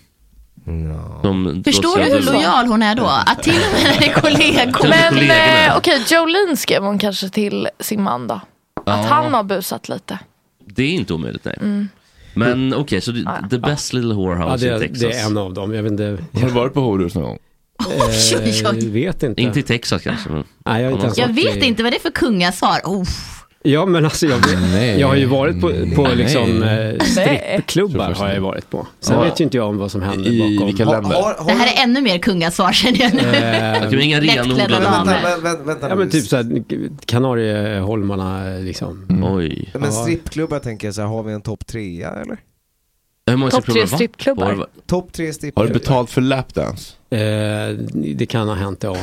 Speaker 12: De-
Speaker 5: Förstår
Speaker 12: de-
Speaker 5: du hur lojal hon är då? Att till och med när det är kollegor.
Speaker 13: Men
Speaker 12: kollegorna.
Speaker 13: eh, okej, Jolene skrev hon kanske till sin man då.
Speaker 12: Ja.
Speaker 13: Att han har busat lite.
Speaker 12: Det är inte omöjligt, nej.
Speaker 13: Mm.
Speaker 12: Men okej, så det- The Best Little Whorehouse
Speaker 16: Ja, det-
Speaker 12: in Texas.
Speaker 16: det är en av dem. Jag vet inte.
Speaker 1: Har du varit på horhus någon gång?
Speaker 16: Oj, oj, oj. vet inte.
Speaker 12: Inte i Texas kanske. Men...
Speaker 16: Nej, jag har inte ens
Speaker 5: Jag
Speaker 16: varit
Speaker 5: vet
Speaker 16: i-
Speaker 5: inte vad det är för kungasvar. Oh.
Speaker 16: Ja, men alltså jag, jag har ju varit på, på
Speaker 1: Ah, Nej.
Speaker 16: liksom
Speaker 1: Nej.
Speaker 16: eh, strippklubbar har jag ju varit på. Sen
Speaker 1: Ja.
Speaker 16: vet ju inte jag om vad som händer
Speaker 1: I
Speaker 16: bakom.
Speaker 1: vilka länder?
Speaker 5: Det här är ännu mer kungasvar känner jag nu.
Speaker 16: Eh.
Speaker 5: Lättklädda damer.
Speaker 16: Ja men typ såhär Kanarieholmarna liksom.
Speaker 1: Mm.
Speaker 12: Oj.
Speaker 3: Men strippklubbar tänker jag så här, har vi en topp trea eller?
Speaker 12: Hur
Speaker 16: många Topp strippklubbar, tre va? strippklubbar? Var det-
Speaker 3: Topp tre strippklubbar.
Speaker 1: betalt för lapdance?
Speaker 16: Eh, det kan ha hänt, ja.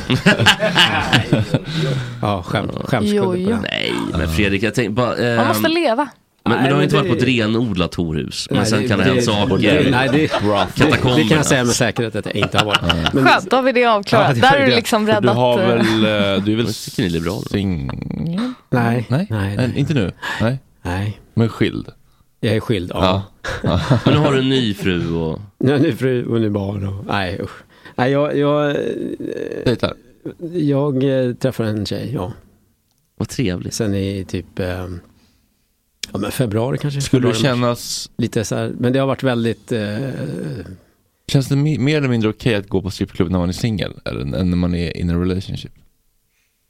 Speaker 16: ja, skämt, skämskudde på
Speaker 13: Jo, jo.
Speaker 16: den.
Speaker 12: Nej, men Fredrik, jag tänkte bara... ehm,
Speaker 13: Man måste leva.
Speaker 12: Men, men
Speaker 16: Nej,
Speaker 12: du har
Speaker 16: men
Speaker 12: inte varit på
Speaker 16: det-
Speaker 12: ett renodlat horhus. Men
Speaker 16: Nej,
Speaker 12: sen kan det ha hänt saker.
Speaker 16: det- Nej, det, det, det kan jag säga med säkerhet att jag inte har varit. Men,
Speaker 13: Skönt, då har vi det avklarat.
Speaker 16: Ja, det-
Speaker 13: Där är du
Speaker 16: det-
Speaker 13: liksom
Speaker 16: för du
Speaker 13: räddat.
Speaker 1: har
Speaker 13: eh,
Speaker 1: väl, eh, du är väl
Speaker 12: singel?
Speaker 1: Nej.
Speaker 16: Nej.
Speaker 1: Nej.
Speaker 16: Nej,
Speaker 1: Inte nu? Nej.
Speaker 16: Nej.
Speaker 1: Men skild?
Speaker 16: Jag är skild, ja.
Speaker 12: Men nu har du en ny fru och...
Speaker 16: Nej, nu fru och nu barn och, nej usch. Nej, jag... Jag,
Speaker 12: Dejtar?
Speaker 16: jag eh, träffade en tjej, ja.
Speaker 12: Vad trevligt.
Speaker 16: Sen i typ, eh, ja men februari kanske.
Speaker 1: Skulle du
Speaker 16: Februari, mars.
Speaker 1: kännas...
Speaker 16: Lite så här, men det har varit väldigt... eh,
Speaker 1: Känns det me- mer eller mindre okej att gå på strippklubb när man är singel än än när man är in a relationship?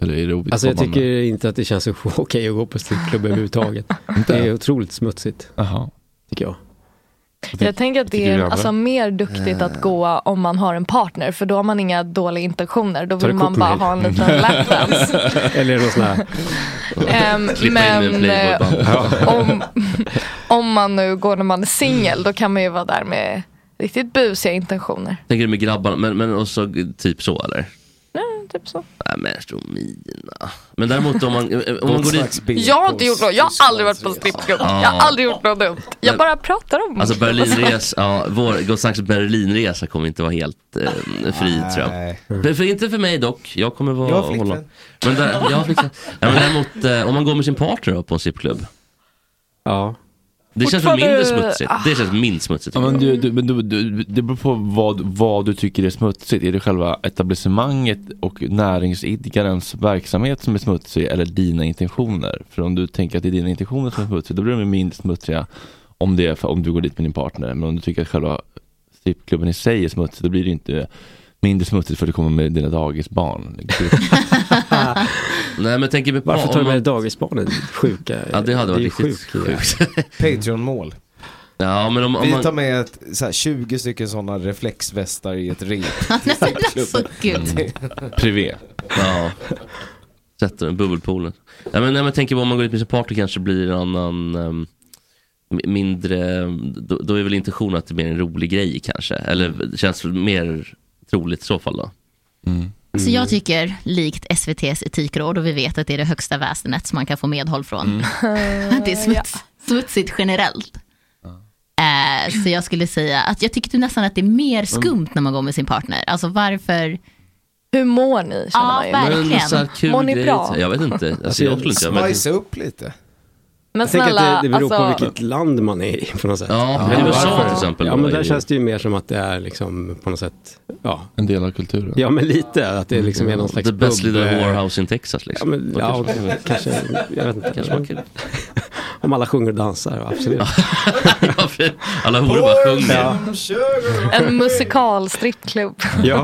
Speaker 1: Eller är det ovidkommande?
Speaker 16: Alltså jag tycker inte att det känns så okej att gå på strippklubb överhuvudtaget.
Speaker 1: Inte?
Speaker 16: det är otroligt smutsigt. Tycker jag.
Speaker 13: Jag tänker att det
Speaker 16: tycker
Speaker 13: är
Speaker 16: du, Alva?
Speaker 13: alltså, mer duktigt att gå om man har en partner för då har man inga dåliga intentioner. Då vill man bara ha en liten lap dance.
Speaker 16: Eller någon sån här.
Speaker 13: Ehm,
Speaker 16: Klippa in med en
Speaker 13: men
Speaker 16: Playboy-band.
Speaker 13: eh, om, eh, om man nu går när man är singel då kan man ju vara där med riktigt busiga intentioner.
Speaker 12: Tänker du med grabbarna, men, men och så typ så eller?
Speaker 13: Nej, typ så.
Speaker 12: Nej Äh, men jag tror mina. Men däremot om man, om man går dit.
Speaker 13: Jag har inte gjort något, jag har aldrig varit på strippklubb.
Speaker 16: Ah.
Speaker 12: Ja.
Speaker 13: Jag har aldrig gjort något dumt. Jag bara pratar om
Speaker 12: Alltså Berlinresa, ja, vår Gott Snacks Berlinresa kommer inte vara helt eh, fri tror jag. För, för, inte för mig dock, jag kommer vara...
Speaker 17: Jag har flickvän.
Speaker 12: hålla- Men, där, jag har flickvän. Ja, men däremot eh, om man går med sin partner då, på en strippklubb.
Speaker 16: Ja.
Speaker 12: Det känns väl
Speaker 13: Fortfarande-
Speaker 12: mindre smutsigt? Det känns minst smutsigt.
Speaker 1: Ja, men du, du, men du, du, det beror på vad, vad du tycker är smutsigt. Är det själva etablissemanget och näringsidkarens verksamhet som är smutsig eller dina intentioner? För om du tänker att det är dina intentioner som är smutsiga, då blir de ju minst smutsiga om, det är för, om du går dit med din partner. Men om du tycker att själva strippklubben i sig är smutsig, då blir det inte mindre smutsigt för att du kommer med dina dagisbarn. liksom.
Speaker 12: Nej men tänker vi på...
Speaker 16: Varför
Speaker 12: om
Speaker 16: tar du
Speaker 12: man-
Speaker 16: med dagisbarnet? Sjuka.
Speaker 12: Ja det hade
Speaker 16: är
Speaker 12: varit
Speaker 16: ju
Speaker 12: riktigt
Speaker 16: sjukt.
Speaker 12: sjukt.
Speaker 3: Patreon-mål.
Speaker 12: Ja men om, om
Speaker 3: Vi
Speaker 12: man...
Speaker 3: tar med ett, så här, 20 stycken sådana reflexvästar i ett rep. Mm. till strippklubben.
Speaker 5: Mm.
Speaker 1: Privé.
Speaker 12: Ja. Sätter den, bubbelpoolen. Ja, men, nej, men tänker på om man går ut med sin partner kanske blir en annan ehm, m- mindre, då, då är väl intentionen att det blir en rolig grej kanske. Eller det känns väl mer troligt i så fall då.
Speaker 5: Så jag tycker, likt SVTs etikråd och vi vet att det är det högsta väsendet som man kan få medhåll från, att det är smuts, smutsigt generellt. Eh, så jag skulle säga att jag tycker nästan att det är mer skumt när man går med sin partner. Alltså varför?
Speaker 13: Hur mår ni?
Speaker 5: Ja,
Speaker 13: man ju.
Speaker 5: verkligen.
Speaker 12: Men så här kul
Speaker 13: Mår ni
Speaker 12: grej,
Speaker 13: bra?
Speaker 12: Jag vet inte. Alltså, jag skulle inte göra det.
Speaker 3: Spicea upp lite.
Speaker 13: Men
Speaker 16: jag tänker
Speaker 13: snälla,
Speaker 16: att det, det beror på
Speaker 13: alltså-
Speaker 16: vilket land man är i på något sätt.
Speaker 12: Ja, men USA till exempel
Speaker 16: Ja,
Speaker 12: då
Speaker 16: men
Speaker 12: är
Speaker 16: där
Speaker 12: ju-
Speaker 16: känns det ju mer som att det är liksom på något sätt, ja.
Speaker 1: En del av kulturen.
Speaker 16: Ja, men lite. Att det liksom är någon slags
Speaker 12: The best
Speaker 16: pub,
Speaker 12: little
Speaker 16: eh,
Speaker 12: warehouse in Texas liksom.
Speaker 16: Ja, men,
Speaker 12: Då
Speaker 16: ja
Speaker 12: kanske-
Speaker 16: det- kanske, jag vet inte.
Speaker 12: Kanske var kul.
Speaker 16: Om alla sjunger och dansar, absolut.
Speaker 12: Alla horor bara sjunger.
Speaker 16: Ja.
Speaker 13: En musikal strippklubb.
Speaker 16: Ja,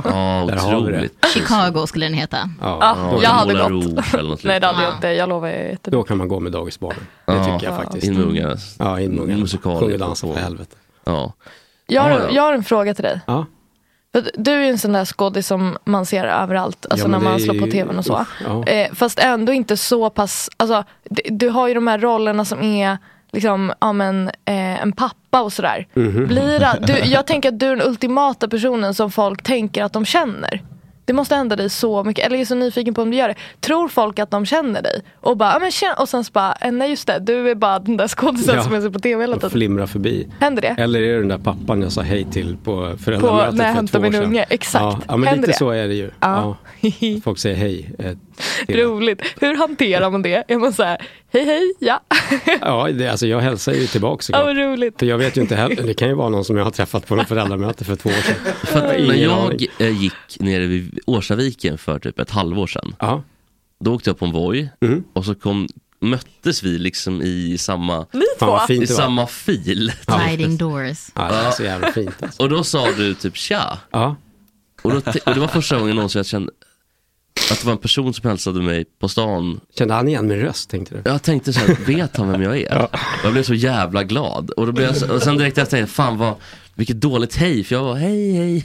Speaker 12: där har vi det.
Speaker 5: Chicago skulle den heta.
Speaker 16: Ja,
Speaker 13: Ja,
Speaker 16: då-
Speaker 13: jag hade gått.
Speaker 12: eller något
Speaker 13: Nej det hade jag
Speaker 5: Ja.
Speaker 13: inte, jag lovar. Jag är jätte-
Speaker 16: Då kan man gå med dagisbarnen. Det
Speaker 12: Ja,
Speaker 16: tycker jag faktiskt. Mm.
Speaker 12: in med ungarna.
Speaker 16: Ja, in med ungarna.
Speaker 12: Musikal.
Speaker 16: Sjung och dansa för helvete.
Speaker 12: Ja.
Speaker 13: jag,
Speaker 16: Ah,
Speaker 13: har,
Speaker 12: Ja, ja.
Speaker 13: jag har en fråga till dig.
Speaker 16: Ja.
Speaker 13: För att du är ju en sån där skådis som man ser överallt, alltså
Speaker 16: Ja,
Speaker 13: när
Speaker 16: men
Speaker 13: man
Speaker 16: det är
Speaker 13: slår på
Speaker 16: ju-
Speaker 13: tvn och så.
Speaker 16: usch, ja.
Speaker 13: eh, fast ändå inte så pass, alltså, d- du har ju de här rollerna som är liksom, ja, men, eh, en pappa och sådär.
Speaker 16: Mhm.
Speaker 13: Blir det- du, jag tänker att du är den ultimata personen som folk tänker att de känner. Det måste hända dig så mycket, eller jag är så nyfiken på om du gör det. Tror folk att de känner dig? Och, bara, ja, men, tjena, och sen så bara, eh, nej just det, du är bara den där skådisen
Speaker 16: Ja.
Speaker 13: som jag ser på tv hela
Speaker 16: Och
Speaker 13: tiden.
Speaker 16: flimra förbi.
Speaker 13: Händer det?
Speaker 16: Eller är det den där pappan jag sa hej till på
Speaker 13: På,
Speaker 16: föräldramötet
Speaker 13: när
Speaker 16: för
Speaker 13: jag
Speaker 16: två
Speaker 13: hämtar
Speaker 16: år
Speaker 13: min
Speaker 16: sedan?
Speaker 13: unge, exakt.
Speaker 16: Ja, ja men
Speaker 13: Händer
Speaker 16: lite
Speaker 13: det?
Speaker 16: så är det ju.
Speaker 13: Ja.
Speaker 16: Ja. Folk säger hej. eh, till-
Speaker 13: Roligt. Hur hanterar man det? Är man så här, hej hej, ja.
Speaker 16: Ja, det, alltså jag hälsar ju tillbaka
Speaker 13: Ja,
Speaker 16: såklart.
Speaker 13: vad roligt.
Speaker 16: För jag vet ju inte heller, det kan ju vara någon som jag har träffat på något föräldramöte för två år sedan. Ingen
Speaker 12: när
Speaker 16: aning.
Speaker 12: jag eh, gick nere vid Årsaviken för typ ett halvår sedan. Då åkte jag på en Voi
Speaker 5: Mm.
Speaker 12: och så kom, möttes vi liksom i samma,
Speaker 5: två. Fan, vad fint
Speaker 12: i
Speaker 5: det var.
Speaker 12: samma fil.
Speaker 5: Sliding doors.
Speaker 12: Och då sa du typ tja. Och, då, t- och det var första gången någonsin jag kände att det var en person som hälsade mig på stan.
Speaker 16: Kände han igen min röst tänkte du?
Speaker 12: Jag tänkte så här, vet han vem jag är? Jag blev så jävla glad. Och, då blev jag så, och sen direkt efter, fan vad, vilket dåligt hej, för jag var hej hej.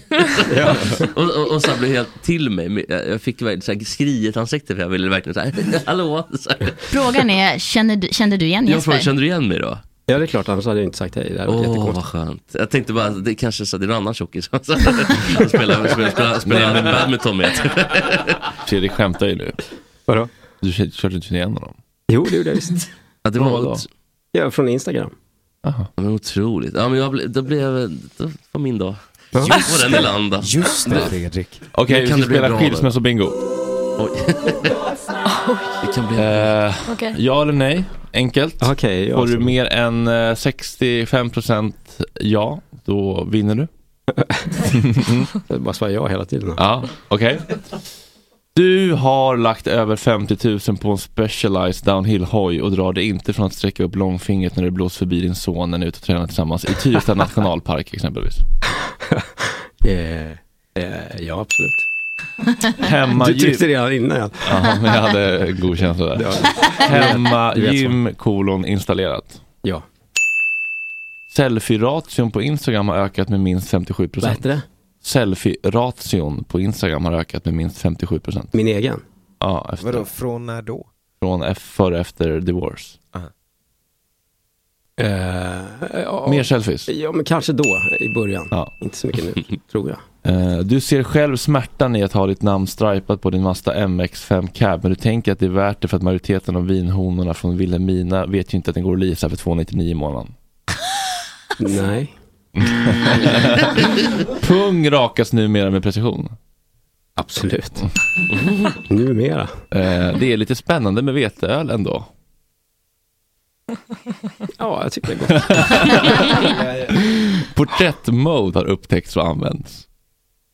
Speaker 12: och, och, och så här blev jag helt till mig. Jag fick verkligen så här skriet ansikte för jag ville verkligen så här, hallå. Så här.
Speaker 5: Frågan är, känner du, kände du igen
Speaker 12: Jag
Speaker 5: Jesper?
Speaker 12: frågade, kände du igen mig då?
Speaker 16: Ja det är klart, annars hade jag inte sagt hej. Det hade varit
Speaker 12: Åh,
Speaker 16: jättekonstigt.
Speaker 12: vad skönt. Jag tänkte bara, det kanske så, det är någon annan tjockis som spelar, spelar, spelar, spelar
Speaker 1: Nej, men-
Speaker 12: badminton med.
Speaker 1: Fredrik skämtar ju nu.
Speaker 16: Vadå?
Speaker 1: Du kö- körde inte igen honom.
Speaker 16: Jo, det gjorde jag visst.
Speaker 12: Ja, det
Speaker 16: Vadå?
Speaker 12: var
Speaker 16: Ja, från Instagram.
Speaker 12: Aha. Men otroligt. Ja, men jag ble, då blev, då var min dag.
Speaker 16: Ja.
Speaker 12: Just var den i landa.
Speaker 3: Just det, Fredrik.
Speaker 1: Okej,
Speaker 12: Nu
Speaker 1: vi
Speaker 12: kan
Speaker 1: ska
Speaker 12: det bli
Speaker 1: spela
Speaker 12: bra nu.
Speaker 1: skilsmässobingo.
Speaker 12: Oj. Det kan bli...
Speaker 1: Eh,
Speaker 12: Okej.
Speaker 1: Ja eller nej? enkelt.
Speaker 16: Okej, ja,
Speaker 1: Får du
Speaker 16: så-
Speaker 1: mer än eh, 65% ja, då vinner du.
Speaker 16: Jag bara svarar ja hela tiden.
Speaker 1: Ja, okej. Du har lagt över 50 000 på en Specialized downhill-hoj och drar dig inte från att sträcka upp långfingret när det blåser förbi din son när ni är ute och tränar tillsammans i Tyresta nationalpark exempelvis.
Speaker 16: Eh, eh, ja, absolut.
Speaker 1: Hemma
Speaker 16: du tryckte redan innan.
Speaker 1: Ja, men jag hade god känsla där. Hemma
Speaker 16: Du vet så.
Speaker 1: gym kolon installerat.
Speaker 16: Ja.
Speaker 1: Selfie-ration på Instagram har ökat med minst 57
Speaker 16: Vad heter det?
Speaker 1: Selfie-ration på Instagram har ökat med minst 57
Speaker 16: Min egen?
Speaker 1: Ja, efter.
Speaker 3: Vadå, från när då?
Speaker 1: Från f- före efter divorce.
Speaker 16: Eh, ja.
Speaker 1: Mer selfies?
Speaker 16: Ja, men kanske då, i början. Inte så mycket nu, tror jag.
Speaker 1: Eh, Du ser själv smärtan i att ha ditt namn stripat på din Mazda MX-5 Cab men du tänker att det är värt det för att majoriteten av vinhonorna från Vilhelmina vet ju inte att den går att leasa för 299 i månaden.
Speaker 16: Nej.
Speaker 1: Pung rakas numera med precision.
Speaker 16: Absolut. Numera.
Speaker 1: Eh, Det är lite spännande med veteöl ändå.
Speaker 16: Ja, jag tycker det är gott.
Speaker 1: Porträttmode har upptäckts och använts.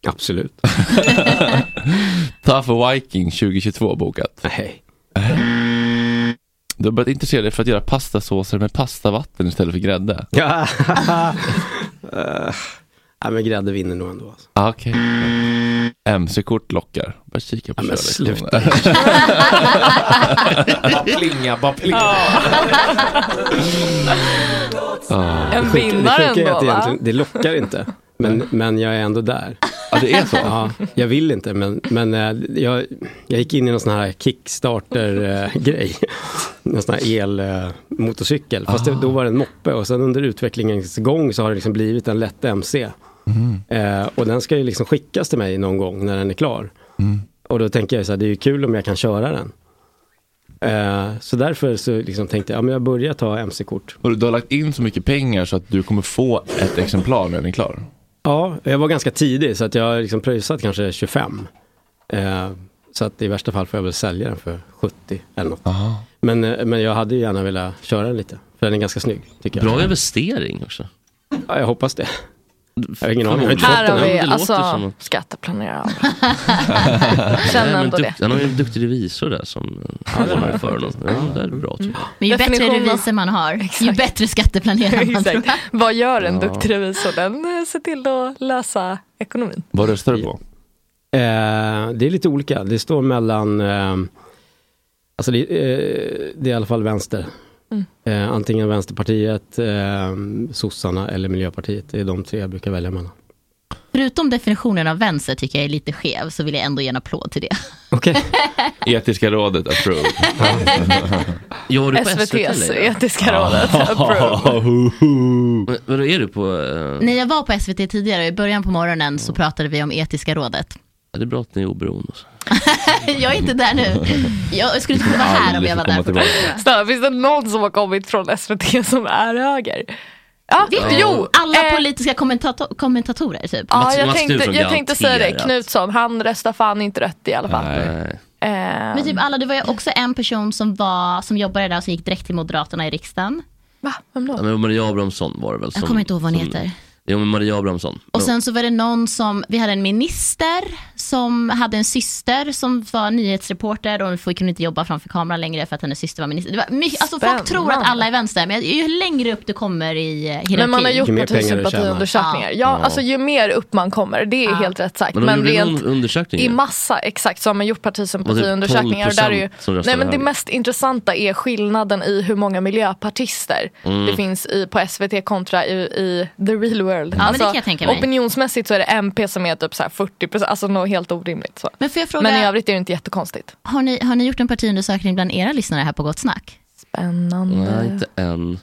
Speaker 16: Absolut.
Speaker 1: Tough Viking 2022 bokat.
Speaker 16: Nej.
Speaker 1: Du har börjat intressera dig för att göra pastasåser med pastavatten istället för grädde.
Speaker 16: Ja. Eh, Nej, men grädde vinner nog ändå. Alltså.
Speaker 1: Ah, Okej. MC-kort lockar. Börja kika på
Speaker 16: Ja, men
Speaker 1: körlektioner.
Speaker 3: Bara plinga, bara plinga.
Speaker 1: Ah.
Speaker 16: Det
Speaker 13: En
Speaker 16: sjuka- det
Speaker 13: vinnare
Speaker 16: sjuka är att
Speaker 13: ändå, va?
Speaker 16: egentligen- Det lockar inte. Men, men jag är ändå där.
Speaker 1: Ja, det är så?
Speaker 16: Ja, jag vill inte, men, men eh, jag, jag gick in i någon sån här Kickstarter-grej. Någon sån här
Speaker 1: Ah.
Speaker 16: elmotorcykel. Fast det, då var det en moppe och sen under utvecklingens gång så har det liksom blivit en lätt MC. Eh, och den ska ju liksom skickas till mig någon gång när den är klar.
Speaker 1: Mm.
Speaker 16: Och då tänker jag så här, det är ju kul om jag kan köra den. Eh, så därför så liksom tänkte jag, ja, men jag börjar ta MC-kort.
Speaker 1: Och du har lagt in så mycket pengar så att du kommer få ett exemplar när den är klar.
Speaker 16: Ja, jag var ganska tidig så att jag har liksom pröjsat kanske 25. Eh, så att i värsta fall får jag väl sälja den för 70 eller något. Men, eh, men jag hade ju gärna velat köra den lite, för den är ganska snygg tycker jag.
Speaker 12: Bra investering också.
Speaker 16: Ja, jag hoppas det. Jag har ingen aning. Jag har inte fått
Speaker 13: Här
Speaker 16: den
Speaker 13: har vi
Speaker 16: än.
Speaker 13: alltså skatteplanerare.
Speaker 12: Nej,
Speaker 13: Känner
Speaker 12: men
Speaker 13: ändå
Speaker 12: dukt-
Speaker 13: det.
Speaker 12: Han har ju en duktig revisor där som eh, ordnar för honom. Ja, det är bra tror jag.
Speaker 5: Men ju bättre
Speaker 13: Definition av-
Speaker 5: reviser man har, ju bättre skatteplanerare man tror.
Speaker 13: Exakt. Vad gör en
Speaker 1: Ja.
Speaker 13: duktig revisor? Den eh, ser till att lösa ekonomin.
Speaker 1: Vad röstar du på?
Speaker 16: Eh, det är lite olika. Det står mellan, eh, alltså det, eh, det är i alla fall vänster.
Speaker 13: Mm.
Speaker 16: Eh, antingen Vänsterpartiet, eh, sossarna eller Miljöpartiet. Det är de tre jag brukar välja mellan.
Speaker 5: Förutom definitionen av vänster tycker jag är lite skev, så vill jag ändå ge en applåd till det.
Speaker 1: Etiska rådet approved.
Speaker 12: Ja, är du på SVT
Speaker 13: SVTs
Speaker 12: eller?
Speaker 13: etiska rådet.
Speaker 12: Men- Vadå, är du på... eh,
Speaker 5: När jag var på SVT tidigare, och i början på morgonen,
Speaker 12: Mm.
Speaker 5: så pratade vi om etiska rådet.
Speaker 12: Ja, det är bra att ni är oberoende. och så.
Speaker 5: jag är inte där nu. Jag skulle inte kunna vara här om jag var där. fortfarande.
Speaker 13: Snälla, finns det någon som har kommit från SVT som är höger? Ja,
Speaker 5: Visst,
Speaker 13: jo. eh,
Speaker 5: Alla politiska kommentato- kommentatorer typ.
Speaker 13: Ja, jag tänkte, jag tänkte säga det. Knutsson, han röstar fan inte rött i alla fall.
Speaker 12: Nej.
Speaker 13: Eh,
Speaker 5: Men typ alla, det var ju också en person som, var, som jobbade där och som gick direkt till Moderaterna i riksdagen.
Speaker 13: Va? Vem
Speaker 12: Ja, men Maria Abrahamsson var det väl? Som,
Speaker 5: Jag kommer inte ihåg vad hon
Speaker 12: som-
Speaker 5: heter.
Speaker 12: Jo, men Maria Abrahamsson.
Speaker 5: Och sen så var det någon som, vi hade en minister som hade en syster som var nyhetsreporter och hon kunde inte jobba framför kameran längre för att hennes syster var minister. Det var mycket, alltså folk
Speaker 13: Spännande.
Speaker 5: tror att alla är vänster, men ju längre upp du kommer i eh, hierarkin.
Speaker 13: Men man har gjort något sympatiundersökningar. Ja,
Speaker 12: Ja.
Speaker 13: alltså ju mer upp man kommer, det är helt rätt sagt.
Speaker 12: Men de
Speaker 13: Men
Speaker 12: gjorde
Speaker 13: rent
Speaker 12: en undersökning.
Speaker 13: i massa, exakt, så har man gjort partisympatiundersökningar. Och där är ju,
Speaker 12: 12% typ som röstar
Speaker 13: nej, men det
Speaker 12: höger.
Speaker 13: mest intressanta är skillnaden i hur många miljöpartister
Speaker 12: Mm.
Speaker 13: det finns i, på SVT kontra i, i the real world. Alltså,
Speaker 5: Ja, men det kan jag tänka mig.
Speaker 13: opinionsmässigt så är det MP som är typ så här 40%, alltså något helt orimligt. Så.
Speaker 5: Men, får jag fråga,
Speaker 13: men i övrigt är det inte jättekonstigt.
Speaker 5: har, ni, har ni gjort en partiundersökning bland era lyssnare här på Gott Snack?
Speaker 13: Spännande.
Speaker 12: Nej, inte än.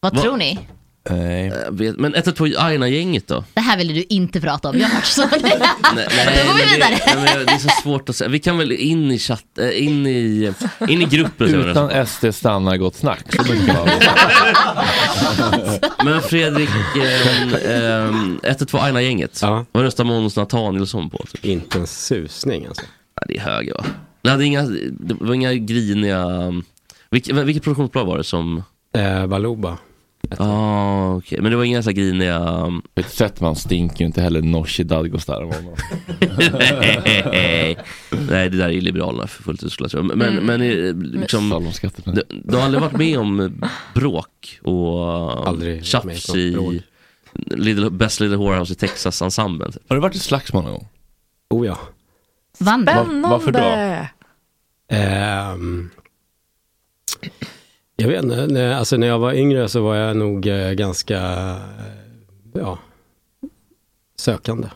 Speaker 5: Vad
Speaker 12: Va-
Speaker 5: tror ni?
Speaker 12: Nej. Jag vet- Men 112 Aina-gänget då?
Speaker 5: Det här ville du inte prata om, jag vart så nej, Då går vi
Speaker 12: men det,
Speaker 5: vidare.
Speaker 12: nej, men jag- det är så svårt att säga. Vi kan väl in i chatt, eh, in i, in i gruppen. säger jag.
Speaker 1: Utan SD stannar gott snack. Så brukar man vara.
Speaker 12: Men Fredrik, ehm, ehm, 112 Aina-gänget. Vad röstar Måns Nathanielsson på?
Speaker 16: Inte en susning alltså.
Speaker 12: det är höger va? Nej, det, är inga, det var inga griniga um, Vilk, vilket produktionsbolag var det som...
Speaker 16: Eh, Baluba.
Speaker 12: Ja, ah, okej. Men det var inga så här griniga... mm,
Speaker 1: Zetman stinker ju inte heller Nooshi Dadgostar av honom.
Speaker 12: Nej, Nej, det där är ju Liberalerna för fullt ut skulle jag tro. Men,
Speaker 1: Mm.
Speaker 12: men eh, liksom, du, du har aldrig varit med om bråk och aldrig tjafs
Speaker 1: med om
Speaker 12: i Little, Best Little Whorehouse i Texas-ensemblen?
Speaker 1: Har du varit i slagsmål någon gång?
Speaker 16: Oh ja.
Speaker 5: Vann du?
Speaker 16: Spännande! Varför då? Ehm, jag vet inte, när- alltså när jag var yngre så var jag nog eh, ganska eh, ja, sökande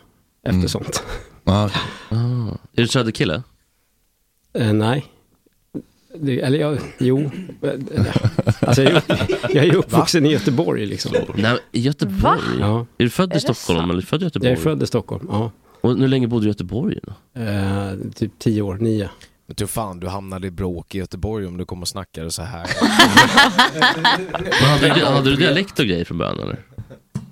Speaker 16: efter sånt.
Speaker 1: Mm. Ah.
Speaker 12: Är du söderkille?
Speaker 16: Eh, nej. Det, eller jag, jo. Alltså jag, är ju- jag är ju uppvuxen i Göteborg liksom.
Speaker 12: Nej, i Göteborg?
Speaker 16: Va?
Speaker 12: Ja. Är du
Speaker 16: Är
Speaker 12: född i
Speaker 16: det
Speaker 12: Stockholm
Speaker 16: sant?
Speaker 12: eller är du född i Göteborg?
Speaker 16: Jag är född i Stockholm, ja.
Speaker 12: Och hur länge bodde du i Göteborg? Då?
Speaker 16: Eh, typ tio år, nio.
Speaker 3: Men du fan, du hamnade i bråk i Göteborg om du kommer och snackar så här.
Speaker 12: Men hade, du, hade du dialekt och grejer från början eller?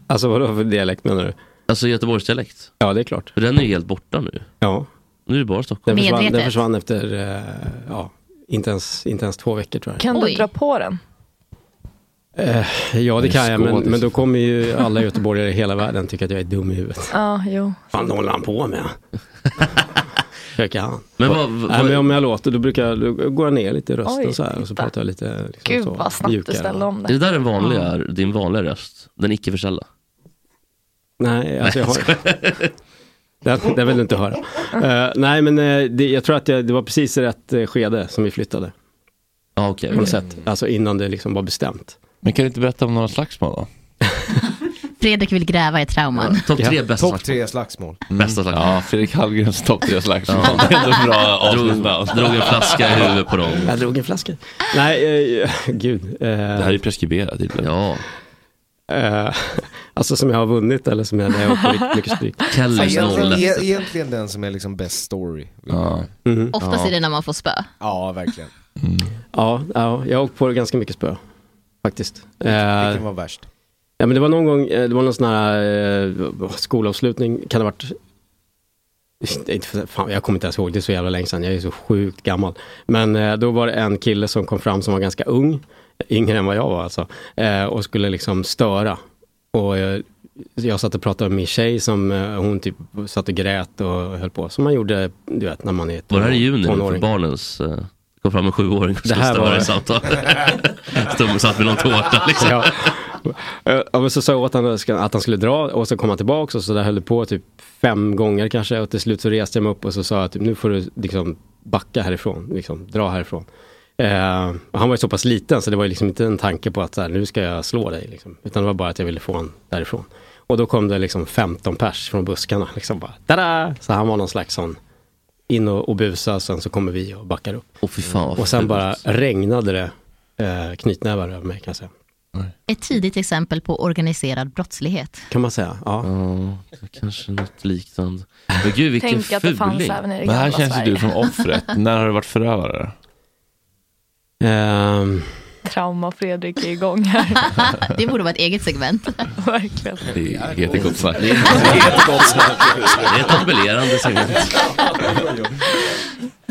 Speaker 16: Alltså vadå för dialekt menar du?
Speaker 12: Alltså Göteborgsdialekt?
Speaker 16: Ja det är klart.
Speaker 12: För den är ju helt borta nu.
Speaker 16: Ja.
Speaker 12: Nu är det bara Stockholm.
Speaker 16: Den försvann, den
Speaker 12: Medvetet.
Speaker 16: försvann efter, eh, ja, inte ens, inte ens två veckor tror jag.
Speaker 13: Kan du dra på den?
Speaker 16: Eh, ja det
Speaker 12: Det är
Speaker 16: kan jag, men,
Speaker 12: skådis.
Speaker 16: men då kommer ju alla göteborgare i hela världen tycka att jag är dum i huvudet.
Speaker 13: Ja, jo.
Speaker 16: fan vad håller han på med? Försöker han.
Speaker 12: Men,
Speaker 16: Nej, men om jag låter, då brukar jag, då går jag ner lite i rösten
Speaker 13: Oj,
Speaker 16: så här och så
Speaker 13: titta.
Speaker 16: pratar jag lite liksom,
Speaker 13: Gud
Speaker 16: så,
Speaker 13: vad snabbt du
Speaker 16: mjukare.
Speaker 13: ställde om
Speaker 12: Är det
Speaker 13: det.
Speaker 12: där den vanliga, din vanliga röst? Den icke försäljda?
Speaker 16: Nej, alltså jag har...
Speaker 12: Nej,
Speaker 16: det, det vill du inte höra. Eh, nej, men eh, det, jag tror att jag, det var precis i rätt eh, skede som vi flyttade.
Speaker 12: Ja, okej.
Speaker 16: På något
Speaker 12: okej.
Speaker 16: sätt, alltså innan det liksom var bestämt.
Speaker 1: Men kan du inte berätta om några slagsmål då?
Speaker 5: Fredrik vill gräva i trauman.
Speaker 3: Topp tre slagsmål.
Speaker 12: Mm. Bästa slagsmål.
Speaker 1: Ja, Fredrik Hallgrens topp tre slagsmål.
Speaker 12: Ja.
Speaker 1: Det är ändå bra
Speaker 12: Drog,
Speaker 1: avsnittsnamn.
Speaker 12: drog en flaska i huvudet på dem.
Speaker 16: Jag drog en flaska. Nej, eh, gud. eh,
Speaker 1: Det här är ju preskriberat. typ. tydligen.
Speaker 12: Ja.
Speaker 16: eh, alltså som jag har vunnit eller som jag, där jag har fått riktigt mycket stryk.
Speaker 12: Kellys
Speaker 3: Egentligen, e- egentligen den som är liksom bäst story.
Speaker 1: Ja.
Speaker 16: Mhm.
Speaker 5: Oftast är det när man får spö.
Speaker 3: Ja, verkligen.
Speaker 16: Ja, ja, jag har åkt på ganska mycket spö. Faktiskt.
Speaker 3: Vilken
Speaker 16: Eh,
Speaker 3: var värst?
Speaker 16: Ja, men det var någon gång, eh, det var någon sån här eh, skolavslutning, kan det ha varit det är inte för- Fan, jag kommer inte ens ihåg, det är så jävla länge sedan, jag är så sjukt gammal. Men eh, då var det en kille som kom fram som var ganska ung, yngre än vad jag var alltså, eh, och skulle liksom störa. Och jag, jag satt och pratade med min tjej som eh, hon typ satt och grät och höll på, som man gjorde, du vet, när man är
Speaker 12: Var det här i juni för
Speaker 16: tonåring.
Speaker 12: barnens... eh, Kom fram en sjuåring och
Speaker 16: Det
Speaker 12: skulle
Speaker 16: här
Speaker 12: störa
Speaker 16: var-
Speaker 12: i samtal. Stod- Satt med någon tårta liksom.
Speaker 16: Ja. Eh, Ja, men så sa jag åt honom att han skulle dra och så kom han tillbaka och så där höll det på typ fem gånger kanske och till slut så reste jag mig upp och så sa jag typ nu får du liksom backa härifrån, liksom dra härifrån. Eh, och han var ju så pass liten så det var ju liksom inte en tanke på att så här, nu ska jag slå dig liksom, utan det var bara att jag ville få honom därifrån. Och då kom det liksom 15 pers från buskarna liksom bara tada! Så han var någon slags sån in och, och busa och sen så kommer vi och backar upp.
Speaker 12: Och, fy fan, vad
Speaker 16: och sen
Speaker 12: fult.
Speaker 16: bara regnade det eh, knytnävar över mig kan jag säga.
Speaker 5: Ett tidigt exempel på organiserad brottslighet.
Speaker 16: Kan man säga, ja.
Speaker 12: kanske något liknande. Men gud vilken
Speaker 5: Tänk att det fanns
Speaker 12: fuling.
Speaker 5: även i det
Speaker 1: Men här
Speaker 5: gamla
Speaker 1: känns ju
Speaker 5: Sverige.
Speaker 1: alltså, du som offret. När har du varit förövare? Ehm,
Speaker 13: Trauma Fredrik är igång här.
Speaker 5: Det borde vara ett eget segment.
Speaker 13: Verkligen.
Speaker 1: Det heter gott snack.
Speaker 12: Det är gott snack. Det är ett appellerande segment.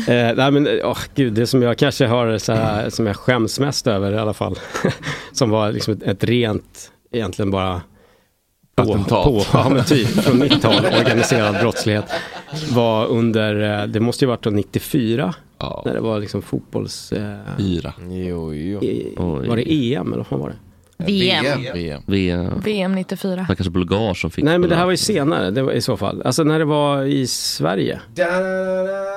Speaker 16: Eh, nej men, åh gud, det som jag kanske har så här, som jag skäms mest över i alla fall, som var liksom ett, ett rent, egentligen bara på,
Speaker 1: Attentat.
Speaker 16: på, ja men typ, från mitt håll, organiserad brottslighet, var under, eh, det måste ju varit då 94, när det var liksom fotbolls... Eh,
Speaker 1: Yra.
Speaker 3: Jo, jo.
Speaker 16: I, var det EM eller vad fan var det? E
Speaker 13: VM.
Speaker 12: E
Speaker 1: VM.
Speaker 12: VM.
Speaker 13: VM 94.
Speaker 12: Stackars bulgar som fick
Speaker 16: Nej men det här
Speaker 12: den
Speaker 16: var ju senare, det var, i så fall. Alltså när det var i Sverige.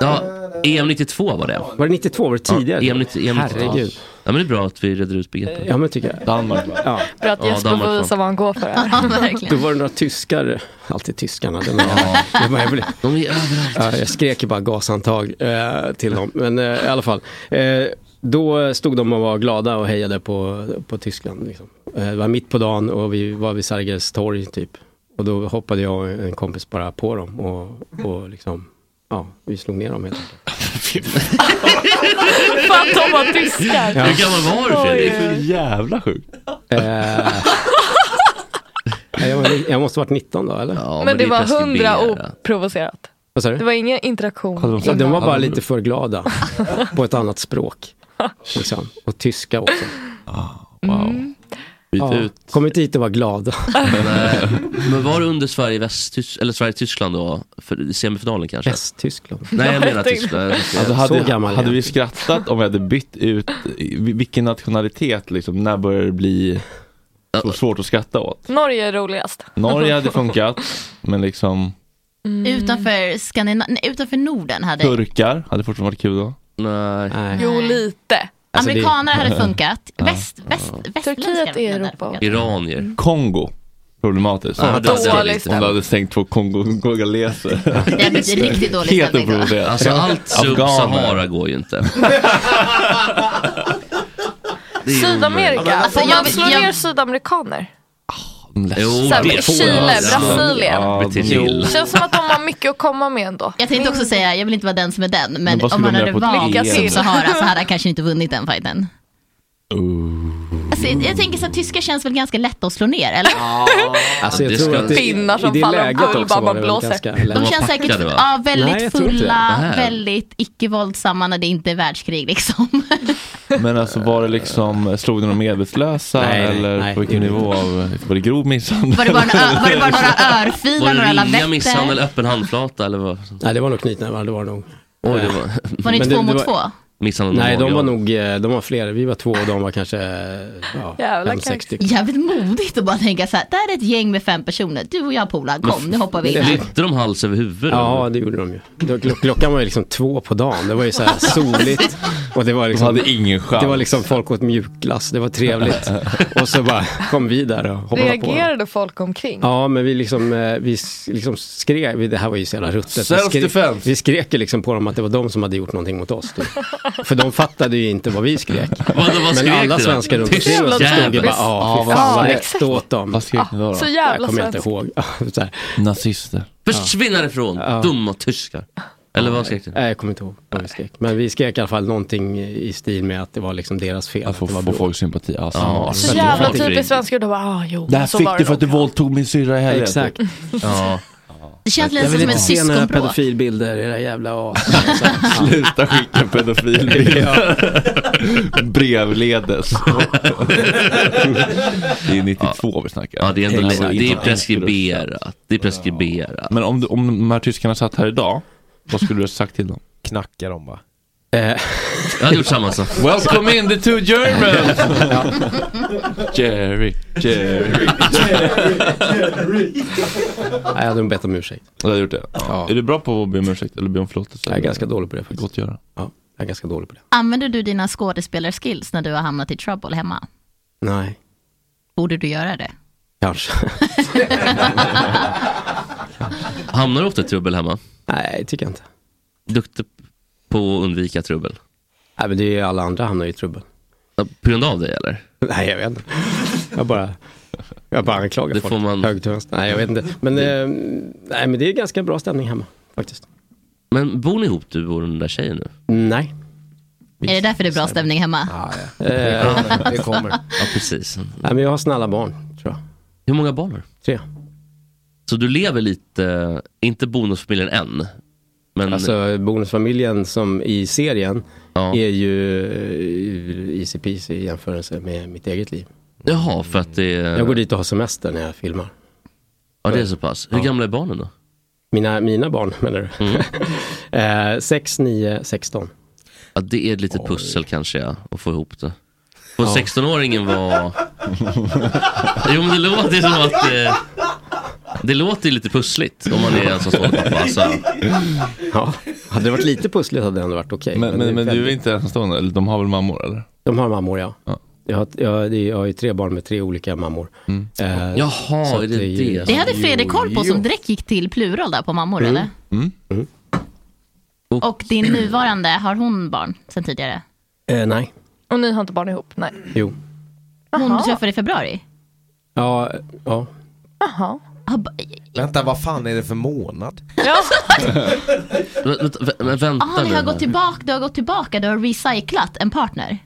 Speaker 12: Ja, EM 92 var det.
Speaker 16: Var det 92? Var det tidigare?
Speaker 12: Ja, EM 90 EM 92.
Speaker 16: Herregud.
Speaker 12: Ja, men det är bra att vi reder ut begreppen.
Speaker 16: Ja men tycker jag.
Speaker 1: Danmark
Speaker 16: Ja.
Speaker 13: För att
Speaker 12: Ja,
Speaker 13: Jesper
Speaker 12: Danmark
Speaker 13: får visa
Speaker 12: vann.
Speaker 13: vad han går för här.
Speaker 16: Då var det några tyskar, alltid tyskarna. De, de, var- jag, blev,
Speaker 12: de är överallt.
Speaker 16: Ja, jag skrek ju bara gashandtag eh, till dem. Men eh, i alla fall, eh, då stod de och var glada och hejade på, på Tyskland. Liksom. Eh, det var mitt på dagen och vi var vid Sergels torg typ. Och då hoppade jag och en kompis bara på dem och, och liksom, ja, vi slog ner dem helt enkelt.
Speaker 13: För att de var tyskar.
Speaker 12: Hur gammal var du Fredrik?
Speaker 13: Oj, oj.
Speaker 1: jävla sjukt.
Speaker 16: Eh, jag, var- jag måste varit 19 då, eller?
Speaker 12: Ja,
Speaker 13: Men det var hundra oprovocerat.
Speaker 16: Vad sa du?
Speaker 13: Det var ingen interaktion.
Speaker 16: Ja, de var
Speaker 13: innan.
Speaker 16: bara lite för glada på ett annat språk. Liksom. Och tyska också.
Speaker 13: Mm.
Speaker 12: Ah, Byt
Speaker 16: Ja.
Speaker 12: ut.
Speaker 16: Kom inte hit och var glada.
Speaker 12: Men, eh, men var det under Sverige, Västtysk, eller Sverige Tyskland då? För, i semifinalen kanske?
Speaker 16: Västtyskland.
Speaker 12: Nej, jag menar Tyskland.
Speaker 1: Alltså, hade, hade vi skrattat om vi hade bytt ut i- vilken nationalitet liksom, när börjar det bli så svårt att skratta åt?
Speaker 13: Norge är roligast.
Speaker 1: Norge hade funkat, men liksom
Speaker 13: Mm.
Speaker 5: Utanför, Skandina- nej, utanför Norden hade
Speaker 1: turkar hade fortfarande varit kul då.
Speaker 12: Nej.
Speaker 13: Jo, lite.
Speaker 1: Alltså, det-
Speaker 5: Amerikaner hade funkat.
Speaker 1: Ja.
Speaker 5: Väst, väst, Turkiet är Europa.
Speaker 12: Iranier.
Speaker 1: Kongo. Problematiskt.
Speaker 12: Ja, det hade varit lite.
Speaker 1: om du hade stängt två kongaleser.
Speaker 5: Det hade blivit riktigt dålig
Speaker 1: Helt
Speaker 5: stämning då.
Speaker 1: oprovocerat.
Speaker 12: Alltså allt Sub-Sahara
Speaker 1: Afghaner.
Speaker 12: går ju inte.
Speaker 13: Sydamerika.
Speaker 5: Alltså,
Speaker 13: Om
Speaker 5: jag
Speaker 13: man
Speaker 5: vet-
Speaker 13: slår
Speaker 5: jag-
Speaker 13: ner sydamerikaner.
Speaker 12: Jo,
Speaker 13: Så här,
Speaker 12: det-
Speaker 13: Chile,
Speaker 12: Ja,
Speaker 13: Brasilien.
Speaker 12: Ja, Byt till.
Speaker 13: Känns som att de har mycket att komma med ändå. Mm.
Speaker 5: Jag tänkte också säga, jag vill inte vara den som är den, men,
Speaker 12: Men vad
Speaker 5: om
Speaker 12: skulle
Speaker 5: han
Speaker 12: de
Speaker 5: hade
Speaker 12: göra på ett
Speaker 5: valt
Speaker 12: EM?
Speaker 5: Sub-Sahara så hade han kanske inte vunnit den fighten. Alltså, jag,
Speaker 16: Mm.
Speaker 5: jag tänker så att tyskar känns väl ganska lätta att slå ner, eller?
Speaker 16: Alltså, jag
Speaker 12: Det
Speaker 16: tror
Speaker 12: ska-
Speaker 16: att det,
Speaker 13: Finnar som
Speaker 16: i det
Speaker 13: faller omkull,
Speaker 16: läget också
Speaker 13: bara
Speaker 16: var det väl
Speaker 13: blåser.
Speaker 16: ganska
Speaker 13: De
Speaker 16: lätt.
Speaker 5: De känns säkert ja, väldigt
Speaker 16: Nej, jag tror inte det.
Speaker 5: fulla,
Speaker 1: Nej.
Speaker 5: väldigt icke-våldsamma när det inte är världskrig liksom.
Speaker 1: Men alltså var det liksom, slog ni de medvetslösa
Speaker 16: Nej, nej,
Speaker 1: eller
Speaker 16: nej.
Speaker 1: på vilken nivå av, var det grov misshandel?
Speaker 5: Var det bara, en ö- var det bara några
Speaker 12: Var
Speaker 5: örfilar, några
Speaker 12: det ringa
Speaker 5: lavetter?
Speaker 12: misshandel, öppen handflata eller vad?
Speaker 16: Nej, det var nog knytnävar, det var det nog. Eh,
Speaker 12: Oj, det var...
Speaker 5: Var ni
Speaker 16: Men
Speaker 5: två
Speaker 16: det- det
Speaker 5: mot
Speaker 16: var-
Speaker 5: två?
Speaker 12: Misshandel
Speaker 16: Nej, de
Speaker 12: mage,
Speaker 16: var
Speaker 12: ja.
Speaker 16: nog, eh, de var fler. Vi var två och de var kanske eh, ja,
Speaker 5: Jävlar,
Speaker 16: fem, sex stycken.
Speaker 5: Jävligt modigt att bara tänka så här, där är ett gäng med fem personer, du och jag polar, kom nu hoppar vi in.
Speaker 12: Lyfte de hals över huvud?
Speaker 16: Ja, det gjorde de ju. Då- klo- Klockan var ju liksom två på dagen. Det var ju så här soligt. Och det var liksom,
Speaker 1: hade ingen chans.
Speaker 16: Det var liksom folk åt mjukglass. Det var trevligt. Och så bara kom vi där och hoppade på. dem.
Speaker 13: Reagerade folk omkring?
Speaker 16: Ja, men vi liksom, eh, vi s- liksom skrek, vi, det här var ju så jävla ruttet. Vi skrek,
Speaker 13: Self-defense.
Speaker 16: vi skrek ju liksom på dem att det var de som hade gjort någonting mot oss. Typ. För de fattade ju inte vad vi skrek. men
Speaker 12: skrek
Speaker 16: alla
Speaker 12: ni då?
Speaker 16: svenskar runt
Speaker 12: Tyst
Speaker 16: omkring oss stod ju
Speaker 12: jävel.
Speaker 16: bara, ja, fy
Speaker 12: Ja,
Speaker 16: fan vad
Speaker 12: exakt.
Speaker 16: rätt åt dem.
Speaker 1: Vad skrek ni då?
Speaker 12: så jävla
Speaker 16: Jag kommer jag inte ihåg. Så här.
Speaker 1: Nazister.
Speaker 12: Försvinn härifrån,
Speaker 16: Ja.
Speaker 12: dumma tyskar. Eller vad skrek du?
Speaker 16: Nej, jag kommer inte ihåg vad vi skrek. Men vi skrek i alla fall någonting i stil med att det var liksom deras fel. Att
Speaker 1: få,
Speaker 16: det var
Speaker 1: få
Speaker 16: bråk.
Speaker 1: folks sympati. Alltså,
Speaker 16: Ja,
Speaker 13: Så jävla typiskt svenskar. Då bara, ah, jo,
Speaker 1: Det här
Speaker 13: så
Speaker 1: fick
Speaker 13: var
Speaker 1: du
Speaker 13: det
Speaker 1: för att du våldtog min syrra i helgen. typ?
Speaker 16: Exakt.
Speaker 12: Ja.
Speaker 5: Det känns
Speaker 16: Jag
Speaker 5: lite
Speaker 16: vill
Speaker 5: som
Speaker 16: inte
Speaker 5: ett
Speaker 16: se några
Speaker 5: syskonbråk.
Speaker 16: pedofilbilder, era jävla as.
Speaker 1: Sluta skicka pedofilbilder. Brevledes. det är 92 vi snackar.
Speaker 12: Ja, det är ändå
Speaker 1: Exakt.
Speaker 12: det är preskriberat. Det är preskriberat.
Speaker 1: Men om, du, om de här tyskarna satt här idag, vad skulle du ha sagt till dem?
Speaker 3: Knacka dem bara.
Speaker 12: Eh. Jag hade gjort samma sak.
Speaker 1: Welcome in the two Germans! Jerry, Jerry.
Speaker 16: jag hade nog bett om ursäkt.
Speaker 1: Du har gjort det? Ja. Är du bra på att be om ursäkt eller be om förlåtelse?
Speaker 16: Jag är ganska dålig på det faktiskt.
Speaker 1: Gott att göra.
Speaker 16: Ja, jag är ganska dålig på det.
Speaker 5: Använder du dina skådespelarskills när du har hamnat i trouble hemma?
Speaker 16: Nej,
Speaker 5: Borde du göra det?
Speaker 16: kanske.
Speaker 12: Hamnar du ofta i trubbel hemma?
Speaker 16: Nej, tycker jag inte.
Speaker 12: Duktig på att undvika trubbel?
Speaker 16: Nej, men det är ju alla andra hamnar ju i trubbel.
Speaker 12: På grund av dig eller?
Speaker 16: Nej, jag vet inte. Jag bara, jag bara anklagar
Speaker 12: Det
Speaker 16: folk.
Speaker 12: får man-
Speaker 16: Högt och vänster. Nej, jag vet inte. Men, eh, nej, men det är ganska bra stämning hemma faktiskt.
Speaker 12: Men bor ni ihop du och den där tjejen nu?
Speaker 16: Nej.
Speaker 5: Är det därför det är bra stämning hemma?
Speaker 16: Eh, det kommer.
Speaker 12: Ja, precis.
Speaker 16: Nej, men jag har snälla barn, tror jag.
Speaker 12: Hur många barn har du?
Speaker 16: Tre.
Speaker 12: Så du lever lite, inte bonusfamiljen än, men
Speaker 16: Alltså bonusfamiljen som i serien
Speaker 12: Ja.
Speaker 16: är ju eh, easy peasy i jämförelse med mitt eget liv.
Speaker 12: jaha för att det
Speaker 16: Jag går dit och har semester när jag filmar.
Speaker 12: Ja det är så pass. Hur
Speaker 16: Ja.
Speaker 12: gamla är barnen då?
Speaker 16: Mina, mina barn menar du? eh, 6, 9, 16.
Speaker 12: Mm. Ja, det är lite pussel kanske ja, att få ihop det. Och
Speaker 16: Ja.
Speaker 12: 16-åringen var... jo men det låter som att... Eh, det låter ju lite pussligt om man är ensamstående pappa. Alltså.
Speaker 16: Ja, hade det varit lite pussligt hade det ändå varit okej.
Speaker 1: Men,
Speaker 16: det
Speaker 1: men, men du är
Speaker 16: väldigt-
Speaker 1: inte ensamstående? Eller de har väl mammor eller?
Speaker 16: De har mammor ja. Jag, har, jag, det är- jag har ju tre barn med tre olika mammor.
Speaker 1: Mm.
Speaker 16: Eh,
Speaker 12: Jaha,
Speaker 16: så
Speaker 12: är
Speaker 16: att
Speaker 12: det
Speaker 16: ju-
Speaker 12: det? Mm.
Speaker 5: Det hade Fredrik koll på
Speaker 16: Jo.
Speaker 5: som direkt gick till plural där på mammor eller? Mm. Och din nuvarande, har hon barn sen tidigare?
Speaker 16: Eh, nej,
Speaker 13: Och ni har inte barn ihop? Nej.
Speaker 16: jo.
Speaker 5: Hon du träffade i februari?
Speaker 16: Ja, ja.
Speaker 13: Jaha.
Speaker 3: Vänta, vad fan är det för månad?
Speaker 12: Men, men vänta
Speaker 5: Jaha, Ah, ni
Speaker 12: nu
Speaker 5: har
Speaker 12: här.
Speaker 5: gått tillbaka, du har gått tillbaka, du har recyclat en partner?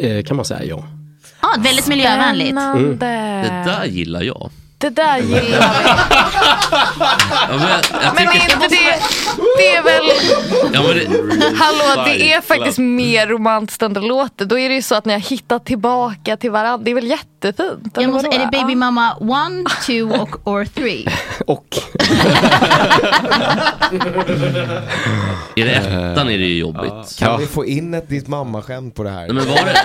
Speaker 16: Eh, kan man säga ja.
Speaker 5: Ja, väldigt miljövänligt.
Speaker 13: Spännande.
Speaker 12: Det
Speaker 13: Eh.
Speaker 12: där gillar Mm. jag.
Speaker 13: Det där gillar vi.
Speaker 12: Ja, men, jag, jag
Speaker 13: Men
Speaker 12: tycker,
Speaker 13: är inte det, Det är väl...
Speaker 12: Ja, men det...
Speaker 13: Hallå, det är faktiskt mer romantiskt än det låter. Då är det ju så att ni har hittat tillbaka till varandra. Det är väl jättefint?
Speaker 5: Jag måste, är det baby mamma one, two och or three?
Speaker 16: Och.
Speaker 12: Är det ettan är det ju jobbigt.
Speaker 3: Kan vi få in ett ditt mammaskämt på det här?
Speaker 12: Nej, men var det,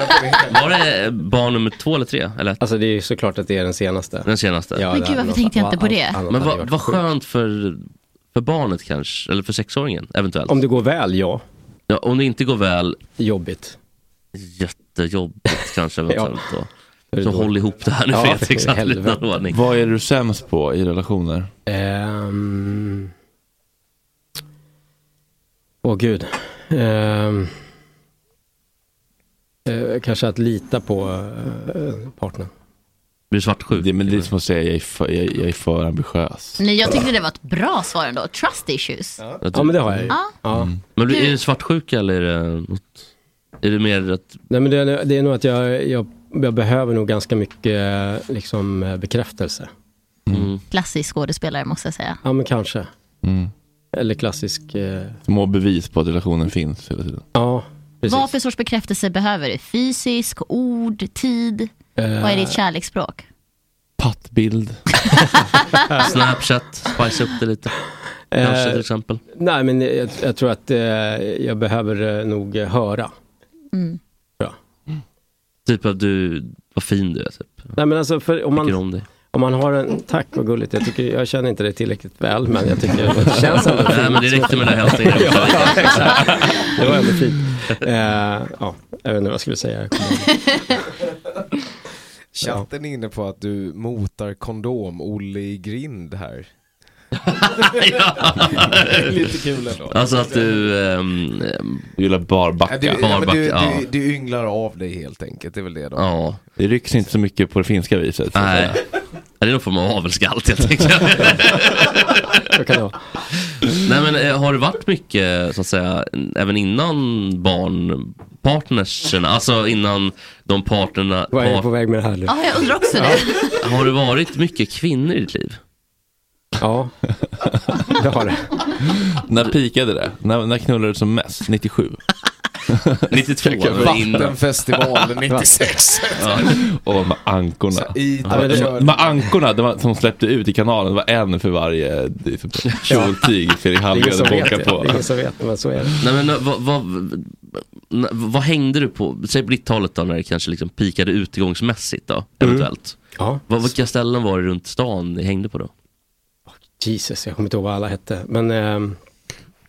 Speaker 12: var det barn nummer två eller tre? Eller?
Speaker 16: Alltså det är ju såklart att det är den senaste.
Speaker 12: Den senaste?
Speaker 16: Ja,
Speaker 5: Men
Speaker 16: det hade
Speaker 5: gud, varför
Speaker 16: nog-
Speaker 5: tänkte jag inte på
Speaker 16: allt-
Speaker 5: det?
Speaker 16: annat
Speaker 12: Men
Speaker 16: hade
Speaker 12: vad,
Speaker 16: varit
Speaker 12: vad
Speaker 16: sjukt.
Speaker 12: skönt för, för barnet kanske, eller för sexåringen eventuellt.
Speaker 16: Om det går väl, ja.
Speaker 12: Ja, om det inte går väl.
Speaker 16: Jobbigt.
Speaker 12: Jättejobbigt kanske eventuellt då.
Speaker 1: är
Speaker 12: Så
Speaker 1: då-
Speaker 12: håll ihop det här nu
Speaker 1: Ja,
Speaker 12: Fredrik, så att det blir
Speaker 1: helvete.
Speaker 12: någon ordning.
Speaker 1: Vad är du sämst på i relationer?
Speaker 16: Ehm. Åh gud. Ehm. Eh, kanske att lita på eh, partnern.
Speaker 12: Blir du svartsjuk?
Speaker 1: Det, men det är som att säga jag är för, jag, jag är för ambitiös.
Speaker 5: Nej, jag tyckte det var ett bra svar ändå. Trust issues.
Speaker 12: Ja, men det har jag ju.
Speaker 5: Ja.
Speaker 12: Mm. Men blir- är det svartsjuka eller är det något? Är det mer att
Speaker 16: Nej, men det, är- det är nog att jag, jag, jag behöver nog ganska mycket eh, liksom, eh, bekräftelse.
Speaker 12: Mm.
Speaker 5: Klassisk skådespelare måste jag säga.
Speaker 16: Ja, men kanske.
Speaker 1: Mm.
Speaker 16: Eller klassisk... Eh,
Speaker 1: Små bevis på att relationen finns hela tiden.
Speaker 16: ja, precis.
Speaker 5: Vad för sorts bekräftelse behöver du? Fysisk, ord, tid?
Speaker 16: Eh,
Speaker 5: Vad är ditt kärleksspråk?
Speaker 1: Pattbild.
Speaker 12: Snapchat, spice upp det lite.
Speaker 16: Eh,
Speaker 12: Kanske till exempel.
Speaker 16: Nej, men jag, jag tror att eh, jag behöver eh, nog eh, höra.
Speaker 5: Mm.
Speaker 16: Bra.
Speaker 12: Typ att du, vad fin du är typ.
Speaker 16: Nej, men alltså, för om
Speaker 12: Tycker
Speaker 16: man,
Speaker 12: om dig.
Speaker 16: om man har en... Tack, vad gulligt. Jag, tycker, jag känner inte det tillräckligt väl, men jag tycker det känns ändå fint.
Speaker 12: Nej men det räckte med den här hälsningen.
Speaker 16: ja, exakt. Det var ändå fint. Eh, ja, jag vet inte vad jag skulle säga. Jag kommer ihåg.
Speaker 3: Chatten är inne på att du motar kondom-Olle i grind här. Lite kul ändå.
Speaker 12: Alltså att du... ehm, ehm,
Speaker 1: Du gillar barbacka.
Speaker 3: Ja, du, ja, men
Speaker 12: Barbacka,
Speaker 3: du,
Speaker 12: ja.
Speaker 3: du, du ynglar av dig helt enkelt, det är väl det då?
Speaker 12: Ja.
Speaker 1: Det rycks inte så mycket på det finska viset. så att
Speaker 12: Nej.
Speaker 1: säga.
Speaker 12: Det är någon form av avelskalt helt enkelt. Nej men eh, har det varit mycket så att säga även innan barnpartnersen, alltså innan de partnerna,
Speaker 16: Vad är jag på
Speaker 12: par,
Speaker 16: väg med det här nu?
Speaker 5: Ja, jag undrar också det.
Speaker 12: har det varit mycket kvinnor i ditt liv?
Speaker 16: Ja, det har det.
Speaker 1: När pikade det? När, när knullade du som mest? 97?
Speaker 12: 92?
Speaker 3: Vattenfestivalen 96.
Speaker 1: Och med ankorna.
Speaker 3: i-
Speaker 1: Ja, men det- Med ankorna det var, som släppte ut i kanalen, det var en för varje det är typ kjoltyg Fredrik
Speaker 16: Det är
Speaker 1: Hallgren
Speaker 16: ingen som
Speaker 1: bonkade
Speaker 16: vet det.
Speaker 1: på.
Speaker 16: Det är ingen som vet, men så är det.
Speaker 12: Nej men eh, vad, vad, n- vad hängde du på, säg på 90-talet då när det kanske liksom pikade utegångsmässigt då, eventuellt.
Speaker 16: Mm. Ja.
Speaker 12: Vad, vilka ställen var det runt stan ni hängde på då?
Speaker 16: Jesus, jag kommer inte ihåg vad alla hette. Men ehm,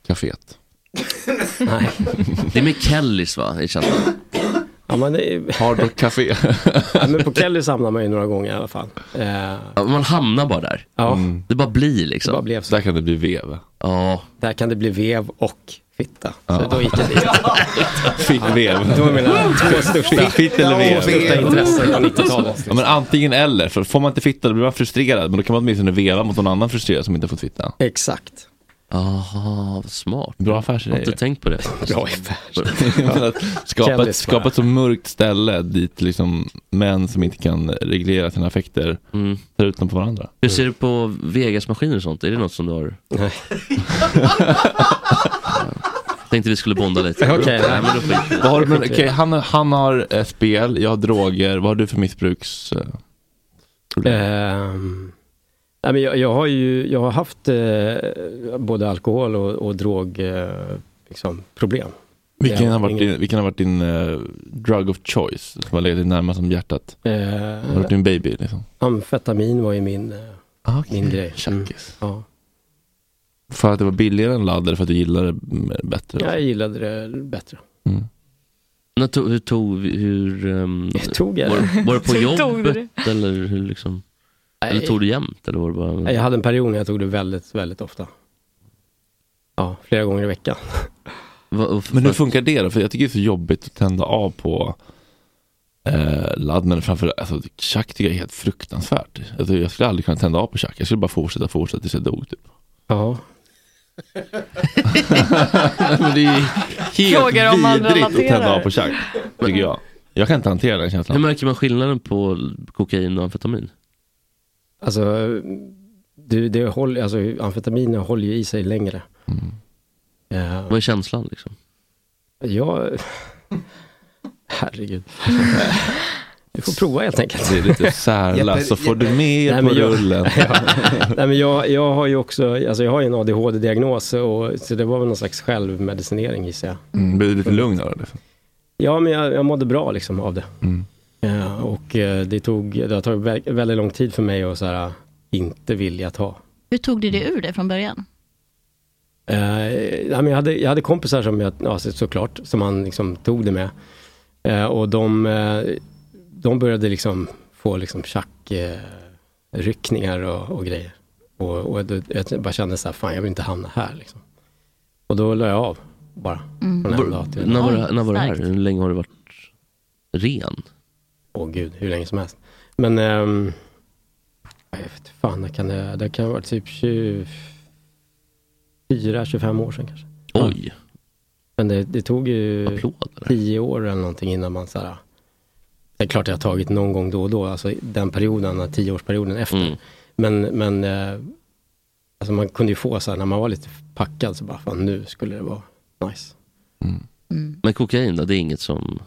Speaker 1: Caféet.
Speaker 16: nej,
Speaker 12: Det är med Kellys va, i känslan?
Speaker 16: ja, men, det är-
Speaker 1: Hard Rock Café.
Speaker 16: ja, men på Kellys hamnade man ju några gånger i alla fall. Eh,
Speaker 12: Ja, Man hamnar bara där.
Speaker 16: ja,
Speaker 12: Det bara blir liksom.
Speaker 16: det bara blev så.
Speaker 1: Mm. Där kan det bli vev.
Speaker 12: Ja,
Speaker 16: Där kan det bli vev och fitta. Så då gick jag dit.
Speaker 1: Fitt vev.
Speaker 16: Det var mina två största,
Speaker 1: Fitt eller vev.
Speaker 16: största intressen på 90-talet.
Speaker 1: Ja, men antingen eller. För får man inte fitta då blir man frustrerad. Men då kan man åtminstone veva mot någon annan frustrerad som inte fått fitta.
Speaker 16: Exakt.
Speaker 12: aha, vad smart.
Speaker 1: Bra
Speaker 12: Jag har
Speaker 1: affärsidé.
Speaker 12: inte tänkt på det.
Speaker 16: Bra affär.
Speaker 1: Jag menar att Skapa ett,
Speaker 16: Kändis bara.
Speaker 1: skapa ett så mörkt ställe dit liksom män som inte kan reglera sina affekter
Speaker 12: Mm.
Speaker 1: tar ut dem på varandra.
Speaker 12: Hur ser du på Vegas-maskiner och sånt? Är det något som du har?
Speaker 16: Nej.
Speaker 12: Tänkte vi skulle bonda lite.
Speaker 16: Okej, nej.
Speaker 12: Nej, men då skit.
Speaker 1: Vad har du, men, okej, han, han har eh, spel, jag har droger. Vad har du för missbruks... eh, problem?
Speaker 16: Ehm, nej, men jag, jag har ju jag har haft eh, både alkohol och, och drog, eh, liksom, problem.
Speaker 1: vilken,
Speaker 16: jag-
Speaker 1: har varit
Speaker 16: ingen-
Speaker 1: din, vilken har varit din eh, drug of choice? Som har legat dig närmast om hjärtat? Har
Speaker 16: Eh,
Speaker 1: varit din baby liksom? Ah,
Speaker 16: amfetamin var ju min, eh, min grej. Mm,
Speaker 1: Tjackis.
Speaker 16: ja.
Speaker 1: För att det var billigare än ladd eller för att du gillade det m- bättre?
Speaker 16: Jag gillade det bättre.
Speaker 12: När to, hur tog, vi- hur... ehm,
Speaker 16: Jag tog det.
Speaker 12: var, var det på
Speaker 13: Hur tog du
Speaker 12: jobbet eller hur liksom? Eller
Speaker 16: Nej,
Speaker 12: tog du jämt eller var det bara?
Speaker 16: nej, jag hade en period när jag tog det väldigt, väldigt ofta. Ja, flera gånger i veckan.
Speaker 12: Va- och-
Speaker 1: Men hur funkar det då? För jag tycker det är så jobbigt att tända av på eh, ladd, men framför alltså tjack tycker jag är helt fruktansvärt. Alltså, jag skulle aldrig kunna tända av på tjack, jag skulle bara fortsätta, fortsätta tills jag dog typ.
Speaker 16: Ja.
Speaker 1: Men det är ju helt
Speaker 13: Frågar om man
Speaker 1: vidrigt att tända
Speaker 13: relaterar.
Speaker 1: av på tjack, tycker jag. Jag kan inte hantera den
Speaker 12: Hur
Speaker 1: känslan.
Speaker 12: märker man skillnaden på kokain och amfetamin?
Speaker 1: Mm.
Speaker 16: Alltså, du, det håller, alltså amfetaminer håller ju i sig längre.
Speaker 12: Vad är känslan liksom?
Speaker 16: Jag... Herregud. Vi får prova helt enkelt.
Speaker 1: Det är lite särla, så får du med
Speaker 16: Nej,
Speaker 1: på
Speaker 16: men jag-
Speaker 1: rullen.
Speaker 16: Ja. Nej, men jag, jag har ju också, alltså jag har ju en ADHD-diagnos, och, så det var väl någon slags självmedicinering gissar jag.
Speaker 1: Mm, blir du lite lugn av det? Mm.
Speaker 16: Ja, men jag, jag mådde bra liksom av det. Ja, och eh, det, tog, det har tagit vä- väldigt lång tid för mig att så här, inte vilja ta.
Speaker 5: Hur tog du det ur det från början?
Speaker 16: Eh, nej, men jag, hade, jag hade kompisar som jag, ja, så- såklart, som han liksom tog det med. Eh, och de, eh, de började liksom få liksom tjackryckningar och, och grejer. Och, och det- jag bara kände så här, fan jag vill inte hamna här liksom. Och då la jag av bara.
Speaker 12: Mm.
Speaker 16: Från en
Speaker 12: Var-
Speaker 16: dag till en
Speaker 12: när var
Speaker 16: annan.
Speaker 12: det- när var det här? Hur länge har du varit ren?
Speaker 16: Åh gud, hur länge som helst. Men, ehm, jag vet inte, fan, det kan, det det kan ha varit typ 24-25 år sedan kanske.
Speaker 12: Oj.
Speaker 16: Men det, det tog ju tio år eller någonting innan man så här, det är klart jag har tagit någon gång då och då, alltså den perioden, tioårsperioden efter.
Speaker 12: Mm.
Speaker 16: Men, men eh, alltså man kunde ju få så här, när man var lite packad så bara, fan nu skulle det vara nice.
Speaker 12: Men kokain då, det är inget som...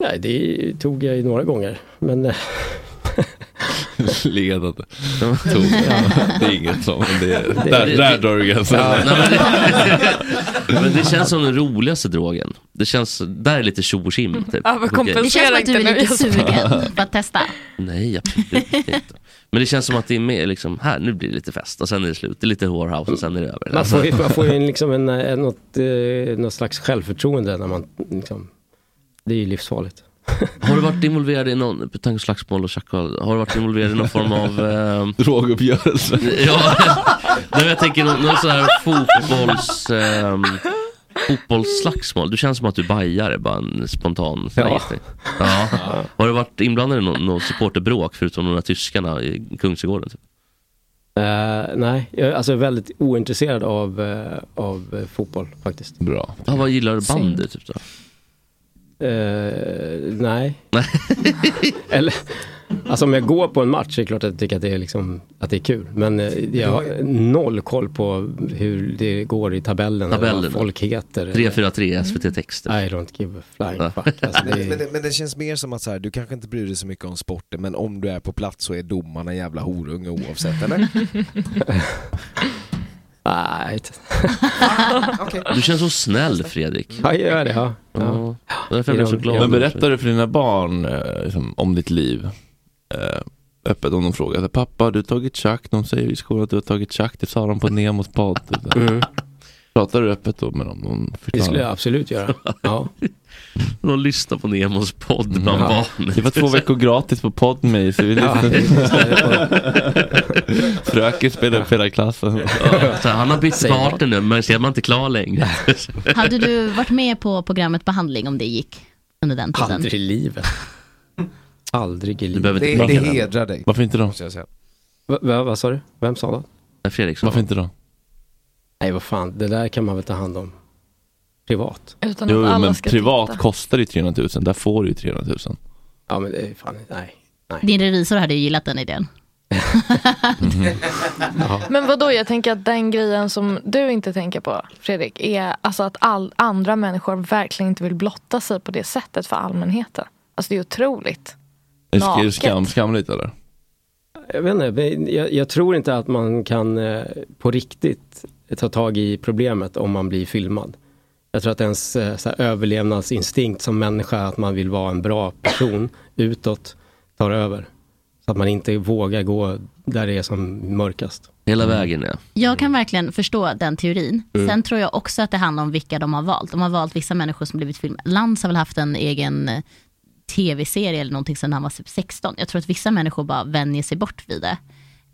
Speaker 16: Nej, det tog jag ju några gånger, men eh,
Speaker 1: Ledande. Tog. Det är inget som, det är, där,
Speaker 12: Det-
Speaker 1: där drar du gränsen.
Speaker 12: Ja, nej, men, det, men det känns som den roligaste drogen. Det känns, där är lite tjo och
Speaker 16: Mm,
Speaker 12: tjim. Typ.
Speaker 13: Mm. Ja, vad
Speaker 12: Kokain.
Speaker 13: kompensera
Speaker 5: Det känns som att du
Speaker 13: inte
Speaker 5: är
Speaker 13: nu,
Speaker 5: lite
Speaker 13: Jesper.
Speaker 5: sugen på att testa.
Speaker 12: Nej, absolut inte. Men det känns som att det är mer liksom, här nu blir det lite fest och sen är det slut. Det är lite whorehouse och sen är det över.
Speaker 16: man får ju, man får ju en, liksom en, en, något, eh, något slags självförtroende när man liksom, det är ju livsfarligt.
Speaker 12: Har du varit involverad i någon, på tanke om slagsmål och tjackval, har du varit involverad i någon form av... Eh,
Speaker 1: Droguppgörelse.
Speaker 12: ja, nej, men jag tänker någon, någon sån här fotbolls... ehm, fotbollsslagsmål. Du känns som att du bajare, bara en spontan
Speaker 16: Ja.
Speaker 12: gissning. ja. Har du varit inblandad i någon, någon supporterbråk förutom de där tyskarna i Kungsträdgården? Typ?
Speaker 16: Eh, nej, jag är alltså väldigt ointresserad av, eh, av eh, fotboll faktiskt.
Speaker 1: Bra.
Speaker 12: Ja, vad gillar du bandy typ då?
Speaker 16: Eh, nej. Eller, alltså om jag går på en match är det klart att jag tycker att det är, liksom, att det är kul. Men eh, jag har noll koll på hur det går i tabellen. eller
Speaker 12: Tabellen.
Speaker 16: Vad folk heter.
Speaker 12: 343 SVT Texter.
Speaker 16: I don't give a flying fuck. Alltså,
Speaker 3: Men,
Speaker 16: det
Speaker 3: men,
Speaker 16: är,
Speaker 3: det- men det känns mer som att så här, du kanske inte bryr dig så mycket om sporten men om du är på plats så är domarna jävla horunge oavsett eller?
Speaker 16: nej. inte.
Speaker 12: Du känns så snäll Fredrik.
Speaker 16: Ja, jag gör det. Ja.
Speaker 12: Ja. Därför blev jag så glad.
Speaker 1: Men berättar du för dina barn eh, liksom, om ditt liv? Eh, öppet om de frågar. så här, Pappa, du har tagit tjack. De säger i skolan att du har tagit tjack. Det sa de på Nemos podd.
Speaker 16: Mm.
Speaker 1: Pratar du öppet då med dem? De
Speaker 16: Det
Speaker 1: förklarar.
Speaker 16: skulle jag absolut göra. Ja.
Speaker 12: De lyssnar på Nemos podd bland
Speaker 1: Mm. Ja.
Speaker 12: barn.
Speaker 1: Det var två veckor gratis på Podme så vi
Speaker 12: Ja,
Speaker 1: lyssnade. Fröken spelade upp hela klassen.
Speaker 12: Så han har bytt partner nu men ser man inte klar längre.
Speaker 5: Hade du varit med på programmet Behandling om det gick under den tiden?
Speaker 16: Aldrig i livet. Aldrig i livet.
Speaker 12: behöver
Speaker 3: Det, det hedrar dig.
Speaker 1: Varför inte då?
Speaker 3: måste jag säga.
Speaker 16: Va, va, vad sa du? Vem sa det?
Speaker 12: Fredrik
Speaker 1: Varför inte då?
Speaker 16: Nej, vad fan, det där kan man väl ta hand om privat.
Speaker 13: Utan
Speaker 1: Jo,
Speaker 13: att alla
Speaker 1: men
Speaker 13: ska
Speaker 1: privat
Speaker 13: titta.
Speaker 1: kostar ju 300 000. Där får du ju 300 000.
Speaker 16: Ja, men det är fan, nej.
Speaker 5: Din revisor hade ju gillat den idén.
Speaker 13: Men vadå, jag tänker att den grejen som du inte tänker på, Fredrik, är alltså att all, andra människor verkligen inte vill blotta sig på det sättet för allmänheten. Alltså det är otroligt.
Speaker 1: Är det- Är det
Speaker 13: Naket.
Speaker 1: skam, skamligt eller?
Speaker 16: Jag vet inte, men jag, jag tror inte att man kan eh, på riktigt ta tag i problemet om man blir filmad. Jag tror att ens eh, så här, överlevnadsinstinkt som människa, att man vill vara en bra person utåt, tar över. Så att man inte vågar gå där det är som mörkast.
Speaker 12: Hela vägen ja.
Speaker 5: Jag kan verkligen förstå den teorin.
Speaker 16: Mm.
Speaker 5: Sen tror jag också att det handlar om vilka de har valt. De har valt vissa människor som blivit filmade. Lantz har väl haft en egen eh, tv-serie eller någonting sedan han var typ 16. Jag tror att vissa människor bara vänjer sig bort vid det.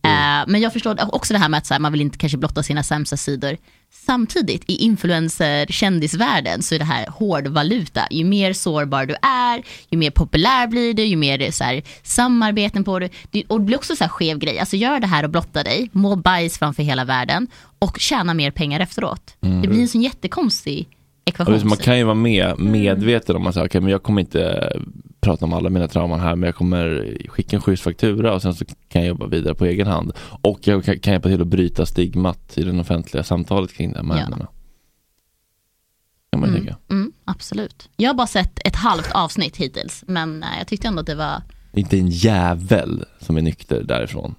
Speaker 1: Mm.
Speaker 5: Eh, Men jag förstår också det här med att så här, man vill inte kanske blotta sina sämsta sidor. Samtidigt i influencer-kändisvärlden så är det här hårdvaluta. Ju mer sårbar du är, ju mer populär blir du, ju mer så här, samarbeten på du. Det- Och det blir också så här skev grej. Alltså gör det här och blotta dig, må bajs framför hela världen och tjäna mer pengar efteråt.
Speaker 1: Mm.
Speaker 5: Det blir en sån jättekonstig
Speaker 1: Ja,
Speaker 5: ekvation.
Speaker 1: visst, Alltså, man kan ju vara med,
Speaker 13: Mm.
Speaker 1: medveten om att säga, okay, men jag kommer inte prata om alla mina trauman här men jag kommer skicka en schysst faktura och sen så kan jag jobba vidare på egen hand. Och jag kan, kan hjälpa till att bryta stigmat i den offentliga samtalet kring de här
Speaker 5: Ja.
Speaker 1: ämnena.
Speaker 5: Mm.
Speaker 13: Mm.
Speaker 5: Absolut. Jag har bara sett ett halvt avsnitt hittills, men eh, jag tyckte ändå att det var
Speaker 1: Inte en jävel som är nykter därifrån.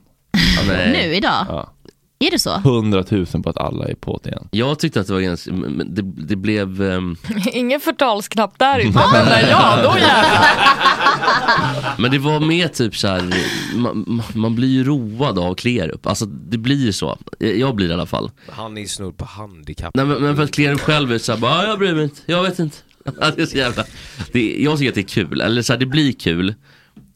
Speaker 5: Nej. Nu, idag?
Speaker 1: Ja.
Speaker 5: Är det så?
Speaker 1: 100 000 på att alla är på det igen.
Speaker 12: Jag tyckte att det var ganska, men- men det, det blev... ehm,
Speaker 13: Ingen förtalsknapp där inte. Men när jag, då jävlar.
Speaker 12: men det var mer typ så här, man, man- man blir ju road av Kleerup. Alltså det blir ju så. Jag jag blir det i alla fall.
Speaker 3: Han är ju snudd på handikapp.
Speaker 12: Nej, men, men för att Kleerup själv är såhär, bara, "Ah, jag bryr mig inte, jag vet inte. Ja, det är så jävla. Det, jag tycker att det är kul, eller så här, det blir kul.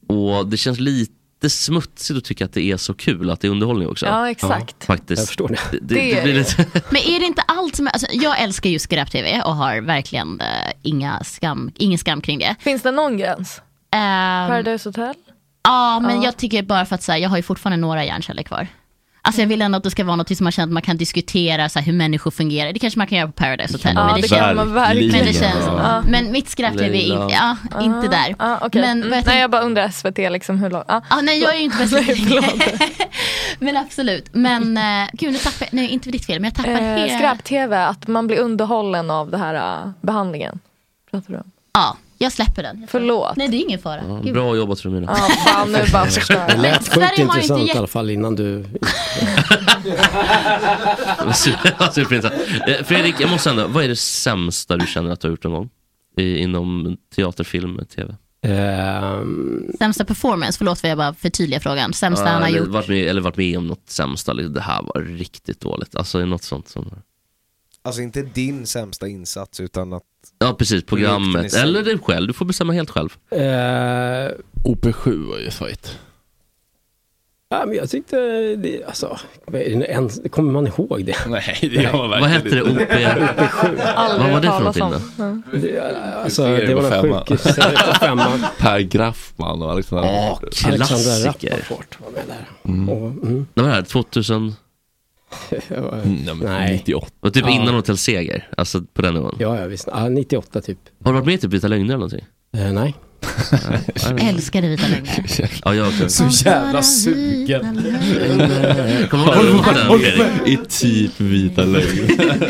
Speaker 12: Och det känns lite smutsigt att tycka att det är så kul, att det är underhållning också.
Speaker 5: Ja, exakt.
Speaker 12: Faktiskt. Jag förstår det. Det, det,
Speaker 5: Det är
Speaker 12: blir lite...
Speaker 5: Men är det inte allt som är, alltså, jag älskar ju skräp-tv och har verkligen eh, inga skam, ingen skam kring det. Ehm,
Speaker 13: Finns det någon gräns? Paradise Hotel?
Speaker 5: Ja, men
Speaker 13: Ja.
Speaker 5: jag tycker bara för att så här, jag har ju fortfarande några hjärnceller kvar. Alltså jag vill ändå att det ska vara något som man känner att man kan diskutera så här, hur människor fungerar. Det kanske man kan göra på Paradise Hotel.
Speaker 13: Ja,
Speaker 5: men
Speaker 13: det kan man verkligen.
Speaker 5: Men, det känns,
Speaker 13: Ja.
Speaker 5: men mitt skräp-tv är
Speaker 13: Leila.
Speaker 5: in, ja, inte där.
Speaker 13: Ah, okej.
Speaker 5: Men
Speaker 13: Mm. Nej jag bara undrar SVT liksom hur långt. Ah.
Speaker 5: nej jag är ju inte med
Speaker 13: Nej,
Speaker 5: Men absolut. Men eh, gud nu tappar jag, nej inte för ditt fel men jag tappar
Speaker 13: Eh,
Speaker 5: helt.
Speaker 13: Skräp-tv, att man blir underhållen av den här eh, behandlingen. Pratar du om?
Speaker 5: Ja, jag släpper den. Jag
Speaker 13: Förlåt.
Speaker 5: Nej det är ingen fara. Gud.
Speaker 12: Bra jobbat Romina.
Speaker 13: Ja, fan, nu bara förstör
Speaker 16: Det
Speaker 5: Men
Speaker 16: lät
Speaker 5: Sverige har
Speaker 16: sjukt
Speaker 5: ju inte
Speaker 16: intressant
Speaker 5: gett-
Speaker 16: i alla fall innan du...
Speaker 12: Superpinsamt. Eh, Fredrik, jag måste ändå, vad är det sämsta du känner att du har gjort någon gång? I, inom teater, film, tv?
Speaker 16: Ehm,
Speaker 5: Sämsta performance, förlåt för jag bara förtydligar frågan. Sämsta han har
Speaker 12: eller,
Speaker 5: gjort.
Speaker 12: varit med, eller varit med om något sämsta, liksom, det här var riktigt dåligt. Alltså är det något sånt som...
Speaker 3: Alltså inte din sämsta insats utan att...
Speaker 12: Ja precis,
Speaker 3: Produkten i
Speaker 12: programmet.
Speaker 3: sig.
Speaker 12: Eller du själv, du får bestämma helt själv. Eh,
Speaker 1: OP7 var ju svajigt.
Speaker 16: Ja, men jag tyckte, det, alltså, är det ens, kommer man ihåg det?
Speaker 1: Nej,
Speaker 12: det gör man Vad hette verkligen det? inte. OP? Vad var det för någonting då?
Speaker 16: Det,
Speaker 12: Mm.
Speaker 16: alltså, det var den sjukhuset på femman.
Speaker 1: Per Graffman och Alexander
Speaker 12: Ja,
Speaker 16: Alexander
Speaker 12: klassiker.
Speaker 16: Rappaport var med där.
Speaker 12: Mm. Det var det här 2000...
Speaker 16: Mm, nej.
Speaker 12: 98. Och typ
Speaker 16: Ja.
Speaker 12: innan Hotell Seger, alltså på den nivån.
Speaker 16: Ja, ja visst. Ja, 98 typ.
Speaker 12: Har du varit med i typ Vita Lögner eller någonting?
Speaker 16: nej.
Speaker 5: Älskade vita lögner.
Speaker 12: Ja, jag också.
Speaker 16: Så jävla sugen.
Speaker 12: Kommer du ihåg den låten Fredrik?
Speaker 1: I typ vita lögn.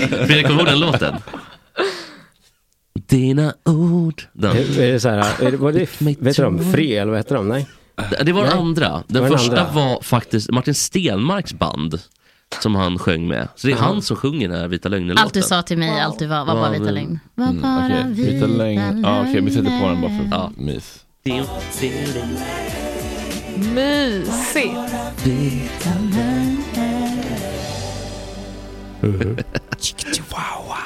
Speaker 12: Fredrik, kommer du ihåg den låten? Dina ord. Den.
Speaker 16: Är är det så här, är det, var det, vad heter de? Fre eller vad heter de? Nej.
Speaker 12: Det- Det var den
Speaker 16: Nej.
Speaker 12: andra.
Speaker 16: Det
Speaker 12: Den
Speaker 16: var
Speaker 12: första
Speaker 16: andra.
Speaker 12: var faktiskt Martin Stenmarks band som han sjöng med. Så det är
Speaker 5: Jaha.
Speaker 12: han som sjunger den här Vita lögner-låten.
Speaker 5: Allt du sa till mig, allt du var, var bara vita lögn. Var
Speaker 12: Mm,
Speaker 5: bara
Speaker 12: okej.
Speaker 5: vita lögn.
Speaker 12: ja. mys.
Speaker 16: Alltså,
Speaker 13: Mysigt.
Speaker 12: Mm-hmm.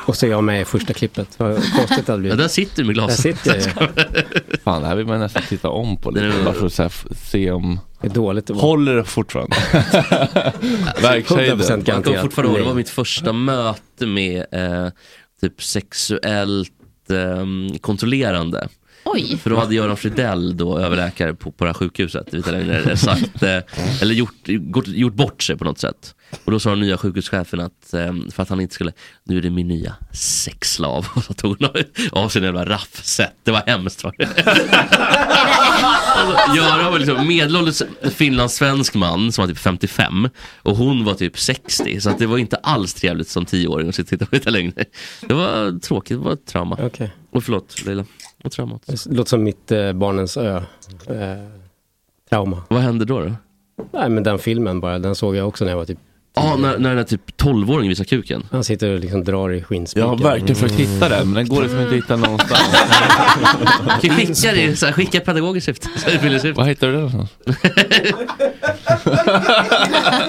Speaker 16: Och så är jag med i första klippet. Vad konstigt det hade blivit.
Speaker 12: Ja, där sitter du med glaset.
Speaker 16: Där sitter jag ju.
Speaker 1: Fan, det här vill man nästan titta om på lite. Bara för att så här, f- se om...
Speaker 16: Det är dåligt.
Speaker 1: Håller det fortfarande? Verkshöjden.
Speaker 12: Jag kommer fortfarande ihåg, det var mitt första möte med eh, typ sexuellt ehm, kontrollerande.
Speaker 5: Oj.
Speaker 12: För då hade Göran Fridell, då överläkare på, på det här sjukhuset, i Vita Lögner, sagt, eh, eller gjort, gått, gjort bort sig på något sätt. Och då sa den nya sjukhuschefen att, eh, för att han inte skulle, nu är det min nya sexslav. Och så tog hon av- av sig en jävla raffset. Det var hemskt. Var det. Alltså, Göran var liksom medelålders finlandssvensk man som var typ 55 och hon var typ 60 så att det var inte alls trevligt som 10-åring att sitta och titta på Vita Lögner. Det var tråkigt, det var ett trauma.
Speaker 16: Okej.
Speaker 12: Och förlåt Leila, det var traumat.
Speaker 16: Det låter som mitt eh, Barnens ö. Eh, trauma.
Speaker 12: Vad hände då? då?
Speaker 16: Nej, men den filmen bara. Den såg jag också när jag var typ...
Speaker 12: Ja, när, när den där typ 12-åringen visar kuken.
Speaker 16: Han sitter och liksom drar i skinnspiken.
Speaker 12: Jag har verkligen försökt hitta den, men den går liksom inte att hitta någonstans. Kan Typ ju skicka det, så här, skicka pedagogiskt syfte. så här, utbildningssyfte.
Speaker 1: Vad hittar du det någonstans?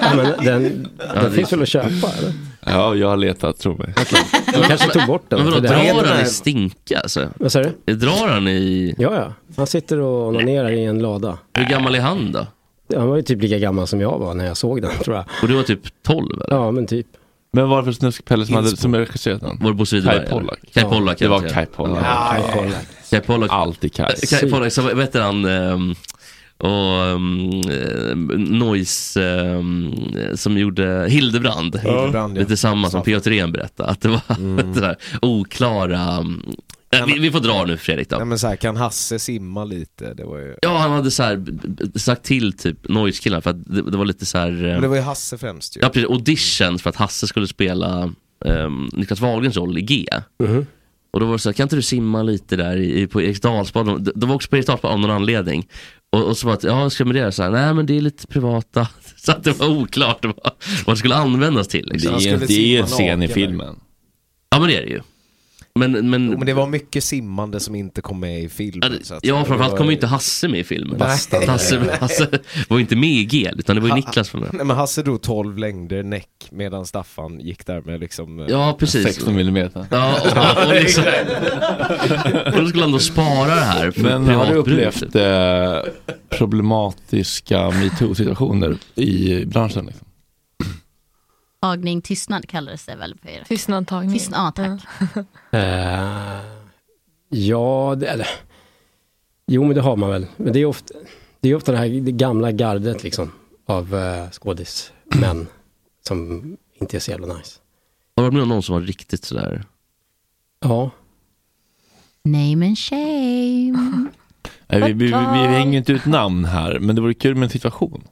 Speaker 16: Ja, men den
Speaker 1: Ja,
Speaker 16: den
Speaker 1: det-
Speaker 16: finns väl att köpa? Eller?
Speaker 1: Ja, jag har letat, tro mig.
Speaker 16: De kanske tog bort den.
Speaker 12: Men vadå,
Speaker 16: för det här-
Speaker 12: drar han i stinka alltså?
Speaker 16: Vad sa du?
Speaker 12: Drar han i...
Speaker 16: Ja, ja. Han sitter och onanerar i en lada.
Speaker 12: Hur gammal är han då?
Speaker 16: Han var ju typ lika gammal som jag var när jag såg den tror jag.
Speaker 12: Och du var typ 12 eller?
Speaker 16: Ja, men typ.
Speaker 1: Men varför Snuskpelle som, hade, som regisserat den?
Speaker 12: Var det Bosse Widerberg?
Speaker 1: Kai Pollak.
Speaker 12: Kai Pollak.
Speaker 1: Det var
Speaker 12: kanske.
Speaker 1: Kai Pollak.
Speaker 12: Ja,
Speaker 1: Kai Pollak.
Speaker 12: Kai Pollak. Eh,
Speaker 1: Alltid Kai.
Speaker 12: Kai Pollak, så vad heter han? ehm, och um, Noise ehm, som gjorde Hildebrand.
Speaker 3: Hildebrand, ja.
Speaker 12: Lite samma som Peter Ren berättade. Att det var sådär, oklara... mm, äh, vi, vi får dra nu Fredrik då.
Speaker 3: Nej men så här, kan Hasse simma lite? Det var ju...
Speaker 12: Ja, han hade så här, b- b- sagt till typ Noise-killarna för att det, det var lite så här... eh,
Speaker 3: Men det var ju Hasse främst ju.
Speaker 12: Ja ehm, precis, auditions för att Hasse skulle spela um, Niklas Wahlgrens roll i G. Och då var det så här, kan inte du simma lite där i, i- på Eriksdalsbad? De, de var också på Eriksdalsbad av någon anledning. Och, och så var det, ja ska jag med det? Så här, Nej men det är lite privata. Så att det var oklart vad, vad det skulle användas till. Liksom.
Speaker 1: Det är- Han skulle det är en simma scen i naken, filmen. eller?
Speaker 12: Ja men det är det ju. Men, men,
Speaker 3: Men det var mycket simmande som inte kom med i filmen. så att-
Speaker 12: ja
Speaker 3: det
Speaker 12: framförallt
Speaker 3: var-
Speaker 12: kom ju inte Hasse med i filmen.
Speaker 3: Nej.
Speaker 12: Hasse, Hasse var ju inte med i GL utan det var ju
Speaker 3: Ha-
Speaker 12: Niklas från
Speaker 3: Nej men Hasse drog 12 längder näck medan Staffan gick där med liksom eh,
Speaker 12: Ja, precis. 16 millimeter. Ja, och- och liksom- Och då skulle han då spara det här för
Speaker 1: Men har
Speaker 12: privat
Speaker 1: du
Speaker 12: bruk.
Speaker 1: upplevt eh, problematiska metoo-situationer i branschen? Liksom?
Speaker 5: Tagning, tystnad kallades det väl på er?
Speaker 13: Tystnadtagning.
Speaker 5: Tystnad, ja, tack.
Speaker 16: Eh, ja, det, eller. Jo, men det har man väl. Men det är ofta det, är ofta det här det gamla gardet liksom, av uh, skådismän som inte är så jävla nice.
Speaker 12: Har du varit med om någon som var riktigt sådär?
Speaker 16: Ja.
Speaker 5: Name and shame.
Speaker 1: Nej, vi, vi, vi, vi hänger inte ut namn här, men det vore kul med en situation.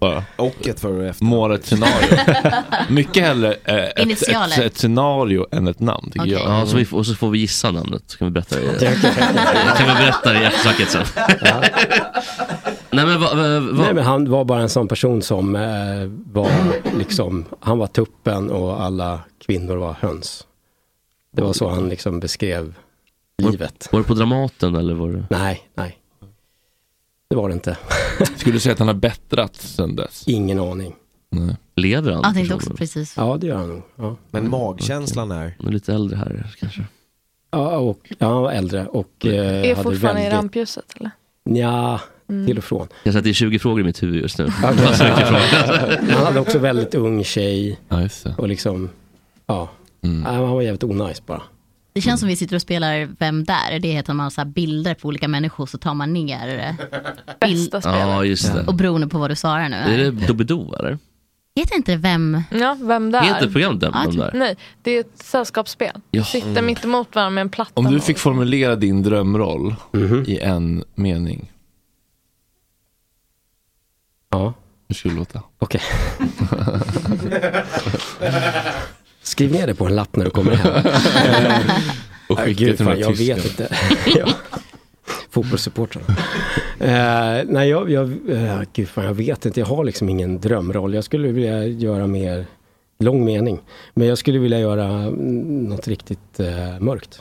Speaker 1: Bara.
Speaker 3: Och ett före och efter.
Speaker 1: Måla ett scenario. Mycket hellre eh, ett, ett,
Speaker 12: Initialer.
Speaker 1: ett, scenario än ett namn, tycker jag.
Speaker 12: Ja, så vi, får- och så får vi gissa namnet, så kan vi berätta det.
Speaker 1: Okej, okej.
Speaker 12: kan vi berätta det i eftersnacket sen. Nej men vad, vad, vad,
Speaker 16: Nej, men han var bara en sån person som eh, var liksom, han var tuppen och alla kvinnor var höns. Det var så han liksom beskrev livet.
Speaker 12: Var det på Dramaten eller var det?
Speaker 16: Nej, nej. Det var det inte.
Speaker 1: Skulle du säga att han har bättrats sen dess?
Speaker 16: Ingen aning.
Speaker 12: Lever han?
Speaker 5: Jag tänkte också precis.
Speaker 16: Ja, det gör han nog. Ja.
Speaker 3: Men magkänslan är?
Speaker 12: Han är lite äldre här kanske.
Speaker 16: Ja, och, ja, han var äldre och eh,
Speaker 13: Är
Speaker 16: hade
Speaker 13: fortfarande
Speaker 16: väldigt...
Speaker 13: i rampljuset eller?
Speaker 16: Nja,
Speaker 13: Mm.
Speaker 16: till och från.
Speaker 12: Jag säger att det är 20 frågor i mitt huvud just nu.
Speaker 16: Han
Speaker 12: Bara så mycket frågor.
Speaker 16: han hade också väldigt ung tjej. Och liksom, ja.
Speaker 1: Mm.
Speaker 16: Nej, Han var jävligt onajs bara.
Speaker 5: Det känns som vi sitter och spelar Vem där? Det heter man så här bilder på olika människor så tar man ner eh, bild-
Speaker 12: Ja, just det.
Speaker 5: Och beroende på vad du svarar nu.
Speaker 12: Är det Doobidoo eller?
Speaker 5: Heter inte Vem?
Speaker 13: Ja, vem där?
Speaker 12: Heter programmet Vem
Speaker 13: Ja,
Speaker 12: där?
Speaker 13: typ. Nej, det är ett sällskapsspel.
Speaker 1: Ja.
Speaker 13: Sitta
Speaker 1: Mm.
Speaker 13: mitt emot varandra med en platta.
Speaker 1: Om du fick formulera din drömroll
Speaker 12: Mhm.
Speaker 1: i en mening.
Speaker 16: Ja.
Speaker 1: Hur skulle det låta?
Speaker 16: Okej. Skriv ner det på en lapp när du kommer hem.
Speaker 1: Och
Speaker 16: Äh,
Speaker 1: skicka
Speaker 16: gud,
Speaker 1: till
Speaker 16: fan,
Speaker 1: de
Speaker 16: jag
Speaker 1: här
Speaker 16: vet
Speaker 1: tyskarna.
Speaker 16: inte. ja. Fotbollssupportrarna. Eh, nej, jag, jag, eh, gud, fan, jag vet inte. Jag har liksom ingen drömroll. Jag skulle vilja göra mer, lång mening. Men jag skulle vilja göra mm, något riktigt eh, mörkt.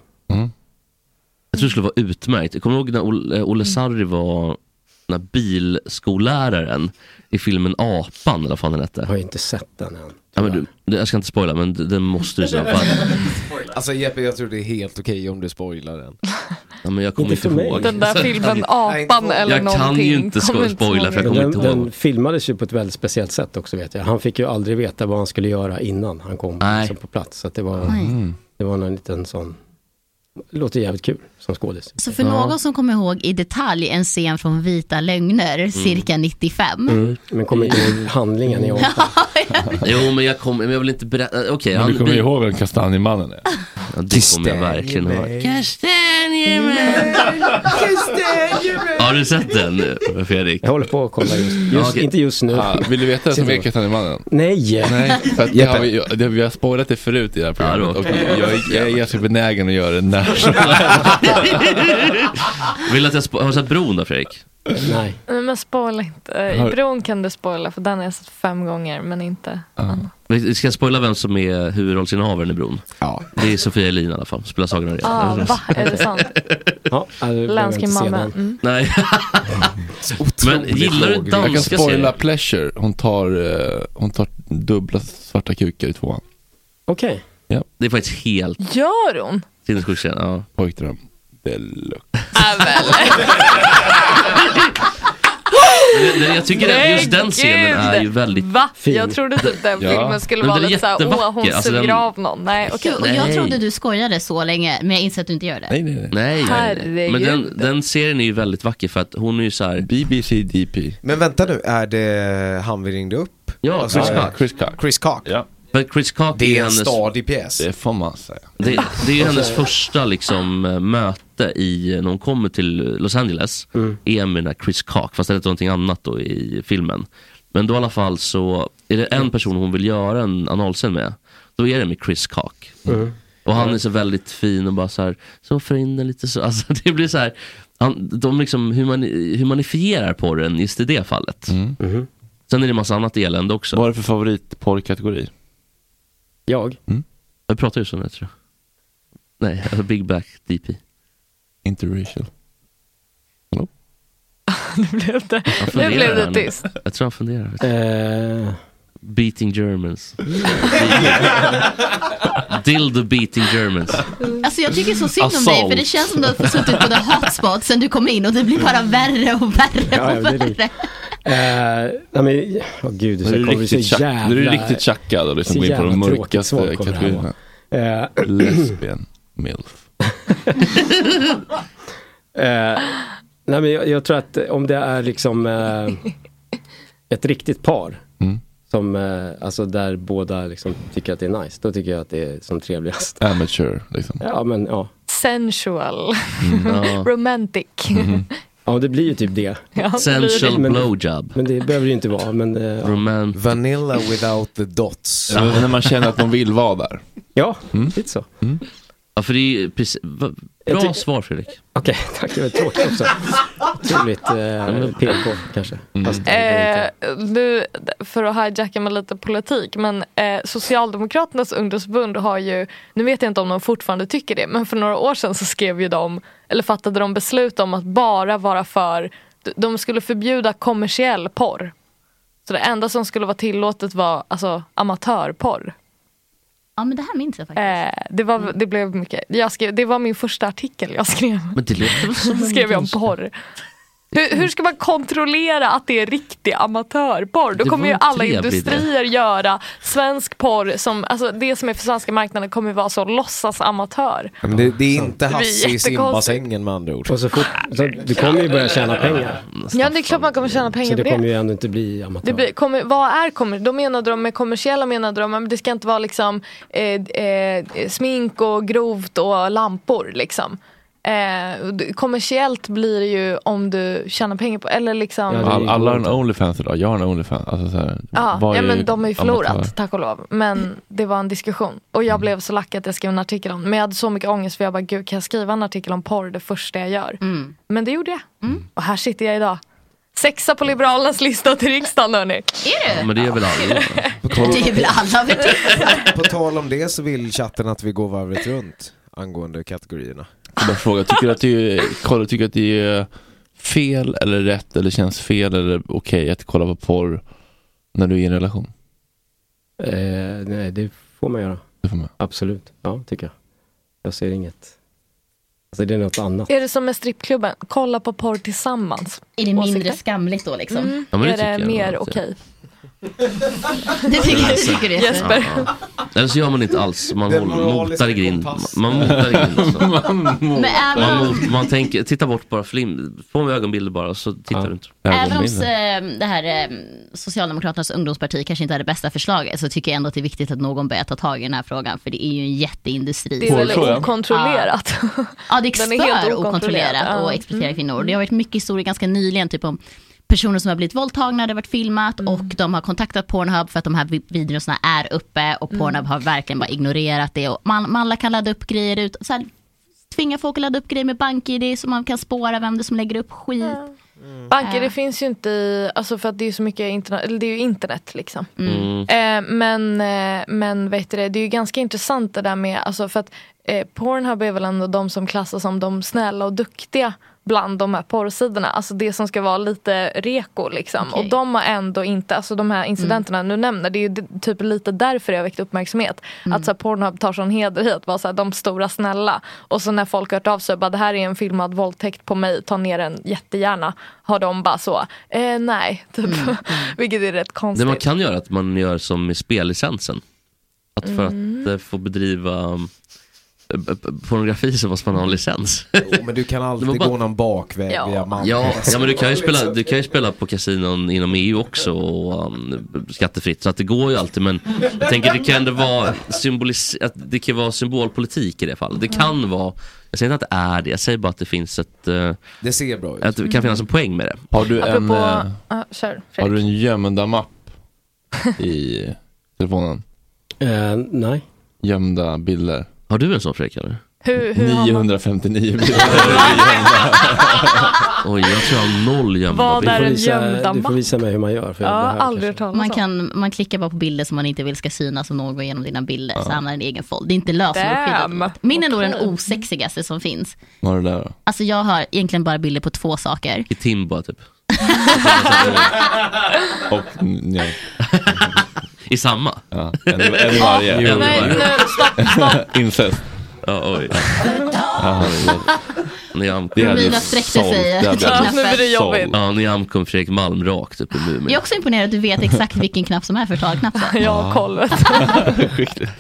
Speaker 12: Jag tror det skulle vara utmärkt. Kommer du ihåg när Olle, eh, Olle Sarri var den här bilskolläraren i filmen Apan eller vad fan den hette? Jag
Speaker 16: har inte sett den än.
Speaker 12: Ja, men du, det- jag ska inte spoila men d- den måste du se i alla fall.
Speaker 3: Alltså Jeppe, jag tror det är helt okej om du spoilar den.
Speaker 12: Ja, men jag kommer inte, ihåg.
Speaker 13: Den där filmen Apan eller
Speaker 12: Jag kan
Speaker 13: någonting.
Speaker 12: ju inte
Speaker 13: Kommer så många-
Speaker 12: spoila,
Speaker 16: Men
Speaker 12: för jag kommer
Speaker 16: den,
Speaker 12: inte ihåg.
Speaker 16: den filmades ju på ett väldigt speciellt sätt också vet jag. Han fick ju aldrig veta vad han skulle göra innan han kom liksom, på plats. Så att det var,
Speaker 5: Nej.
Speaker 16: det var en liten sån, låter jävligt kul som skådis.
Speaker 5: Så Alltså för någon som kommer ihåg i detalj en scen från Vita lögner
Speaker 12: Mm.
Speaker 5: cirka 95.
Speaker 16: Mm. Men kommer inte ihåg handlingen i år.
Speaker 12: Jo men jag kommer, men jag vill inte berätta, okej.
Speaker 1: Men du kommer ihåg vem kastanjemannen är?
Speaker 12: Ja, det kommer jag verkligen ihåg. Har du sett den eh, Fredrik?
Speaker 16: Jag håller på att kolla just, just
Speaker 12: Ja, okej.
Speaker 16: inte just nu.
Speaker 12: Ja,
Speaker 1: Vill du veta vem som är kastanjemannen?
Speaker 16: Nej!
Speaker 1: Nej, för att det har vi, det, vi har spoilat det förut i det här programmet och jag, jag är ganska benägen att göra det när som
Speaker 12: Vill du att jag spo- har du sett Bron då Fredrik?
Speaker 16: Nej.
Speaker 13: Nej, men spoila inte.
Speaker 12: Har-
Speaker 13: I bron kan du spoila för den har jag sett fem gånger men inte.
Speaker 12: Vi ska jag spoila vem som är huvudrollsinnehavaren i Bron?
Speaker 16: Ja.
Speaker 12: Det är Sofia Elin i alla fall, spelar Sagan om
Speaker 13: Ah, va? Är det sant?
Speaker 16: Ja,
Speaker 13: Länskim Malmö. Mm.
Speaker 12: Nej. Men gillar du
Speaker 1: Jag kan
Speaker 12: danska
Speaker 1: spoila
Speaker 12: serier?
Speaker 1: Pleasure. Hon tar, eh, hon tar dubbla svarta kukar i tvåan.
Speaker 16: Okej.
Speaker 1: Ja.
Speaker 12: Det är faktiskt helt
Speaker 13: Gör hon?
Speaker 12: sinnessjukt sen, ja.
Speaker 1: Pojkdröm deluxe.
Speaker 12: Men, men jag tycker att just den scenen är ju väldigt
Speaker 13: Va? Jag trodde typ den
Speaker 12: Ja.
Speaker 13: filmen skulle
Speaker 12: Men
Speaker 13: vara
Speaker 12: den är
Speaker 13: lite såhär, åh hon
Speaker 12: jättevacker. Alltså,
Speaker 13: suger
Speaker 12: den-
Speaker 13: av någon. Nej, okej.
Speaker 5: Och jag trodde du skojade så länge, men jag inser att du inte gör det.
Speaker 1: nej, nej.
Speaker 12: Nej, nej, nej.
Speaker 5: Herregud.
Speaker 12: Men den, den serien är ju väldigt vacker för att hon är ju såhär
Speaker 1: BBC DP
Speaker 3: Men vänta nu, är det han vi ringde upp?
Speaker 12: Ja, Chris Cock.
Speaker 1: Chris Cock.
Speaker 3: Chris Cock.
Speaker 1: Ja.
Speaker 12: Men Chris Cock
Speaker 3: Det är en
Speaker 12: hennes,
Speaker 3: stadig pjäs. Alltså-
Speaker 1: Det får man säga.
Speaker 12: det, det är ju hennes första liksom eh, möte i, när hon kommer till Los Angeles,
Speaker 3: Mm.
Speaker 12: är med den här Chris Cock, fast det är någonting annat då i filmen. Men då i alla fall så är det en person hon vill göra en analscen med, då är det med Chris Cock.
Speaker 16: Mm.
Speaker 12: Och han är så väldigt fin och bara så här, så för in den lite så. Alltså, det blir så här, han, de liksom humani- humanifierar porren just i det fallet. Sen är det massa annat elände också. Mm. Vad är det för favoritporrkategori?
Speaker 16: Jag?
Speaker 12: Mm. Jag pratar ju så nu tror jag. Nej, alltså Big Back DP. Interracial.
Speaker 13: Nu blev det, nu
Speaker 12: funderar
Speaker 13: blev det
Speaker 12: han.
Speaker 13: tyst.
Speaker 12: Jag tror han funderar. Beating Germans. Dildo beating Germans.
Speaker 5: Alltså jag tycker så synd om dig
Speaker 12: Assault.
Speaker 5: för det känns som du har suttit på the hotspot sen du kom in och det blir bara värre och
Speaker 16: Ja,
Speaker 5: värre
Speaker 16: ja,
Speaker 5: och
Speaker 16: det är
Speaker 5: värre.
Speaker 16: Eh, nej men, åh gud,
Speaker 1: Nu är
Speaker 16: det
Speaker 1: du
Speaker 16: kommer så
Speaker 1: riktigt
Speaker 16: jävla...
Speaker 1: chack- nu är du riktigt chackad och liksom
Speaker 16: så
Speaker 1: går in på de
Speaker 16: jävla tråkigt
Speaker 1: mörkaste
Speaker 16: svar kommer det här
Speaker 1: kategorierna.
Speaker 16: vara. Eh,
Speaker 1: Lesbian milf.
Speaker 16: Eh, nej men jag, jag tror att om det är liksom eh, ett riktigt par.
Speaker 3: Mm.
Speaker 16: Som, eh, alltså där båda liksom tycker att det är nice. Då tycker jag att det är som trevligast.
Speaker 1: Amateur liksom.
Speaker 16: Ja men ja.
Speaker 13: Sensual.
Speaker 16: Mm, ja. Mm-hmm.
Speaker 13: Romantic.
Speaker 3: Mm-hmm.
Speaker 16: Ja det blir ju typ det.
Speaker 13: Ja, det blir det. Sensual
Speaker 12: blowjob.
Speaker 16: Men det behöver det ju inte vara. Men, eh, ja.
Speaker 3: Vanilla without the dots.
Speaker 12: Ja, men när man känner att de
Speaker 1: vill vara där. Mm.
Speaker 16: Ja, lite så.
Speaker 12: Ja, för det är ju precis, va-
Speaker 16: Jag
Speaker 12: bra
Speaker 16: tycker-
Speaker 12: svar Fredrik.
Speaker 16: Okej, tack. Det var tråkigt också. Otroligt eh, PK kanske.
Speaker 12: Mm.
Speaker 16: Fast,
Speaker 13: Eh, nu, för att hijacka med lite politik, men eh, Socialdemokraternas ungdomsförbund har ju, nu vet jag inte om de fortfarande tycker det, men för några år sedan så skrev ju de, eller fattade de beslut om att bara vara för, de skulle förbjuda kommersiell porr. Så det enda som skulle vara tillåtet var alltså amatörporr.
Speaker 5: Ja men det här minns jag faktiskt. Mm.
Speaker 13: Eh, det, var, det blev mycket, jag skrev, det var min första artikel jag skrev.
Speaker 12: Men det låter väl som en
Speaker 13: Mm. skrev jag om
Speaker 12: liten-
Speaker 13: porr. Hur, hur ska man kontrollera att det är riktig amatörporr? Då
Speaker 12: Det
Speaker 13: kommer
Speaker 12: var
Speaker 13: ju
Speaker 12: en
Speaker 13: alla
Speaker 12: trevlig
Speaker 13: industrier göra svensk porr som, alltså det som är för svenska marknaden kommer ju vara så låtsas amatör.
Speaker 3: Ja, men det, det är inte
Speaker 13: Det blir
Speaker 3: Hasse i
Speaker 13: jättekonstigt.
Speaker 3: simbassängen med andra ord.
Speaker 16: Och så fort, så du kommer ju börja tjäna pengar.
Speaker 13: Ja det är klart man kommer tjäna
Speaker 16: Så
Speaker 13: pengar på
Speaker 16: det
Speaker 13: det.
Speaker 16: kommer ju ändå inte bli amatör.
Speaker 13: Det blir, kommer, vad är kommer, då menade de med kommersiella menade de, men det ska inte vara liksom eh, eh, smink och grovt och lampor liksom. Eh, och det- kommersiellt blir det ju om du tjänar pengar på, eller liksom
Speaker 1: All, alla har en Onlyfans idag, jag har en Onlyfans. Alltså, så här,
Speaker 13: Ja,
Speaker 1: vad
Speaker 13: ja
Speaker 1: är
Speaker 13: men de har ju förlorat
Speaker 1: amatör?
Speaker 13: tack och lov.
Speaker 12: Mm.
Speaker 13: Men det var en diskussion. Och jag blev så lack att jag skrev en artikel om det. Men jag hade så mycket ångest för jag bara, gud kan jag skriva en artikel om porr det första jag gör?
Speaker 12: Mm.
Speaker 13: Men det gjorde jag. Och här sitter jag idag. Sexa på Liberalernas lista till riksdagen hörni.
Speaker 5: Är
Speaker 12: Ja, men det är väl alla.
Speaker 5: Det är väl alla vet du.
Speaker 3: På tal om det så vill chatten att vi går varvet runt angående kategorierna.
Speaker 1: Jag bara frågar, tycker du att det är, kolla, tycker du att det är fel eller rätt eller känns fel eller okej att kolla på porr när du är i en relation?
Speaker 16: Eh, nej, det får man göra. Absolut, ja tycker jag. Jag ser inget. Alltså det är något annat.
Speaker 13: Är det som med strippklubben, kolla på porr tillsammans.
Speaker 5: Är det mindre skamligt då liksom?
Speaker 13: Mm.
Speaker 12: Ja, men det
Speaker 13: är det
Speaker 12: tycker jag
Speaker 13: mer
Speaker 12: nog att det är.
Speaker 13: okej?
Speaker 5: Det tycker jag tycker det.
Speaker 13: Mm. Jesper.
Speaker 12: Alltså. Ja, ja. Eller så gör man inte alls, man
Speaker 5: Den
Speaker 12: håller,
Speaker 5: moraliska
Speaker 12: motar i grind. Man motar i grind. alltså.
Speaker 16: Mm.
Speaker 5: Men även
Speaker 12: Man,
Speaker 5: om,
Speaker 12: mot, man tänker, titta bort bara, flim, få med ögonbilder bara och så tittar du inte.
Speaker 5: även om eh, det här eh, Socialdemokraternas ungdomsparti kanske inte är det bästa förslaget så tycker jag ändå att det är viktigt att någon börjar ta tag i den här frågan för det är ju en jätteindustri.
Speaker 13: Det är väldigt okontrollerat.
Speaker 5: Ja, det
Speaker 13: Den är helt
Speaker 5: extör
Speaker 13: okontrollerad, ja. Mm.
Speaker 5: okontrollerat och exploaterar kvinnor. Och Det har varit mycket historier ganska nyligen, typ om personer som har blivit våldtagna, det har varit filmat
Speaker 13: Mm.
Speaker 5: och de har kontaktat Pornhub för att de här vi- videorna är uppe
Speaker 13: Mm.
Speaker 5: och Pornhub har verkligen bara ignorerat det. Och man, man alla kan ladda upp grejer ut, så här, tvinga folk att ladda upp grejer med bank-id så man kan spåra vem det är som lägger upp skit. Eh.
Speaker 13: Banker det finns ju inte i, alltså för att det är ju så mycket internet, eller det är ju internet liksom.
Speaker 5: Mm.
Speaker 13: Eh, men, eh, men vet du det, det är ju ganska intressant det där med, alltså för att eh, Pornhub är väl ändå de som klassas som de snälla och duktiga bland de här porrsidorna, alltså det som ska vara lite reko liksom. Och de har ändå inte, alltså de här incidenterna du nämner, det är ju d- typ lite därför jag väckt uppmärksamhet. Att så här, Pornhub tar sån heder i att vara så här, de stora snälla. Och så när folk har hört av sig bara det här är en filmad våldtäkt på mig, ta ner den jättegärna. Har de bara så, eh, nej, typ. Vilket är rätt
Speaker 12: Det
Speaker 13: konstigt.
Speaker 12: man kan göra är att man gör som med spellicensen. Att för
Speaker 13: Mm.
Speaker 12: att eh, få bedriva eh, b- b- pornografi så måste man ha en licens.
Speaker 3: Jo, men du kan alltid
Speaker 12: bara-
Speaker 3: gå någon bakväg via man.
Speaker 12: Ja, ja men du kan, ju spela,
Speaker 3: liksom.
Speaker 12: du kan ju spela på kasinon inom EU också och um, skattefritt. Så att det går ju alltid. Men jag tänker det kan ändå vara, symbolis- att det kan vara symbolpolitik i det fallet. Det kan vara, jag säger inte att det är det, jag säger bara att det finns ett... eh,
Speaker 3: det ser bra ut.
Speaker 12: Att det kan finnas en poäng med det.
Speaker 1: Har du en,
Speaker 13: Apropå,
Speaker 1: eh,
Speaker 13: ja, kör
Speaker 1: har
Speaker 13: Fredrik.
Speaker 1: du en gömda mapp i telefonen?
Speaker 16: Eh, nej.
Speaker 1: Gömda bilder?
Speaker 12: Har du en sån Fredrik eller?
Speaker 13: Hur, hur har man,
Speaker 1: 959 bilar.
Speaker 12: Oj, jag tror jag har noll gömda
Speaker 13: Vad
Speaker 12: bilder.
Speaker 13: är en gömda
Speaker 12: du
Speaker 13: mapp?
Speaker 12: får
Speaker 16: visa mig hur man gör.
Speaker 13: Ja, aldrig hört talas
Speaker 5: Man,
Speaker 13: om.
Speaker 5: kan, man klickar bara på bilder som man inte vill ska synas om någon går igenom dina bilder så
Speaker 1: Ja.
Speaker 5: hamnar den i en egen fold. Det är inte lösenord. Min är nog den osexigaste som finns.
Speaker 1: Vad är det där då?
Speaker 5: Alltså jag har egentligen bara bilder på två saker.
Speaker 12: I Timba typ.
Speaker 1: Och nej.
Speaker 12: I samma?
Speaker 1: Ja, en, en i varje.
Speaker 12: En i varje.
Speaker 1: Incest.
Speaker 12: Ja, oj.
Speaker 1: Ja,
Speaker 12: Nyamko.
Speaker 1: Det hade
Speaker 5: Mina sträckte sig till knappen. Ja, nu blir det jobbigt.
Speaker 12: Ja, Nyamko och Fredrik Malm rakt upp i Mumin.
Speaker 5: Jag är också imponerad att du vet exakt vilken knapp som är förtalknappen.
Speaker 12: Jag har koll, vet
Speaker 1: Skickligt.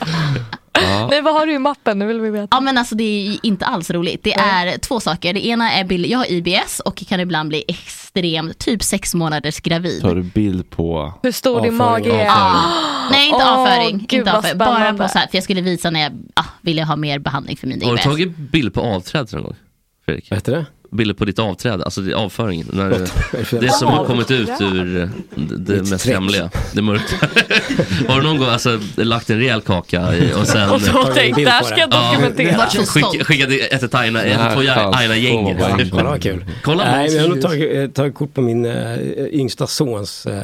Speaker 13: Nej, vad har du i mappen? Nu vill vi veta.
Speaker 5: Ja men alltså det är ju inte alls roligt. Det är två saker. Det ena är bild, jag har IBS och kan ibland bli extremt, typ sex månaders gravid.
Speaker 1: Tar du bild på...
Speaker 13: Hur stor din
Speaker 1: Avföring,
Speaker 13: mage är.
Speaker 1: avföring.
Speaker 5: Nej inte
Speaker 13: Åh,
Speaker 5: avföring,
Speaker 13: gud,
Speaker 5: inte
Speaker 13: vad
Speaker 5: avföring. bara
Speaker 13: spännande.
Speaker 5: på så här, för jag skulle visa när jag ah, ville ha mer behandling för min IBS.
Speaker 12: Har du tagit bild på avträdet någon gång? Fredrik? Eh, Vad
Speaker 16: heter det?
Speaker 12: Bilder på ditt avträde, alltså det- avföringen. När
Speaker 16: Vad är det för
Speaker 12: det som har kommit ut
Speaker 16: avträd?
Speaker 12: ur eh, det, det
Speaker 16: Mitt
Speaker 12: mest
Speaker 16: streck.
Speaker 12: hemliga, det mörka. har du någon gång alltså, lagt en rejäl kaka i, och sen...
Speaker 13: Och då
Speaker 12: Tagit en
Speaker 13: tänkt,
Speaker 12: bild
Speaker 13: "Det här
Speaker 12: på
Speaker 13: ska
Speaker 12: det?"
Speaker 13: jag dokumentera.
Speaker 12: Ja.
Speaker 13: Vart så
Speaker 12: Skicka,
Speaker 13: stolt.
Speaker 12: skicka det- ett till Aina,
Speaker 16: Det här
Speaker 12: ett till
Speaker 16: fanns.
Speaker 12: Aina-gänget.
Speaker 16: Åh, vad bra. Vad kul.
Speaker 12: Kolla.
Speaker 16: Nej, men jag har nog tagit, eh, tagit kort på min eh, yngsta sons eh,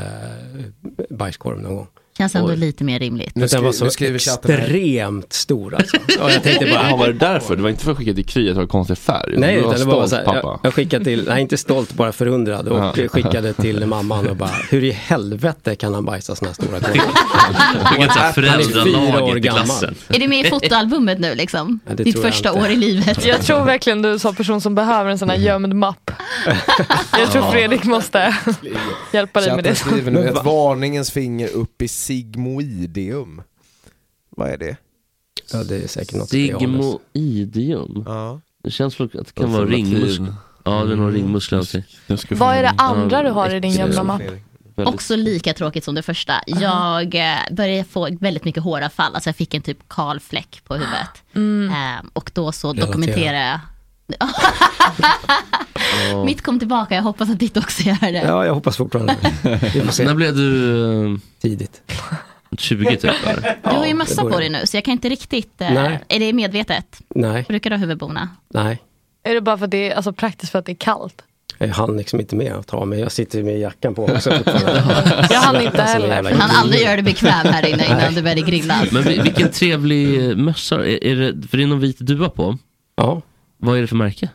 Speaker 16: bajskorv någon gång.
Speaker 5: Känns ändå
Speaker 16: Oj.
Speaker 5: lite mer rimligt.
Speaker 16: Men den var så extremt stor alltså. Och jag tänkte bara,
Speaker 1: Jaha, var det därför? Det var inte för att skicka till Kry att det var konstig färg?
Speaker 16: Nej,
Speaker 1: du
Speaker 16: utan det var bara
Speaker 1: stolt,
Speaker 16: så här, jag,
Speaker 1: pappa.
Speaker 16: jag skickade till, nej inte stolt, bara förundrad och
Speaker 1: Ja.
Speaker 16: skickade till mamman och bara, hur i helvete kan han bajsa sådana här stora korvar?
Speaker 12: Vilket så här
Speaker 16: Han är fyra år
Speaker 12: föräldralaget i
Speaker 16: gammal.
Speaker 12: klassen.
Speaker 5: Är du med i fotoalbumet nu liksom?
Speaker 16: Ja, det
Speaker 5: Ditt
Speaker 16: tror jag
Speaker 5: första
Speaker 16: inte.
Speaker 5: år i livet.
Speaker 13: Jag tror verkligen du är en sån person som behöver en sån här gömd mapp. Jag tror
Speaker 3: Ja.
Speaker 13: Fredrik måste hjälpa dig med
Speaker 3: Chatten
Speaker 13: det.
Speaker 3: skriver nu
Speaker 13: Men
Speaker 3: ett
Speaker 13: va-
Speaker 3: varningens finger upp i sigmoideum. Vad är det?
Speaker 16: Ja, det är säkert något
Speaker 12: Sigmoidium. Det känns väl att det kan
Speaker 16: Alltså,
Speaker 12: vara ringmuskler. Mm.
Speaker 16: latin.
Speaker 12: Ja, det är någon ringmuskel. alltid.
Speaker 13: Vad är det andra du har i din gömda mapp?
Speaker 5: Också lika tråkigt som det första. Jag eh, började få väldigt mycket håravfall, alltså jag fick en typ kal fläck på huvudet.
Speaker 13: Mm.
Speaker 5: Ehm, och då så
Speaker 13: Relatera.
Speaker 5: dokumenterade jag. Mitt kom tillbaka, jag hoppas att ditt också gör det.
Speaker 16: Ja, jag hoppas fortfarande. Vi får se.
Speaker 12: När blev du...
Speaker 16: Tidigt.
Speaker 12: 20 typ eller?
Speaker 5: Du har ju mössa på dig nu, så jag kan inte riktigt... eh,
Speaker 16: Nej.
Speaker 5: Är det medvetet?
Speaker 16: Nej,
Speaker 5: Brukar du ha huvudbona?
Speaker 16: nej.
Speaker 13: Är det bara för att det är alltså, praktiskt för att det är kallt?
Speaker 16: Jag hann liksom inte med att ta mig. Jag sitter ju med jackan på också fortfarande.
Speaker 13: Jag hann inte
Speaker 16: Alltså,
Speaker 13: heller.
Speaker 16: jävla-
Speaker 5: Han aldrig gör det bekväm här inne innan du började grilla.
Speaker 12: Men vi- vilken trevlig mössa. Är, är det, för det är någon vit duva på?
Speaker 16: Ja.
Speaker 12: Vad är det för märke?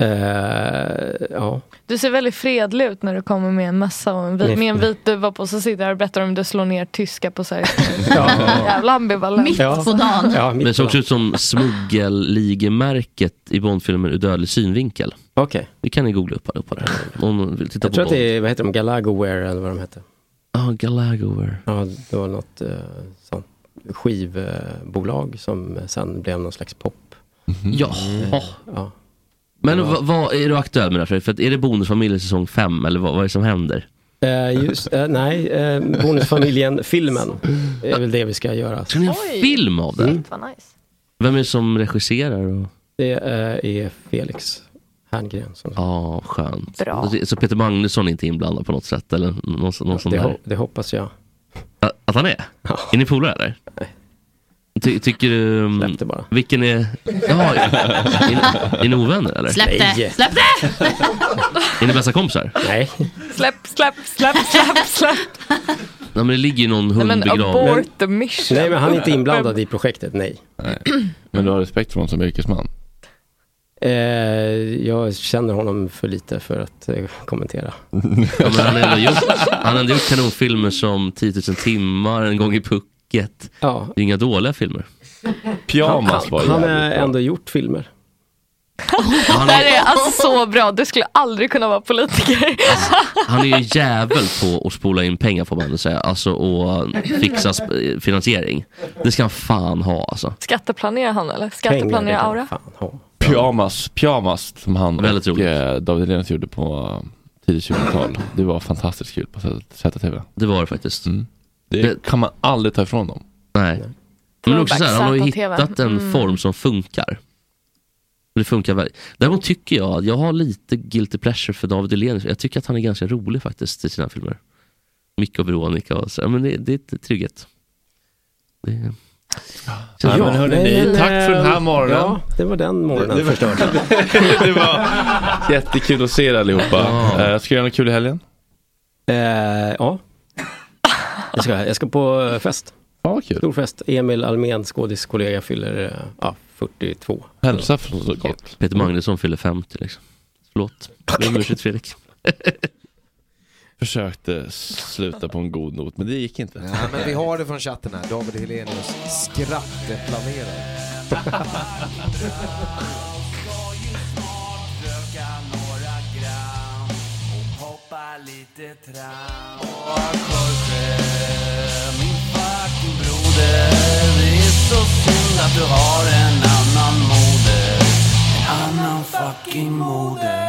Speaker 16: Eh, ja.
Speaker 13: Du ser väldigt fredlig ut när du kommer med en mössa och en, vi- med en vit duva på. Så sitter jag och berättar om du slår ner tyska på Sveriges Jävla ambivalent.
Speaker 12: Men det såg också ut som smuggelligemärket i Bondfilmen Ur dödlig synvinkel.
Speaker 16: Okej.
Speaker 12: Det kan ni googla upp allihopa det här. Om någon vill titta
Speaker 16: Jag
Speaker 12: på
Speaker 16: tror att
Speaker 12: Bond.
Speaker 16: det är, vad heter de, Galagoware eller vad de hette.
Speaker 12: Ja, Galagoware.
Speaker 16: Ja, det var något eh, sånt skivbolag som sen blev någon slags pop.
Speaker 12: Mhm.
Speaker 16: Eh,
Speaker 12: Jaha.
Speaker 16: Ja.
Speaker 12: Men
Speaker 16: Ja.
Speaker 12: vad vad- är du aktuell med det här Fredrik? För att är det Bonusfamiljen säsong 5 eller vad, vad är det som händer?
Speaker 16: Eh, just, eh, nej, eh, Bonusfamiljen-filmen är väl det vi ska göra. Mm.
Speaker 12: Ska ni ha en film av det?
Speaker 13: Vad nice.
Speaker 12: Vem är det som regisserar? Och...
Speaker 16: Det eh, är Felix Herngren. Som
Speaker 12: Ja, Ah, skönt.
Speaker 16: Bra.
Speaker 12: Så Peter Magnusson är inte inblandad på något sätt? Eller någon, sån- någon sån
Speaker 16: det,
Speaker 12: där.
Speaker 16: hop- det hoppas jag.
Speaker 12: Att- Att han är? Är ni polare eller? Ty, tycker du... um, Vilken är... Jaha, är, ni- är ni ovänner eller?
Speaker 5: Släpp det! Släpp det!
Speaker 12: Är ni bästa kompisar?
Speaker 16: Nej.
Speaker 13: Släpp, släpp, släpp, släpp, släpp.
Speaker 12: Nej men det ligger ju någon
Speaker 13: Nej,
Speaker 12: hund
Speaker 13: men
Speaker 12: begravd.
Speaker 13: abort the mission.
Speaker 16: Nej, men han är inte inblandad i projektet, nej.
Speaker 1: Nej. Men du har respekt för honom som yrkesman?
Speaker 16: Eh, jag känner honom för lite för att eh, kommentera.
Speaker 12: Ja, men han har ändå gjort, han har ändå gjort kanonfilmer som 10 000 timmar, En gång i pucket.
Speaker 16: Ja.
Speaker 12: Det är inga dåliga filmer.
Speaker 16: han, han, han har ändå gjort filmer.
Speaker 13: Det här är alltså så bra. Du skulle aldrig kunna vara politiker.
Speaker 12: Han är ju jävel på att spola in pengar får man ändå säga. Alltså och fixa sp- finansiering. Det ska han fan ha alltså.
Speaker 13: Skatteplanerar han eller? Skatteplanerar Aura?
Speaker 1: Pyjamas, pyjamas som han och eh, David Hellenius gjorde på eh, tidigt 20-tal. Det var fantastiskt kul på ZTV.
Speaker 12: Det var det faktiskt.
Speaker 1: Mm. Det, kan man aldrig ta ifrån dem.
Speaker 12: Nej. Men också så här, han har ju
Speaker 13: Throwback
Speaker 12: hittat en
Speaker 13: ZTV. Mm.
Speaker 12: form som funkar. Det funkar väl. Däremot tycker jag att jag har lite guilty pleasure för David Hellenius. Jag tycker att han är ganska rolig faktiskt i sina filmer. Micke och Veronica och så. Ja, Men det, det är ett trygghet. Det,
Speaker 1: Så ja, men hörni,
Speaker 16: men,
Speaker 1: tack för den här
Speaker 16: eh,
Speaker 1: morgonen.
Speaker 16: Ja, det var den morgonen.
Speaker 1: Det- det- det var jättekul att se er allihopa. Eh, ska du göra något kul i helgen?
Speaker 16: Eh, ja. Jag ska, jag ska på eh, fest.
Speaker 1: Ja, kul.
Speaker 16: Stor fest. Emil Almén, skådiskollega, fyller eh, ja, 42.
Speaker 12: Hälsa Peter Magnusson fyller 50 liksom. Förlåt. Jag ber om ursäkt Fredrik.
Speaker 1: Försökte sluta på en god not, men det gick inte.
Speaker 3: Nej, men vi har det från chatten här. David Helenius skratteplanerare.
Speaker 10: Det är så synd att du har en annan moder. En annan fucking moder.